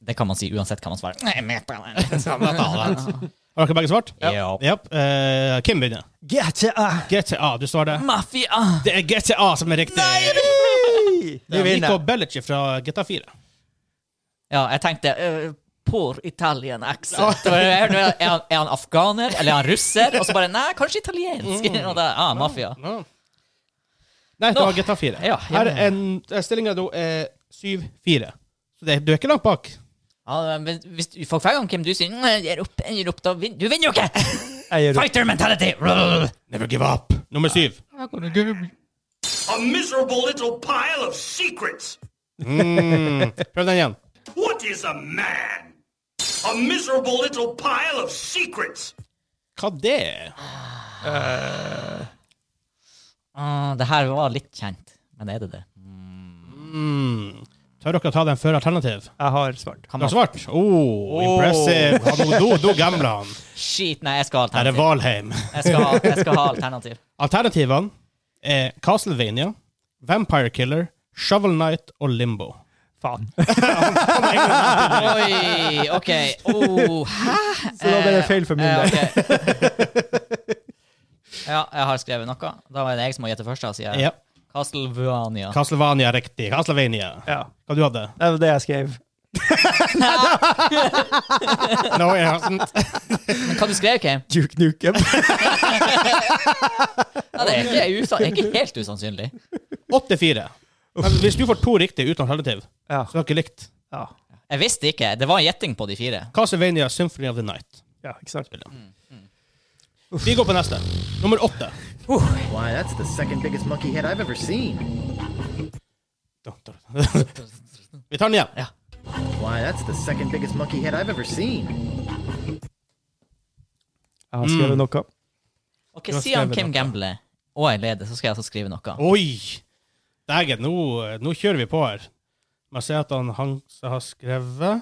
Speaker 3: Det kan man si uansett hva man svarer. Nei, jeg medtar den litt.
Speaker 1: Har dere begge svart?
Speaker 3: Ja.
Speaker 1: Japp. Eh, Kim begynner.
Speaker 2: GTA!
Speaker 1: GTA, du svarer.
Speaker 3: Mafia!
Speaker 1: Det er GTA som er riktig! Det
Speaker 2: Vi
Speaker 1: er Nico
Speaker 2: vinner.
Speaker 1: Bellici fra GTA 4.
Speaker 3: Ja, jeg tenkte eh, Poor Italian accent. Og jeg hørte, Er han, er han afghaner, eller er han russer? Og så bare Nei, kanskje italiensk. Og da, ah, mafia.
Speaker 1: Ja. Nei, det
Speaker 3: Nå.
Speaker 1: var GTA 4.
Speaker 3: Ja, ja,
Speaker 1: Her
Speaker 3: ja.
Speaker 1: er en stillinga da er 7-4. Så det, du er ikke langt bak.
Speaker 3: Ja, men hvis du, for hver gang Kim du sier «Nei, jeg gir opp, jeg gir opp, da vinner Du vinner jo ikke!
Speaker 2: Jeg gir opp.
Speaker 3: Fighter mentality! Rrrr.
Speaker 1: Never give up. Nummer syv.
Speaker 12: A miserable little pile of secrets.
Speaker 1: Mm. Prøv den igjen.
Speaker 12: What is a man? A miserable little pile of secrets.
Speaker 1: Hva det er?
Speaker 3: Ah, det her var litt kjent, men er det det?
Speaker 1: Mm. Tør dere å ta den før alternativ?
Speaker 2: Jeg har svart.
Speaker 1: Du har svart? Oh, impressive. Han- Nå nå- nå gambler han.
Speaker 3: Shit, nei, jeg skal ha
Speaker 1: Her er
Speaker 3: alternativ.
Speaker 1: Valheim.
Speaker 3: Jeg skal, ha- jeg skal ha alternativ.
Speaker 1: Alternativene er Castlevania, Vampire Killer, Shovel Knight og Limbo.
Speaker 2: Faen.
Speaker 3: Oi, OK. Oh, hæ?
Speaker 2: Så da ble det feil for min
Speaker 3: Eh,
Speaker 2: del.
Speaker 3: ok. Ja, jeg har skrevet noe. Da var det jeg som må gjette først. da, sier jeg.
Speaker 1: Ja.
Speaker 3: Castlevania.
Speaker 1: Castlevania er riktig. Castlevania.
Speaker 2: Ja.
Speaker 1: Hva du hadde
Speaker 2: Det var det jeg skrev.
Speaker 1: No, it hasn't.
Speaker 3: Men Hva du skrev, Kim?
Speaker 2: Duke Nukem.
Speaker 3: Ja, det er ikke, usa det er ikke helt usannsynlig.
Speaker 1: 8-4. Men Hvis du får to riktige uten alternativ,
Speaker 2: Ja.
Speaker 1: så er det ikke likt.
Speaker 2: Ja.
Speaker 3: Jeg visste ikke. Det var en gjetting på de fire.
Speaker 1: Castlevania Symphony of the Night.
Speaker 2: ja, ikke sant?
Speaker 1: Vi går på neste. Nummer åtte.
Speaker 13: Why, that's the second biggest monkey head I've ever seen.
Speaker 1: Vi tar den igjen.
Speaker 13: Why, that's the second biggest monkey head I've ever seen.
Speaker 2: Jeg har skrevet noe.
Speaker 3: Ok, Si han Kim gambler, og jeg leder, så skal jeg altså skrive noe.
Speaker 1: Oi! Dægen, nå, nå kjører vi på her. Man ser at han, han som har skrevet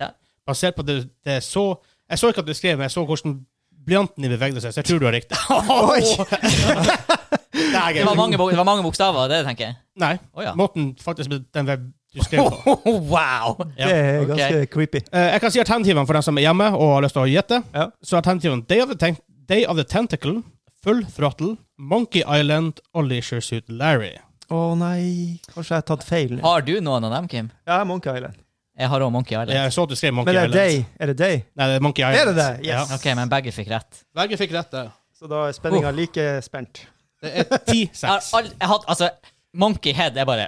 Speaker 3: Ja.
Speaker 1: Basert på det, det er så Jeg så ikke at du skrev, men jeg så hvordan blyanten din bevegde seg, så jeg tror du har riktig. Dægen.
Speaker 3: Det var mange, bok- det var mange bokstaver, det tenker jeg.
Speaker 1: Nei.
Speaker 3: Å, ja.
Speaker 1: Måten faktisk med den web du skrev på.
Speaker 3: wow!
Speaker 1: Ja.
Speaker 2: Det er
Speaker 3: ok.
Speaker 2: ganske creepy.
Speaker 1: Eh, Jeg kan si alternativene for den som er hjemme og har lyst til å gjette.
Speaker 2: Ja.
Speaker 1: Så alternativene Day of the, Ten Day of the Tentacle, Full Throttle, Monkey Island og Leisure Suit Larry.
Speaker 2: Å nei, kanskje jeg har tatt feil. nå.
Speaker 3: Har du noen av dem, Kim?
Speaker 2: Ja, Monkey Island.
Speaker 3: Jeg har òg Monkey Island.
Speaker 1: Jeg så at du skrev Monkey
Speaker 2: Men er det
Speaker 1: Island.
Speaker 2: deg? Er det deg?
Speaker 1: Nei, det er Monkey Island.
Speaker 2: Er det det?
Speaker 1: Ja.
Speaker 2: Yes.
Speaker 3: Ok, men begge fikk rett.
Speaker 1: Berge fikk rett der.
Speaker 2: Så da er spenninga like spent.
Speaker 1: Det er 10-6.
Speaker 3: Jeg har all- jeg hadde- altså, Monkey Head er bare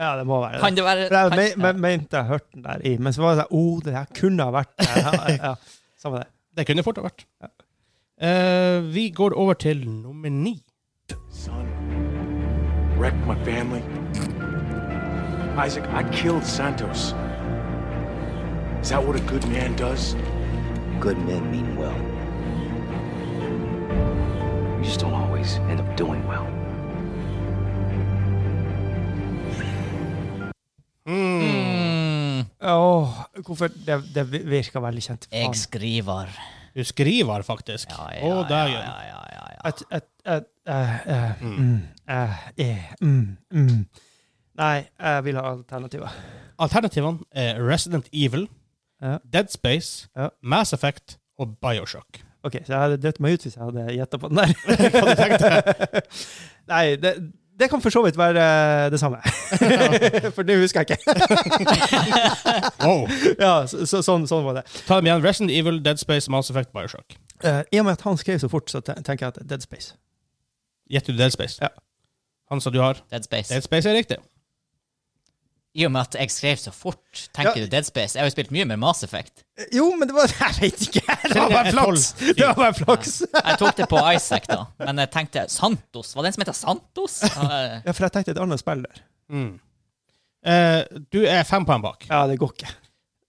Speaker 2: Ja, det må være
Speaker 3: Kan det være
Speaker 2: For jeg
Speaker 3: kan,
Speaker 2: me- me- mente jeg hørte den der i, men så var det sånn Å, det der kunne ha vært der. Ja, ja, Samme det.
Speaker 1: Det kunne fort ha vært. Eh, vi går over til nummer ni.
Speaker 14: Wrecked my family. Isaac, I killed Santos. Is that what a good man does?
Speaker 15: Good men mean well. You just don't always end up doing well.
Speaker 3: Mm,
Speaker 2: Åh, hvorfor Det, det virka veldig kjent.
Speaker 3: jeg skriver.
Speaker 1: Du skriver faktisk. Ja,
Speaker 3: ja,
Speaker 1: Å,
Speaker 3: ja,
Speaker 1: dægen.
Speaker 3: ja, ja, ja, ja.
Speaker 2: Et, et, et, eh, eh, mm, eh, eh, mm, mm. Nei, jeg vil ha alternativer.
Speaker 1: Alternativene er Resident Evil,
Speaker 2: Ja.
Speaker 1: Dead Space,
Speaker 2: Ja.
Speaker 1: Mass Effect og Bioshock.
Speaker 2: OK, så jeg hadde dødd meg ut hvis jeg hadde gjetta på den
Speaker 1: Hva du
Speaker 2: der. Nei, det, det kan for så vidt være eh, det samme. for det husker jeg ikke.
Speaker 1: Wow.
Speaker 2: ja, så, så, sånn, sånn var det.
Speaker 1: Ta dem igjen. Resident Evil, Dead Space, Mass Effect, Bioshock.
Speaker 2: Eh, I og med at han skrev så fort, så te- tenker jeg at Dead Space.
Speaker 1: Gjetter du Dead Space?
Speaker 2: Ja.
Speaker 1: Han sa du har
Speaker 3: Dead Space.
Speaker 1: Dead Space er riktig.
Speaker 3: I og med at jeg skrev så fort, tenker
Speaker 2: Ja.
Speaker 3: du Dead Space? Jeg har jo spilt mye mer Mass Effect.
Speaker 2: Eh, Jo, men det var Jeg vet ikke! Det var
Speaker 1: Jeg
Speaker 2: bare
Speaker 1: tolv.
Speaker 2: flaks! Det var bare flaks.
Speaker 3: Jeg tok det på Isaac, da, men jeg tenkte Santos. Var det en som heter Santos? Ja, eh,
Speaker 2: Ja, for jeg tenkte et annet spill der.
Speaker 1: Mm. Eh, du er fem poeng bak.
Speaker 2: Ja, det går ikke.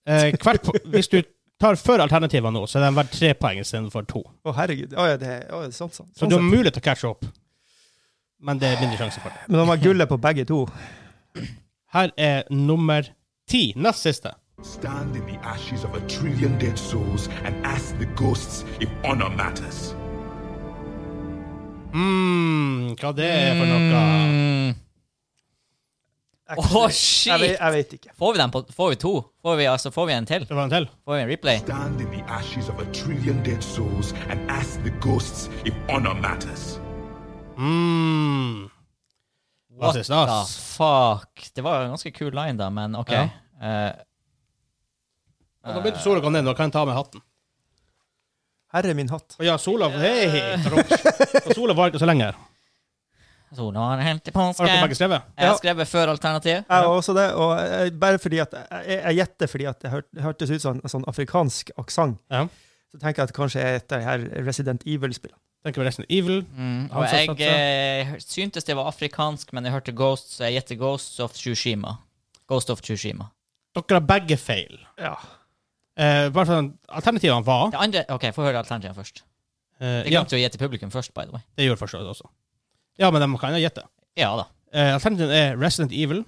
Speaker 1: Eh, hvert po hvis du tar før alternativene nå, så er de verdt tre poeng istedenfor to.
Speaker 2: Å, herregud. Å, ja, det, å, sånn, sånn.
Speaker 1: Så
Speaker 2: sånn
Speaker 1: du har
Speaker 2: sett.
Speaker 1: mulighet til å catche opp, men det er mindre sjanse for det.
Speaker 2: Men de har gullet på begge to.
Speaker 1: Her er nummer ti, nest siste.
Speaker 16: Stand in the ashes of a trillion dead souls and ask the ghosts if honor matters.
Speaker 1: Mm, hva det er for noe?
Speaker 2: Hmm.
Speaker 3: Mm. Å, shit!
Speaker 2: Jeg, vet- jeg vet ikke.
Speaker 3: Får vi, den på, får vi to? Får vi, altså, får vi en til?
Speaker 1: Det var en til.
Speaker 3: Får vi en replay?
Speaker 16: Stand in the ashes of a trillion dead souls and ask the ghosts if honor matters.
Speaker 1: Mm. Hva
Speaker 3: What
Speaker 1: synes
Speaker 3: the
Speaker 1: du, ass?
Speaker 3: fuck? Det var en ganske kul line, da, men OK.
Speaker 1: Ja.
Speaker 3: Eh,
Speaker 1: Ja, Nå begynte sola å gå ned, nå kan jeg ta med hatten.
Speaker 2: Herre min hatt.
Speaker 1: Å ja, sola Hei! tråkk. Og sola var ikke så lenge her.
Speaker 3: sola har helt til
Speaker 1: Har
Speaker 3: påske.
Speaker 1: dere begge skrevet?
Speaker 3: Jeg har
Speaker 2: Ja.
Speaker 3: skrevet før alternativ.
Speaker 2: Jeg har også det, og jeg, bare fordi at jeg, jeg gjetter fordi at det hørt, hørtes ut som en sånn afrikansk aksent.
Speaker 1: Ja.
Speaker 2: Så tenker jeg at kanskje er et av de her Resident Evil-spillene.
Speaker 1: Tenker på Resident Evil. Han
Speaker 3: Mm,
Speaker 1: som
Speaker 3: og
Speaker 1: satt
Speaker 3: jeg
Speaker 1: seg.
Speaker 3: eh, syntes det var afrikansk, men jeg hørte Ghost, så jeg gjetter Ghosts of Tsushima. Ghost of Tsushima.
Speaker 1: Dere har begge feil.
Speaker 2: Ja.
Speaker 1: Eh, bare sånn, alternativene var
Speaker 3: Det andre, ok, Få høre alternativene først.
Speaker 1: eh,
Speaker 3: Jeg
Speaker 1: ja,
Speaker 3: glemte jo å gjette publikum først, by the way.
Speaker 1: Det gjorde for så vidt også. Ja, men de kan jo gjette.
Speaker 3: Ja da.
Speaker 1: Eh, alternativene er Resident Evil,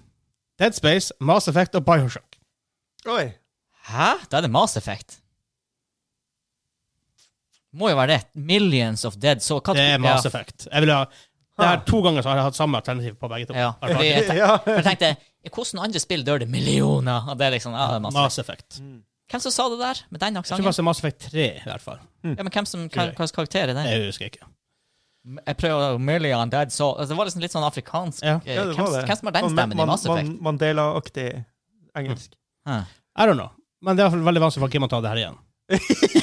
Speaker 1: Dead Space, Mass Effect og Bioshock.
Speaker 2: Oi.
Speaker 3: Hæ? Da er det Mass Effect. Må jo være det. Millions of dead. Så hva-
Speaker 1: Det er Mass
Speaker 3: Ja.
Speaker 1: Effect. Jeg vil ha det her To ganger så har jeg hatt samme alternativ på begge to.
Speaker 3: Ja.
Speaker 1: Bare
Speaker 3: Fordi jeg,
Speaker 1: sånn.
Speaker 3: tenk, for jeg tenkte Hvordan andre spill dør det millioner? Og det er liksom ja, det er Mass Effect.
Speaker 1: Mass Effect.
Speaker 3: Hvem som sa det der, med den
Speaker 1: Jeg tror sånn-
Speaker 3: aksenten?
Speaker 1: faktisk det er Mass Effect 3, i hvert fall.
Speaker 3: Ja, men hvem som, hva, hva slags karakter er det?
Speaker 1: Jeg husker ikke.
Speaker 3: Jeg prøver å million dead so altså, Det var liksom litt sånn afrikansk eh,
Speaker 2: Ja, det
Speaker 3: hvem,
Speaker 2: var det.
Speaker 3: hvem som har den
Speaker 2: Sånn
Speaker 3: stemmen
Speaker 2: Man-
Speaker 3: i Mass Effect?
Speaker 2: Man, Mandela-aktig engelsk.
Speaker 1: I don't know. Men det er i hvert fall veldig vanskelig for Kim å ta det her igjen.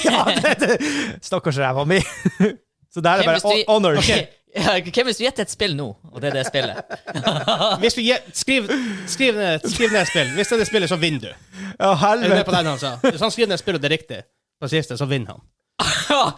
Speaker 2: ja, det, det. Stakkars ræva mi. Så der er det
Speaker 3: Hvem
Speaker 2: bare
Speaker 3: hvis du-
Speaker 2: hon- honor.
Speaker 3: Ok, ja, Hvem hvis du gjetter et spill nå, og det er det spillet?
Speaker 1: Hvis vi gje- skriv, skriv, ned, skriv ned et spill. Hvis det er det spillet, så vinner du.
Speaker 2: Ja,
Speaker 1: Er du med på
Speaker 2: helvete.
Speaker 1: den han sa? Hvis han skriver ned et spill, og det er riktig, på siste, så vinner han.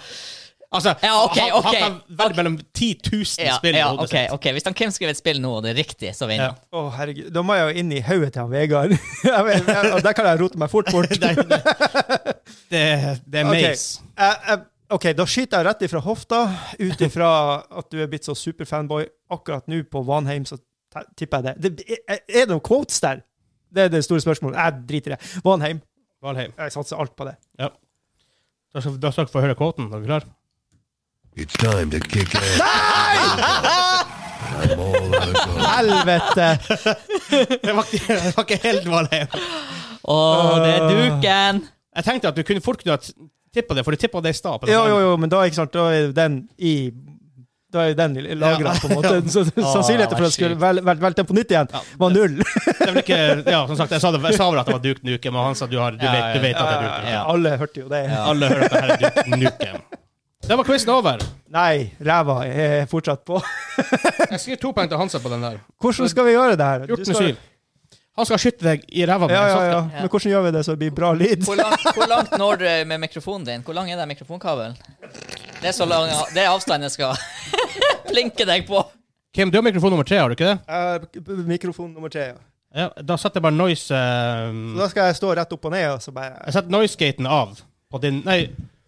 Speaker 1: Altså,
Speaker 3: Ja, ok,
Speaker 1: han,
Speaker 3: ok.
Speaker 1: han kan velge mellom 10 000
Speaker 3: Ja,
Speaker 1: spill i
Speaker 3: ja,
Speaker 1: hodet
Speaker 3: ok, ok. Hvis han Kim skriver et spill nå, og det er riktig, så vinner han.
Speaker 2: Å, herregud. Da må jeg jo inn i hodet til han Vegard. Jeg vet- jeg- og Der kan jeg rote meg fort bort.
Speaker 1: sitt. Det, det er
Speaker 2: Ok.
Speaker 1: maze.
Speaker 2: Jeg- jeg- OK, da skyter jeg rett ifra hofta. Ut ifra at du er blitt så superfanboy akkurat nå på Vanheim, så te- tipper jeg det. det er, er det noen quotes der? Det er det store spørsmålet. Jeg driter i det. Vanheim.
Speaker 1: Valheim.
Speaker 2: Jeg satser alt på det.
Speaker 1: Ja. Da skal da skal dere få høre kvoten. Er dere klare?
Speaker 17: It's time to kick ass. I'm all out of
Speaker 2: Helvete!
Speaker 1: Det var ikke, det var ikke helt Valheim.
Speaker 3: Å, det er duken!
Speaker 1: Jeg tenkte at du kunne fort kunne ha tippa det, for du tippa det i stad. på den
Speaker 2: Jo, jo,
Speaker 1: skjermen.
Speaker 2: jo, men da, ikke sant, da er den i da er den
Speaker 1: Ja.
Speaker 2: lagra,
Speaker 1: Ah,
Speaker 2: på en måte. Så
Speaker 1: Å,
Speaker 2: sannsynligheten for
Speaker 1: vær
Speaker 2: at jeg skulle vel- vel- velte den på nytt igjen, var null.
Speaker 1: Det er vel ikke, ja, som sagt, jeg sa, det, jeg sa vel at det var dukt nuke, men han sa du, har, du, vet, du vet at det er dukt nuke.
Speaker 2: Alle hørte jo det.
Speaker 1: Alle hører at det her er dukt nuke. Da var quizen over.
Speaker 2: Nei, ræva er fortsatt på.
Speaker 1: Jeg skriver to poeng til Hansa på den der.
Speaker 2: Hvordan skal vi gjøre det her? Du
Speaker 1: 14
Speaker 2: skal-
Speaker 1: 7. Han skal skyte deg i ræva med
Speaker 2: Ja, ja, ja.
Speaker 1: en
Speaker 2: Men hvordan gjør vi det så det blir bra lyd?
Speaker 3: Hvor langt, hvor langt når du med mikrofonen din? Hvor lang er den mikrofonkabelen? Det er så lang Det er avstanden jeg skal plinke deg på.
Speaker 1: Kim, du har mikrofon nummer tre, har du ikke det?
Speaker 2: Eh, b- b- Mikrofon nummer tre, ja.
Speaker 1: Ja, da setter jeg bare noise eh,
Speaker 2: Så da skal jeg stå rett opp og ned, og så bare
Speaker 1: Jeg setter noise-gaten av på din Nei,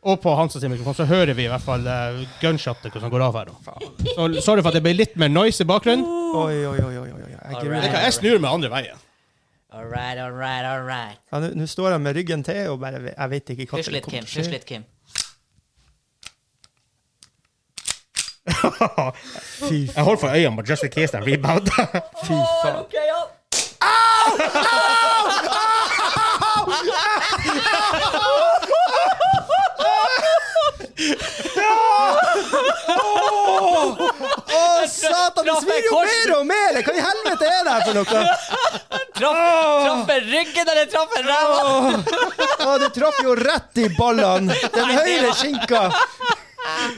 Speaker 1: og på Hansa sin mikrofon, så hører vi i hvert fall uh, gunshotet hvordan går av her. da. Så sorry for at det ble litt mer noise i bakgrunnen.
Speaker 2: Oi, oi, oi, oi, oi. oi. Jeg
Speaker 1: Det
Speaker 2: gruer meg.
Speaker 1: kan- Jeg snur meg andre veien.
Speaker 3: All right, all right, all right.
Speaker 2: Ja, Nå nå står jeg med ryggen til, og bare Jeg vet ikke hva
Speaker 3: Hysj
Speaker 2: som
Speaker 3: litt,
Speaker 2: kommer til
Speaker 3: Kim.
Speaker 2: å
Speaker 3: Hysj
Speaker 2: skje.
Speaker 3: litt, Kim.
Speaker 2: Fy
Speaker 1: Jeg holder for øynene, but just in case den rebounder.
Speaker 2: Fy faen.
Speaker 3: Okay, ja.
Speaker 2: Å, satan! Det svir jo mer og mer! Hva i helvete er det her for noe?
Speaker 3: Traff, traff jeg ryggen, eller traff jeg ræva?
Speaker 2: Å, det traff jo rett i ballene! Den høyre skinka!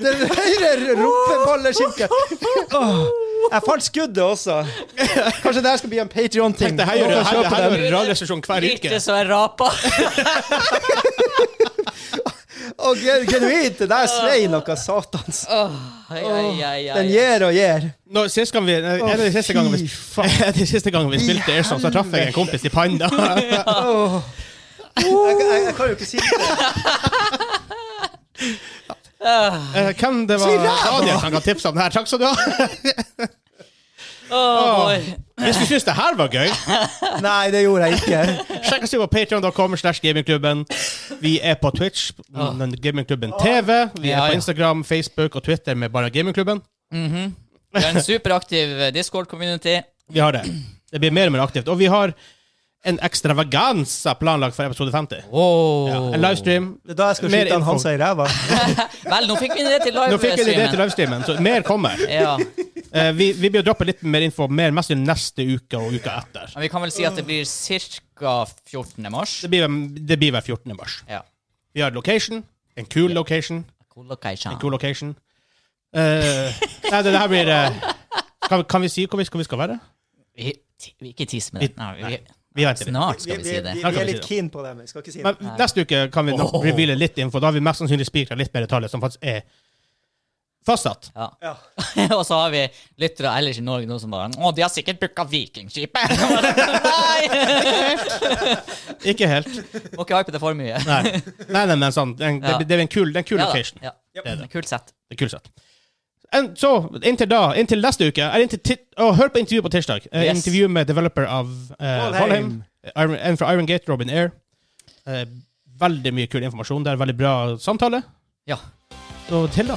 Speaker 2: Den høyre rumpeballeskinka! Åh, Jeg fant skuddet også. Kanskje det her skal bli en Patrion-ting.
Speaker 1: Det her gjør
Speaker 2: Kan kjøpe den.
Speaker 1: en radiostasjon hver
Speaker 3: Gikk
Speaker 1: uke.
Speaker 3: det så jeg rapa?
Speaker 2: Å, gen- genuint! Det der svei noe satans.
Speaker 3: Ai, ai, ai,
Speaker 2: Den
Speaker 3: ai.
Speaker 2: gjer og gjer.
Speaker 1: Nå, sist gang vi, nei, en av de siste gangene vi, en av de siste gangen vi spilte Airsoft, så traff jeg en kompis i panna.
Speaker 2: Åh. Jeg, jeg, jeg kan jo ikke si det.
Speaker 1: Eh, Hvem det var?
Speaker 2: Si ræva!
Speaker 1: Daniel som ga tips om det her. Takk skal du ha.
Speaker 3: Oh, boy.
Speaker 1: Hvis du syns det her var gøy,
Speaker 2: Nei, det gjorde jeg ikke.
Speaker 1: Sjekk oss ut på patreon.com slash gamingklubben. Vi er på Twitch, den gamingklubben TV. Vi er
Speaker 3: Ah. Ja, ja.
Speaker 1: på Instagram, Facebook og Twitter med bare gamingklubben.
Speaker 3: Mhm. Vi har en superaktiv eh, Discord-community.
Speaker 1: Vi har det. Det blir mer og mer aktivt. Og vi har en ekstravaganza planlagt for episode 50.
Speaker 3: Wow.
Speaker 1: Ja, en livestream.
Speaker 2: Det er da jeg skal
Speaker 1: Mer
Speaker 2: skyte han
Speaker 1: info.
Speaker 2: Hansa i ræva.
Speaker 3: Vel, nå fikk vi en idé til
Speaker 1: Nå fikk jeg en idé til
Speaker 3: livestreamen.
Speaker 1: livestreamen, så mer kommer.
Speaker 3: Ja.
Speaker 1: Eh, vi, vi blir å droppe litt mer info, mer mest i neste uke og uka etter.
Speaker 3: Men vi kan vel si at det blir ca. 14. mars.
Speaker 1: Det blir, det blir vel 14. mars.
Speaker 3: Ja.
Speaker 1: Vi har location. En cool location.
Speaker 3: Cool location.
Speaker 1: En cool location. Eh, nei, det, det her blir eh, kan, kan vi si hvor vi skal, hvor vi skal være?
Speaker 3: Vi, vi ikke tiss med det.
Speaker 1: Vi-
Speaker 3: Nei, vi,
Speaker 1: Vi venter litt.
Speaker 3: snart skal
Speaker 2: Vi,
Speaker 3: vi
Speaker 2: vi,
Speaker 3: si det.
Speaker 2: vi,
Speaker 1: Her kan
Speaker 2: vi er
Speaker 1: vi si
Speaker 2: litt
Speaker 1: det.
Speaker 2: keen på det, men vi skal ikke si det.
Speaker 1: Men neste uke kan vi nok
Speaker 3: Åh.
Speaker 1: reveale litt info. Da har vi mest sannsynlig spikra litt mer detaljer som faktisk er Fastsatt.
Speaker 3: Ja. og så har vi lyttere ellers i Norge nå som bare Å, de har sikkert booka Vikingskipet! Nei!
Speaker 1: Ikke helt.
Speaker 3: Må ikke hype det for mye.
Speaker 1: Nei, nei, nei men sånn, den,
Speaker 3: Ja.
Speaker 1: det, det er en kul, det er en kul
Speaker 3: Ja da,
Speaker 1: location.
Speaker 3: ja.
Speaker 1: Det er det.
Speaker 3: Kult sett.
Speaker 1: Det er kult sett. En, så, inntil da, inntil neste uke eller inntil, ti- å, Hør på intervjuet på tirsdag. Eh,
Speaker 3: Yes.
Speaker 1: Intervju med developer av eh,
Speaker 2: Valheim.
Speaker 1: Valheim. Iron- En fra Iron Gate, Robin Air. Eh, veldig mye kul informasjon der. Veldig bra samtale.
Speaker 3: Ja.
Speaker 1: Så til da.